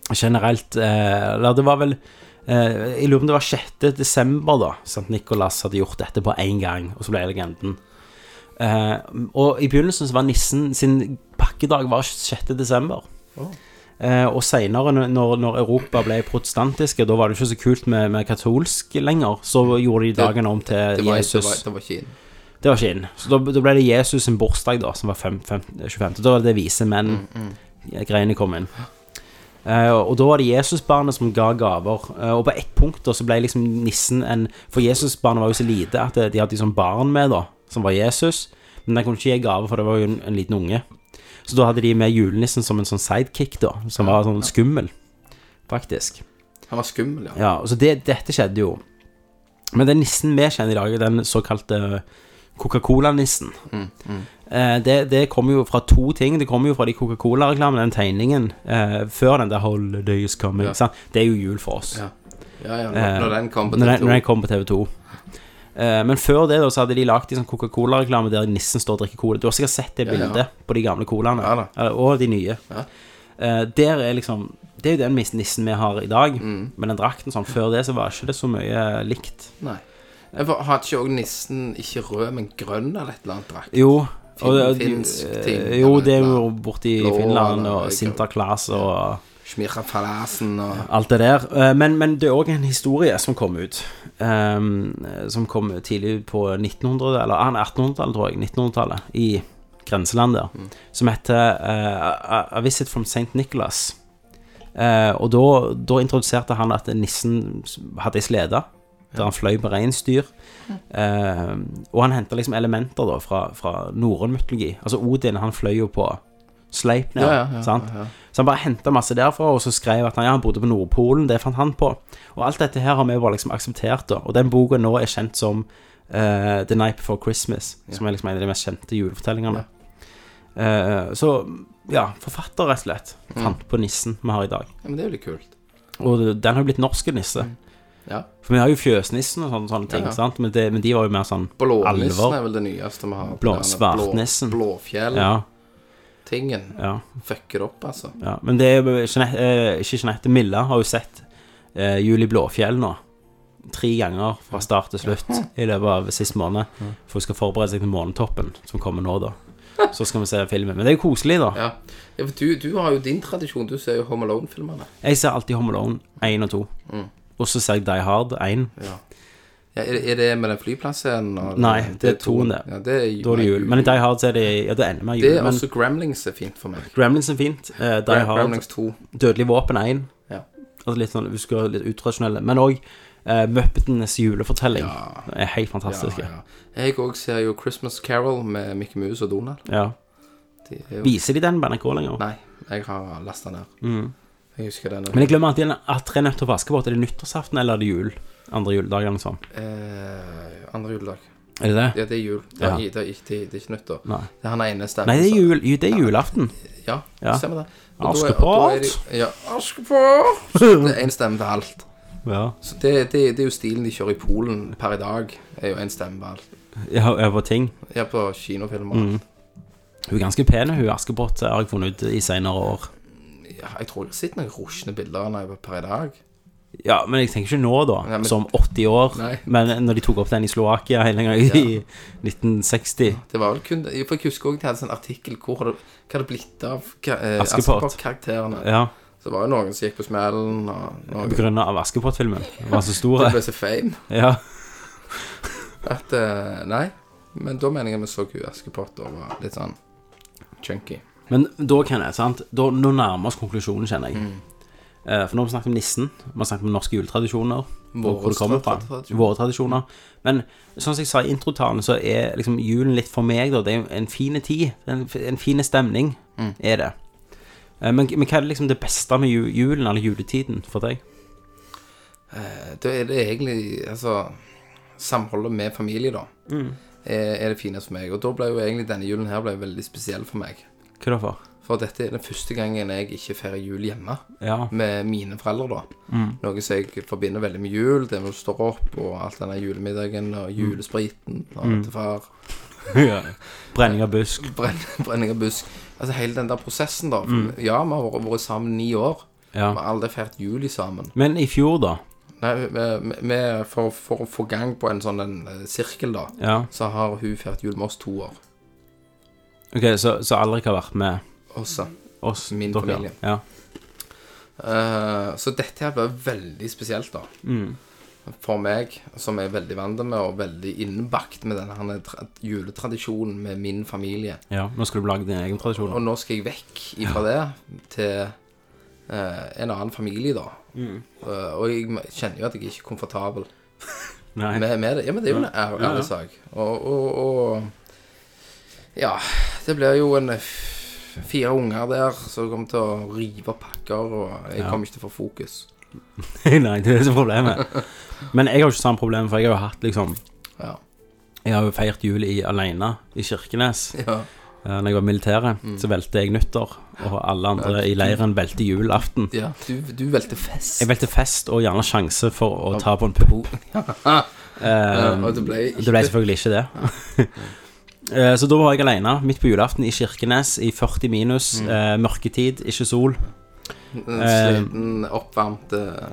Speaker 1: Eh, generelt. Eh, eller det var vel eh, Jeg lurer på om det var 6. desember, da. Sant Nikolas hadde gjort dette på én gang, og så ble det legenden. Eh, og i begynnelsen så var nissen sin pakkedag var 6. desember. Eh, og seinere, når, når Europa ble protestantiske, da var det ikke så kult med, med katolsk lenger, så gjorde de dagen om til
Speaker 4: det, var,
Speaker 1: Jesus.
Speaker 4: det, var, det var ikke inn.
Speaker 1: Det var ikke inn. Så da, da ble det Jesus sin bursdag, da, som var fem, fem, 25. Da var det det vise menn-greiene kom inn. Eh, og da var det Jesusbarnet som ga gaver. Eh, og på ett punkt da så ble liksom nissen en For Jesusbarnet var jo så lite at de hadde liksom barn med, da, som var Jesus. Men de kunne ikke gi gaver, for det var jo en, en liten unge. Så da hadde de med julenissen som en sånn sidekick, da, som var sånn skummel, faktisk.
Speaker 4: Han var skummel, ja.
Speaker 1: Ja, så det, dette skjedde jo. Men den nissen vi kjenner i dag, den såkalte Coca-Cola-nissen,
Speaker 4: Mm,
Speaker 1: eh, det, det kommer jo fra to ting. Det kommer jo fra de Coca-Cola-reklamene, den tegningen, eh, før den der 'Holiday is coming'.
Speaker 4: Ja.
Speaker 1: Sant? Det er jo jul for oss.
Speaker 4: Ja, ja, ja
Speaker 1: Eh,
Speaker 4: når, når den kom på
Speaker 1: Når den, når
Speaker 4: TV2.
Speaker 1: den kom på TV2. Eh, men før det da, så hadde de lagd en sånn Coca-Cola-reklame der nissen står og drikker cola. Du har sikkert sett det
Speaker 4: Ja, ja.
Speaker 1: bildet på de gamle colaene.
Speaker 4: Ja da.
Speaker 1: Eh, og de nye.
Speaker 4: Ja.
Speaker 1: Eh, der er liksom Det er jo den mis- nissen vi har i dag,
Speaker 4: Mm.
Speaker 1: men den drakten sånn Før det så var ikke det så mye eh, likt.
Speaker 4: Nei. Jeg var- Hadde ikke også nissen ikke rød, men grønn eller et eller annet drakt?
Speaker 1: Jo.
Speaker 4: Fin-
Speaker 1: og det-
Speaker 4: finsk ting,
Speaker 1: eh, jo,
Speaker 4: eller
Speaker 1: det er
Speaker 4: noe.
Speaker 1: jo borti
Speaker 4: Blå,
Speaker 1: Finland
Speaker 4: eller-
Speaker 1: og Sinterklaas og
Speaker 4: Smirra falasen og
Speaker 1: alt det der. Eh, Men, men det er òg en historie som kom ut. ehm, som kom tidlig på 1900- eller ah, nei, 1800-tallet, tror jeg. 1900-tallet.
Speaker 4: Mm.
Speaker 1: I grenseland der. Som heter eh, A, A A Visit from St. Nicholas. Eh, og da, da introduserte han at nissen hadde ei slede, der han fløy på reinsdyr. Eh, og han henta liksom elementer da fra, fra norrøn mytologi. Altså Odin, han fløy jo på Sleipner.
Speaker 4: Ja, ja, ja,
Speaker 1: sant?
Speaker 4: ja, ja.
Speaker 1: Så han bare henta masse derfra, og så skrev at han, ja, han bodde på Nordpolen. Det fant han på. Og alt dette her har vi bare liksom akseptert, da. Og den boka nå er kjent som eh, The Night Before Christmas, som er liksom en av de mest kjente julefortellingene. Eh, så ja, forfatter rett og slett
Speaker 4: Mm.
Speaker 1: fant på nissen vi har i dag.
Speaker 4: Ja, men det er jo litt kult.
Speaker 1: Og den har jo blitt norske nisse.
Speaker 4: Ja.
Speaker 1: For vi har jo fjøsnissen og sånne, sånne ting,
Speaker 4: Mm. Ja.
Speaker 1: sant? Men, det, men de var jo mer sånn
Speaker 4: Blånissen
Speaker 1: alvor.
Speaker 4: er vel det nyeste vi har.
Speaker 1: Blå-
Speaker 4: Den der
Speaker 1: svartnissen.
Speaker 4: Blå, Blåfjell-tingen.
Speaker 1: Ja, ja,
Speaker 4: Fucker opp, altså.
Speaker 1: ja. Men det er jo Jeanette, eh, ikke Jeanette Milla har jo sett eh, Julie Blåfjell nå. Tre ganger fra start til slutt i løpet av sist måned. For hun skal forberede seg til Månetoppen, som kommer nå, da. Så skal vi se filmen. Men det er jo koselig, da.
Speaker 4: Ja. ja for du, du har jo din tradisjon. Du ser jo Home Alone-filmene.
Speaker 1: Jeg ser alltid Home Alone 1 og 2. Og så ser jeg Die Hard 1.
Speaker 4: Ja, er, er det med den flyplassen? og-
Speaker 1: Nei, det er
Speaker 4: toen.
Speaker 1: toen, det.
Speaker 4: Ja, det er,
Speaker 1: Da er det jul. Men i Die Hard så er det Ja, det ender med
Speaker 4: Det
Speaker 1: jul.
Speaker 4: er
Speaker 1: Men
Speaker 4: også Gremlings er fint for meg.
Speaker 1: Gremlins er fint. Eh, Die Hard,
Speaker 4: Gremlings 2.
Speaker 1: Dødelig våpen 1.
Speaker 4: Ja.
Speaker 1: Altså litt sånn, vi skal være litt utradisjonelle. Men òg eh, Muppetenes julefortelling er helt fantastisk. Ja,
Speaker 4: Ja, ja. Jeg òg ser jo Christmas Carol med Mickey Mouse og Donald. De er jo...
Speaker 1: Viser de den på NRK lenger? Mm.
Speaker 4: Nei, jeg har lasta ned. Jeg husker den.
Speaker 1: Men jeg glemmer alltid at Tre nøtter til Askepott. Er det nyttårsaften eller er det jul? Andre juledag eller noe sånt.
Speaker 4: Eh, andre juledag.
Speaker 1: Er det det?
Speaker 4: Ja, det er jul. Det er,
Speaker 1: Ja.
Speaker 4: det er, ikke, det er ikke nytt, da.
Speaker 1: Nei.
Speaker 4: Det er han ene stemmen.
Speaker 1: Nei, det er,
Speaker 4: som-
Speaker 1: jul, jo, det er julaften.
Speaker 4: Ja,
Speaker 1: Ja.
Speaker 4: stemmer det. Og da er-
Speaker 1: Askepott.
Speaker 4: og da er det- Ja, Askepott! Det er én stemme til alt.
Speaker 1: Ja.
Speaker 4: Så det, det, det er jo stilen de kjører i Polen per i dag. er jo én stemme til alt.
Speaker 1: Jeg har jeg har på ting.
Speaker 4: Ja, på kinofilmer.
Speaker 1: Mm. Hun er ganske pen, hun Askepott, har jeg funnet ut i seinere år.
Speaker 4: Ja, jeg tror jeg har sett noen rosjende bilder av henne per i dag.
Speaker 1: Ja, men jeg tenker ikke nå, da.
Speaker 4: Nei, men-
Speaker 1: Som 80 år.
Speaker 4: Nei.
Speaker 1: Men når de tok opp den i Slovakia hele gangen i 1960.
Speaker 4: Det var vel kun For jeg husker også de hadde en sånn artikkel hvor har det, hva har det blitt av ka- eh,
Speaker 1: Askepott.
Speaker 4: Askepott-karakterene.
Speaker 1: Ja,
Speaker 4: Så det var jo noen som gikk på smellen, og noen
Speaker 1: På grunn av Askepott-filmen. Den var så stor.
Speaker 4: som ble så fame
Speaker 1: Ja.
Speaker 4: at eh, Nei. Men da mener jeg vi så hun Askepott og var litt sånn chunky.
Speaker 1: Men da, Kenneth, sant? Da, nå nærmer oss konklusjonen, kjenner jeg.
Speaker 4: Mm.
Speaker 1: Eh, for nå har vi snakket om nissen, vi har snakket om norske juletradisjoner,
Speaker 4: Våre
Speaker 1: og hvor det kommer fra,
Speaker 4: tradisjoner.
Speaker 1: våre tradisjoner. Men sånn som jeg sa i introtalen, så er liksom julen litt for meg, da. Det er jo en fin tid, en, f- en fin stemning
Speaker 4: Mm.
Speaker 1: er det. Eh, men, men hva er liksom det beste med ju- julen, eller juletiden, for deg?
Speaker 4: Eh, Da er det egentlig altså, samholdet med familie, da. Er, er det fineste for meg. Og da ble jo egentlig denne julen her ble veldig spesiell for meg.
Speaker 1: Hva da for?
Speaker 4: For dette er den første gangen jeg ikke feirer jul hjemme
Speaker 1: Ja.
Speaker 4: med mine foreldre, da. Noe som jeg forbinder veldig med jul. Det når du står opp, og alt denne julemiddagen og julespriten og til far.
Speaker 1: Brenning av busk.
Speaker 4: Brenn, brenning av busk. Altså hele den der prosessen, da. Ja, vi har vært- vært sammen ni år.
Speaker 1: Ja.
Speaker 4: Vi har aldri feiret jul sammen.
Speaker 1: Men i fjor, da.
Speaker 4: Nei, vi- vi- vi- for, for å få gang på en sånn en, eh, sirkel, da.
Speaker 1: Ja.
Speaker 4: så har hun feiret jul med oss to år.
Speaker 1: Ok, så, så Alrik har vært med
Speaker 4: Også.
Speaker 1: oss,
Speaker 4: Min
Speaker 1: dere.
Speaker 4: familie.
Speaker 1: Ja.
Speaker 4: Eh, så dette her ble veldig spesielt, da.
Speaker 1: Mm.
Speaker 4: For meg, som er veldig vant med og veldig innbakt med denne herne tra juletradisjonen med min familie.
Speaker 1: ja. Nå skal du lage din egen tradisjon.
Speaker 4: Og nå skal jeg vekk ifra det til eh, en annen familie, da. Eh, og jeg m- kjenner jo at jeg er ikke komfortabel
Speaker 1: Nei.
Speaker 4: med, med det. Ja, men det er jo en ær- ærlig sak. Og, og, og Ja, det blir jo en f- fire unger der som kommer til å rive pakker, og jeg
Speaker 1: Ja.
Speaker 4: kommer ikke til å få fokus.
Speaker 1: Nei, det er det som er problemet. Men jeg har jo ikke samme problem, for jeg har jo hatt liksom
Speaker 4: Ja.
Speaker 1: Jeg har jo feirt jul i alene i Kirkenes.
Speaker 4: Ja.
Speaker 1: Da jeg var i militæret,
Speaker 4: Mm.
Speaker 1: så velte jeg nyttår, og alle andre i leiren velte julaften.
Speaker 4: ja. Du, du valgte fest.
Speaker 1: Jeg velte fest og gjerne sjanse for å ta på en pub.
Speaker 4: Ja,
Speaker 1: Eh,
Speaker 4: og det ble
Speaker 1: Det ble selvfølgelig ikke det. Eh, Så da var jeg alene midt på julaften i Kirkenes i 40 minus,
Speaker 4: Mm.
Speaker 1: eh, mørketid, ikke sol.
Speaker 4: en sliten, oppvarmt eh,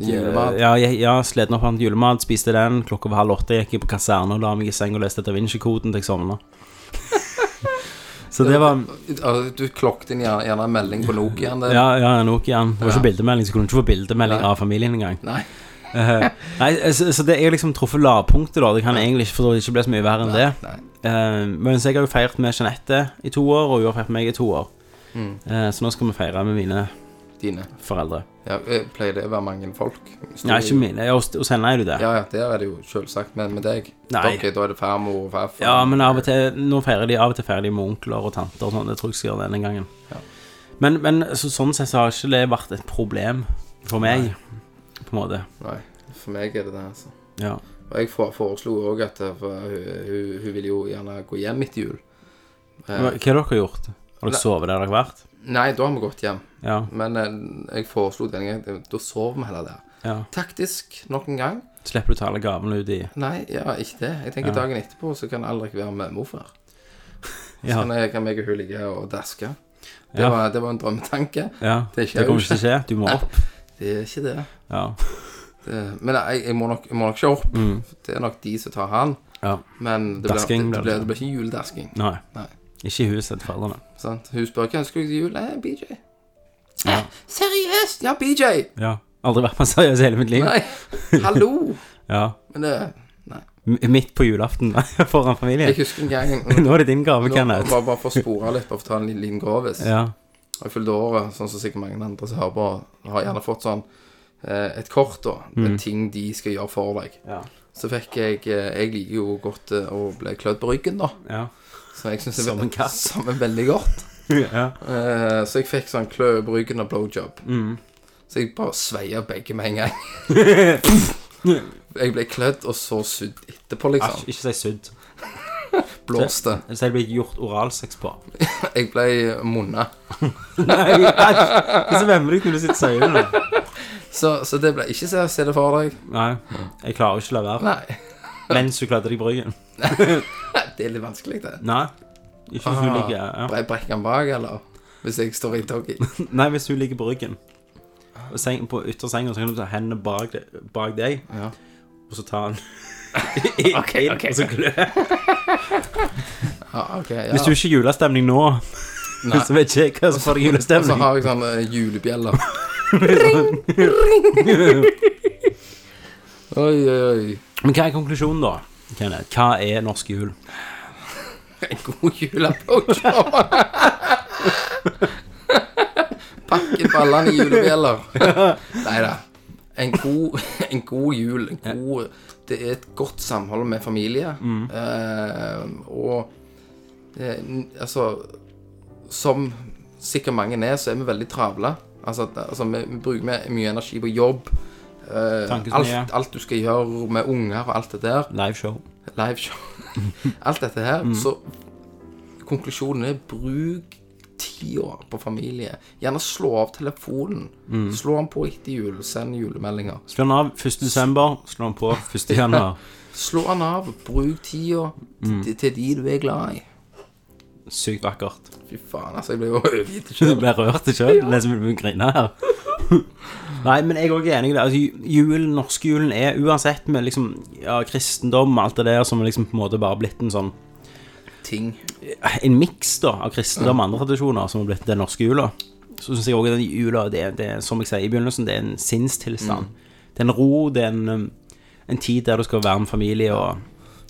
Speaker 4: julemat.
Speaker 1: Eh, Ja, jeg, ja sleden opp av en julemat, spiste den. Klokka var halv åtte, gikk jeg på kaserne og la meg i seng og leste Da Vinci-koden til jeg sovna. Så det var
Speaker 4: Altså, Du klokket inn gjerne gjerne en melding på Nokiaen. det.
Speaker 1: Ja, ja Nokiaen. Det var ikke bildemelding, så kunne du ikke få bildemelding av familien engang.
Speaker 4: Nei.
Speaker 1: Eh, Nei, så, så det er liksom truffet lavpunktet, da. Det kan egentlig ikke, for det ikke ble så mye verre enn det.
Speaker 4: Nei.
Speaker 1: Eh, men så jeg har jo Mm. feirt med Jeanette i to år, og hun har feirt med meg i to år. Eh, så nå skal vi feire med mine
Speaker 4: dine?
Speaker 1: foreldre.
Speaker 4: Ja, eh, Pleier det å være mange folk? Hvis
Speaker 1: Nei,
Speaker 4: du-
Speaker 1: ikke mine. Ja, hos, hos henne er det jo det. Ja.
Speaker 4: Ja, ja, der er det jo selvsagt, men med deg
Speaker 1: Nei.
Speaker 4: Ok, da er det farmor og farfar.
Speaker 1: men av og til Nå feirer de av og til feirer de med onkler og tanter og sånn. Det tror jeg skal gjøre denne gangen.
Speaker 4: Ja.
Speaker 1: Men, men så, sånn sett så har ikke det vært et problem for meg, på en måte.
Speaker 4: Nei, for meg er det det, altså.
Speaker 1: Ja.
Speaker 4: Og jeg for- foreslo òg at eh, for hun, hun, hun vil jo gjerne gå hjem etter jul. Eh,
Speaker 1: Hva hva har dere gjort? Har dere
Speaker 4: Nei.
Speaker 1: sovet der dere har vært?
Speaker 4: nei, da har vi gått hjem.
Speaker 1: Ja.
Speaker 4: Men eh, jeg foreslo den gangen eh, Da sov vi heller der.
Speaker 1: ja.
Speaker 4: Taktisk nok en gang.
Speaker 1: Slipper du å ta alle gavene ut i
Speaker 4: Nei, ja, ikke det. Jeg tenker dagen etterpå så kan Alrik være med morfar.
Speaker 1: Ja.
Speaker 4: Sånn eh, kan meg og hun ligge her og daske. Det,
Speaker 1: Ja.
Speaker 4: var, det var en drømmetanke.
Speaker 1: ja.
Speaker 4: Det skjer
Speaker 1: Det kommer
Speaker 4: jo
Speaker 1: ikke til å skje. Du må opp.
Speaker 4: Det er ikke det.
Speaker 1: Ja. Mm.
Speaker 4: det men jeg, jeg, må nok, jeg må nok ikke opp. Det er nok de som tar han.
Speaker 1: ja.
Speaker 4: Men det blir, det,
Speaker 1: Dasking blir
Speaker 4: det,
Speaker 1: det.
Speaker 4: blir, det blir ikke juledasking.
Speaker 1: Nei.
Speaker 4: Nei.
Speaker 1: Ikke i huset til foreldrene.
Speaker 4: Sant? Hun spør hva ønsker du til jul. Nei, BJ. «Eh, Seriøst? Ja, BJ!
Speaker 1: Ja. Aldri vært med seriøs i hele mitt liv.
Speaker 4: Nei, hallo!
Speaker 1: Ja.
Speaker 4: Men det Nei.
Speaker 1: M- Midt på julaften nei, foran
Speaker 4: Jeg
Speaker 1: familien.
Speaker 4: husker en gang
Speaker 1: Nå er det din gave,
Speaker 4: Nå,
Speaker 1: Kenneth.
Speaker 4: bare, bare for å spore litt, bare for å ta en liten- liten grovis.
Speaker 1: Ja.
Speaker 4: Jeg fylte året, sånn som sikkert mange andre som hører på, har gjerne fått sånn eh, et kort, da.
Speaker 1: Mm.
Speaker 4: Med ting de skal gjøre for deg.
Speaker 1: Ja.
Speaker 4: Så fikk jeg eh, Jeg liker jo godt eh, å bli klødd på ryggen, da.
Speaker 1: Ja.
Speaker 4: Så jeg synes det
Speaker 1: Som en katt.
Speaker 4: Som er veldig godt.
Speaker 1: ja.
Speaker 4: Eh, så jeg fikk sånn klø på ryggen og blowjob.
Speaker 1: Mm.
Speaker 4: Så jeg bare sveia begge med en gang. jeg ble klødd, og så sudd etterpå,
Speaker 1: Asj,
Speaker 4: liksom.
Speaker 1: ikke si sudd.
Speaker 4: Blåste.
Speaker 1: Si det blir gjort oralsex på.
Speaker 4: Jeg ble munna.
Speaker 1: Nei, æsj! Det er så vemmelig når du sitter så øynene.
Speaker 4: Så, så det ble ikke se, se det for deg.
Speaker 1: Nei, jeg klarer ikke å la være.
Speaker 4: Nei.
Speaker 1: Mens du klødde deg på ryggen.
Speaker 4: Det er litt vanskelig, det.
Speaker 1: Nei. Ikke hvis
Speaker 4: Ah.
Speaker 1: du ligger ja.
Speaker 4: Bre brekker han bak, eller? Hvis jeg står i doggy.
Speaker 1: Nei, hvis du ligger på ryggen. Og seng, på yttersenga så kan du ta hendene bak, deg- bak deg,
Speaker 4: Ja.
Speaker 1: og så ta den inn, og så klø.
Speaker 4: Ja, ok, ja.
Speaker 1: Hvis du ikke har julestemning nå, så vet ikke jeg hva som får deg
Speaker 4: Og så
Speaker 1: julestemning.
Speaker 4: har jeg sånn eh, julebjeller.
Speaker 1: sånn-
Speaker 4: Oi, oi, oi.
Speaker 1: Men hva er konklusjonen, da? Kenneth? Hva er norsk jul?
Speaker 4: En god julepokjom. Pakke ballene i julebjeller. Nei da. En god, en god jul. En god, det er et godt samhold med familie. Eh, og eh, n- altså Som sikkert mange er, så er vi veldig travle. Altså, at- altså vi, vi bruker mye- mye energi på jobb. eh,
Speaker 1: Tankesmie.
Speaker 4: alt, alt du skal gjøre med unger og alt det der.
Speaker 1: Liveshow.
Speaker 4: Liveshow. alt dette her. Så konklusjonen er bruk tida på familie. Gjerne slå av telefonen. Slå den på etter jul. Send julemeldinger.
Speaker 1: Slå den av 1. desember, slå den på 1. januar.
Speaker 4: Slå den av. Bruk tida til, til de du er glad i.
Speaker 1: Sykt vakkert.
Speaker 4: Fy faen, altså. Jeg ble jo overgitt
Speaker 1: Du
Speaker 4: sjøl.
Speaker 1: ble rørt sjøl. Det er som om du griner her. Nei, men jeg er også enig i det. Altså, ju- julen, norske julen er uansett med liksom, ja, kristendom og alt det der som er liksom på en måte bare blitt en sånn
Speaker 4: Ting.
Speaker 1: En miks da av kristendom og andre tradisjoner som har blitt den norske jula. Så syns jeg òg den jula det, er- det, er, Som jeg sier i begynnelsen, det er en sinnstilstand. Det er en ro, det er en, um, en tid der du skal være med familie og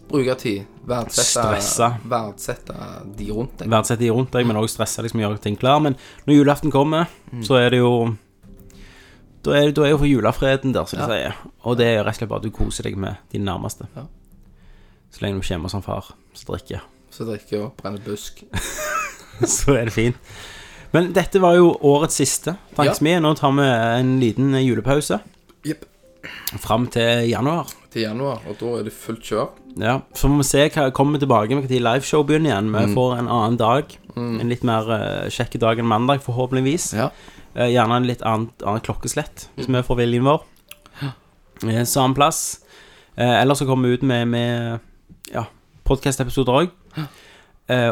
Speaker 4: Bruke tid. Verdsette,
Speaker 1: Stressa.
Speaker 4: verdsette de rundt deg.
Speaker 1: verdsette de rundt deg, men òg stresse liksom, gjøre ting klar. Men når julaften kommer, så er det jo Da er, da er jo julefreden der, som de sier. Og det er jo rett og slett bare at du koser deg med dine nærmeste.
Speaker 4: Ja.
Speaker 1: Så lenge du ikke er hjemme som far som drikker,
Speaker 4: Så drikker jeg og brenner busk.
Speaker 1: så er det fint. Men dette var jo årets siste tankesmie. Nå tar vi en liten julepause
Speaker 4: Jepp.
Speaker 1: fram til januar.
Speaker 4: Til januar, og da er det fullt kjør.
Speaker 1: Ja, Så må vi se hva kommer tilbake med når liveshow begynner igjen. Vi får en annen dag. En litt mer eh, kjekk dag enn mandag, forhåpentligvis.
Speaker 4: Mm. Ja.
Speaker 1: Eh, Gjerne en litt annet, annet klokkeslett, hvis vi får viljen vår. Eh, Samme plass. Eh, Eller så kommer vi ut med, med ja, podkast-episoder òg.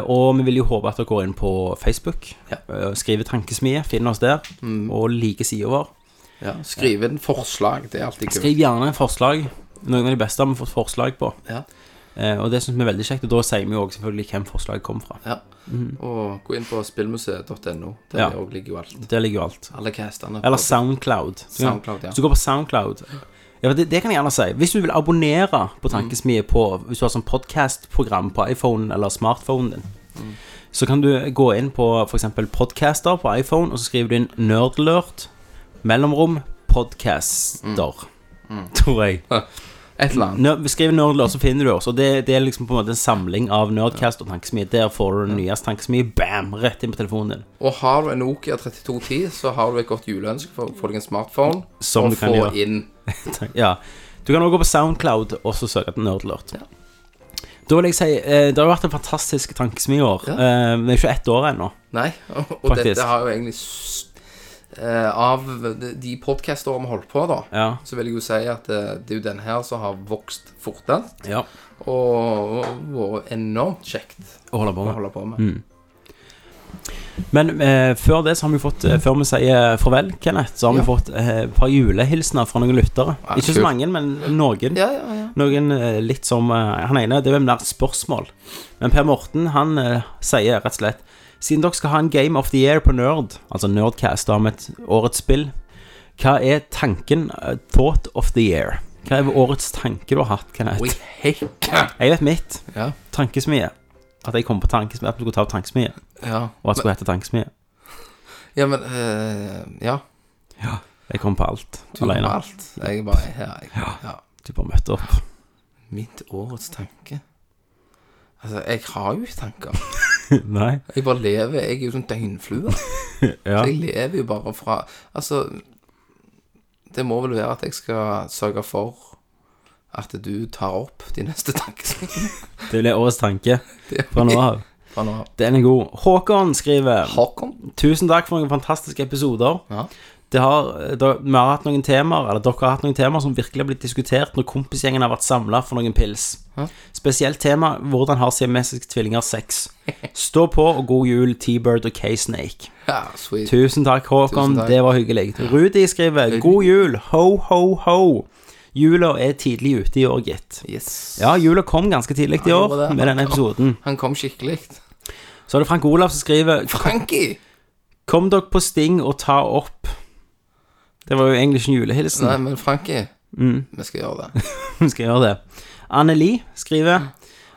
Speaker 1: Og vi vil jo håpe at dere går inn på Facebook,
Speaker 4: Ja. Mm.
Speaker 1: eh, skriver Tankesmie, finner oss der, og liker sida vår.
Speaker 4: Ja. Skrive inn forslag. Det er alltid kult.
Speaker 1: Skriv gjerne forslag. Noen av de beste har vi fått forslag på.
Speaker 4: Ja.
Speaker 1: Eh, Og det syns vi er veldig kjekt, og da sier vi jo også selvfølgelig hvem forslaget kom fra.
Speaker 4: Ja. Og gå inn på spillmuseet.no.
Speaker 1: Mhm. Ja.
Speaker 4: Der også ligger jo alt.
Speaker 1: Der ligger jo alt.
Speaker 4: Alle castene. på-
Speaker 1: Eller Soundcloud. Du kan-
Speaker 4: Soundcloud, ja.
Speaker 1: Hvis du går på Soundcloud ja, for det, det kan jeg gjerne si. Hvis du vil abonnere på Tankesmie på Hvis du har sånn podkastprogram på iPhone eller smartphonen din, så kan du gå inn på f.eks. podcaster på iPhone, og så skriver du inn Nerdlurt Mellomrom podcaster, tror jeg.
Speaker 4: Et eller annet.
Speaker 1: Nå, skriv Nerdlord, så finner du oss. Og det, det er liksom på en måte en samling av Nerdcast og Tankesmie. Der får du den nyeste Tankesmie. Bam! Rett inn på telefonen din.
Speaker 4: Og har du en Nokia 3210, så har du et godt juleønske for å få deg en smartphone.
Speaker 1: Som
Speaker 4: og
Speaker 1: du kan
Speaker 4: få
Speaker 1: gjøre.
Speaker 4: inn
Speaker 1: Ja. Du kan også gå på Soundcloud og så søke etter Nerdlord. Da vil jeg si, eh, Det har vært en fantastisk tankesmi i år. Eh, Det er ikke ett år ennå.
Speaker 4: Nei, og, og
Speaker 1: Faktisk.
Speaker 4: dette har jo egentlig s- eh, Av de- de podkastene vi holdt på, da,
Speaker 1: Ja.
Speaker 4: så vil jeg jo si at eh, det er jo den her som har vokst fortest,
Speaker 1: ja.
Speaker 4: og og vært enormt kjekt
Speaker 1: Å holde på
Speaker 4: å
Speaker 1: med.
Speaker 4: holde på med.
Speaker 1: Mm. Men eh, før det så har vi fått eh, Før vi sier farvel, Kenneth, så har
Speaker 4: Ja.
Speaker 1: vi fått eh, et par julehilsener fra noen lyttere.
Speaker 4: Ja,
Speaker 1: Ikke
Speaker 4: kult.
Speaker 1: så mange, men noen.
Speaker 4: Ja, ja, ja.
Speaker 1: Noen eh, litt som eh, Han ene, det er vel mer et spørsmål. Men Per Morten han eh, sier rett og slett Siden dere skal ha en Game of the Year på Nerd, altså Nerdcast om et årets spill, hva er tanken eh, Thought of the Year? Hva er årets tanke du har hatt, Kenneth?
Speaker 4: Oi, hei.
Speaker 1: Jeg vet mitt.
Speaker 4: Ja.
Speaker 1: Tankesmie. At jeg kom på tankesmie, at vi skulle ta opp tankesmie,
Speaker 4: Ja,
Speaker 1: og at det skulle hete tankesmie.
Speaker 4: ja men eh, Ja,
Speaker 1: Jeg kom på alt
Speaker 4: du har
Speaker 1: alene.
Speaker 4: alt. Jeg bare ja, jeg, ja.
Speaker 1: Du bare møtte opp.
Speaker 4: Mitt årets tanke Altså, jeg har jo ikke tanker.
Speaker 1: Nei.
Speaker 4: Jeg bare lever. Jeg er jo sånn døgnflue.
Speaker 1: Ja.
Speaker 4: Så jeg lever jo bare fra Altså, det må vel være at jeg skal sørge for at du tar opp de neste tankene
Speaker 1: Det ble årets tanke fra nå av.
Speaker 4: fra nå av.
Speaker 1: Den er god. Håkon skriver
Speaker 4: Håkon?
Speaker 1: Tusen takk for noen fantastiske episoder.
Speaker 4: Ja.
Speaker 1: Det har, det, vi har hatt noen temaer, eller dere har hatt noen temaer som virkelig har blitt diskutert når kompisgjengen har vært samla for noen pils. Spesielt tema hvordan har siamesiske tvillinger sex. Stå på, og god jul, T-Bird og K-Snake.
Speaker 4: Ja, sweet.
Speaker 1: Tusen takk, Håkon.
Speaker 4: Tusen takk.
Speaker 1: Det var hyggelig. Rudi skriver god jul, ho, ho, ho. Jula er tidlig ute i år, gitt.
Speaker 4: Yes.
Speaker 1: Ja, jula kom ganske tidlig i
Speaker 4: Ja,
Speaker 1: år
Speaker 4: gjorde det.
Speaker 1: med denne episoden.
Speaker 4: Han kom skikkelig.
Speaker 1: Så er det Frank Olav som skriver
Speaker 4: Frankie!
Speaker 1: Kom dere på Sting og ta opp Det var jo egentlig ikke en julehilsen
Speaker 4: Nei, men Frankie,
Speaker 1: Mm.
Speaker 4: vi skal gjøre det.
Speaker 1: Hun skal gjøre det Anneli skriver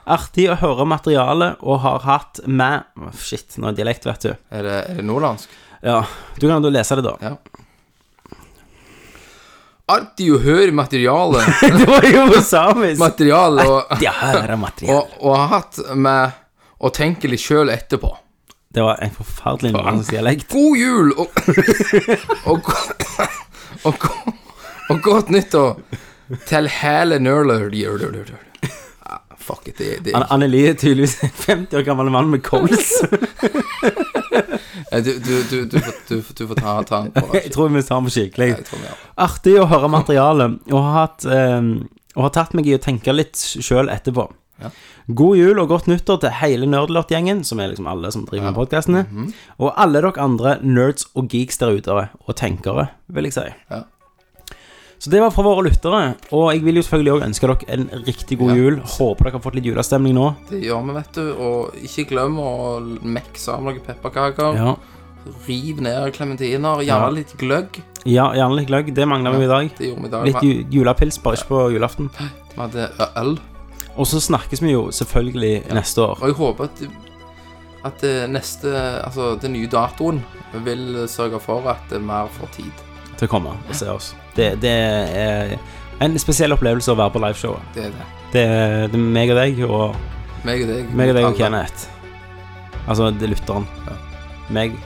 Speaker 1: Artig å høre materialet og har hatt med Åh, Shit, nå er det dialekt, vet du
Speaker 4: Er det, er det nordlandsk?
Speaker 1: Ja, du kan jo lese det da
Speaker 4: Ja. Artig å høre materialet.
Speaker 1: Det var jo på samisk
Speaker 4: Materialet og,
Speaker 1: Ja, her er det materialet
Speaker 4: og, og har hatt med å tenke litt sjøl etterpå.
Speaker 1: Det var en forferdelig nordlandsk dialekt
Speaker 4: God jul og og, go- og, go- og godt nyttår til hele Nurler. Fuck it, det, det
Speaker 1: Ann- Anneli er tydeligvis en 50 år gammel mann med kols
Speaker 4: Eh, du, du, du, du, får- du, får- du får ta, ta den på
Speaker 1: Jeg tror vi tar med skikkelig
Speaker 4: Jeg tror vi gjør det.
Speaker 1: Artig å høre materialet, og har, hatt, ehm, og har tatt meg i å tenke litt sjøl etterpå. God jul og godt nyttår til hele Nerdlort-gjengen, som er liksom alle som driver med podkastene,
Speaker 4: Mhm.
Speaker 1: og alle dere andre nerds og geeks der ute, og tenkere, vil jeg si.
Speaker 4: Ja.
Speaker 1: Så det var fra våre lyttere, og jeg vil jo selvfølgelig òg ønske dere en riktig god jul. Håper dere har fått litt julestemning nå.
Speaker 4: Det gjør vi, vet du. Og ikke glem å mekke sammen noen pepperkaker.
Speaker 1: Ja,
Speaker 4: Riv ned klementiner. Gjerne
Speaker 1: Ja.
Speaker 4: litt gløgg.
Speaker 1: ja gjerne litt gløgg. Det mangler vi i dag.
Speaker 4: Det gjorde vi i dag.
Speaker 1: Litt
Speaker 4: Vi
Speaker 1: ju julepils, bare ikke på julaften.
Speaker 4: vi hadde eh, øl.
Speaker 1: Og så snakkes vi jo selvfølgelig neste år.
Speaker 4: Og jeg håper at, at det neste Altså, den nye datoen vil sørge for at det er mer får tid.
Speaker 1: til å komme og se oss. Det, det er en spesiell opplevelse å være på liveshowet.
Speaker 4: Det er det.
Speaker 1: Det er, det er meg og deg og
Speaker 4: Meg og deg.
Speaker 1: meg og deg og
Speaker 4: alle.
Speaker 1: Kenneth. Altså det er lytteren. Meg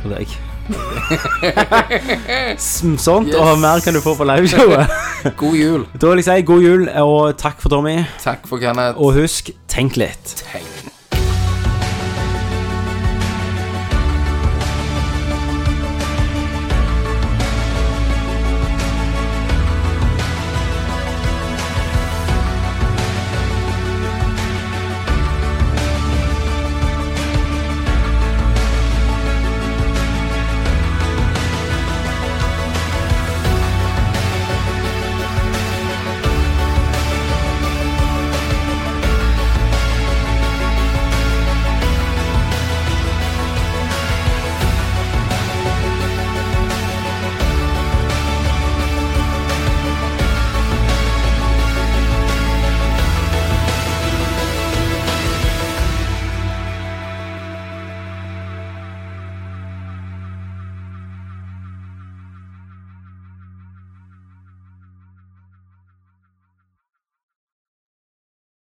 Speaker 1: og deg. Som sånt og
Speaker 4: Yes.
Speaker 1: mer kan du få på liveshowet.
Speaker 4: God jul.
Speaker 1: da vil jeg si god jul og takk for Tommy.
Speaker 4: Takk for Kenneth.
Speaker 1: Og husk, tenk litt.
Speaker 4: Tenk.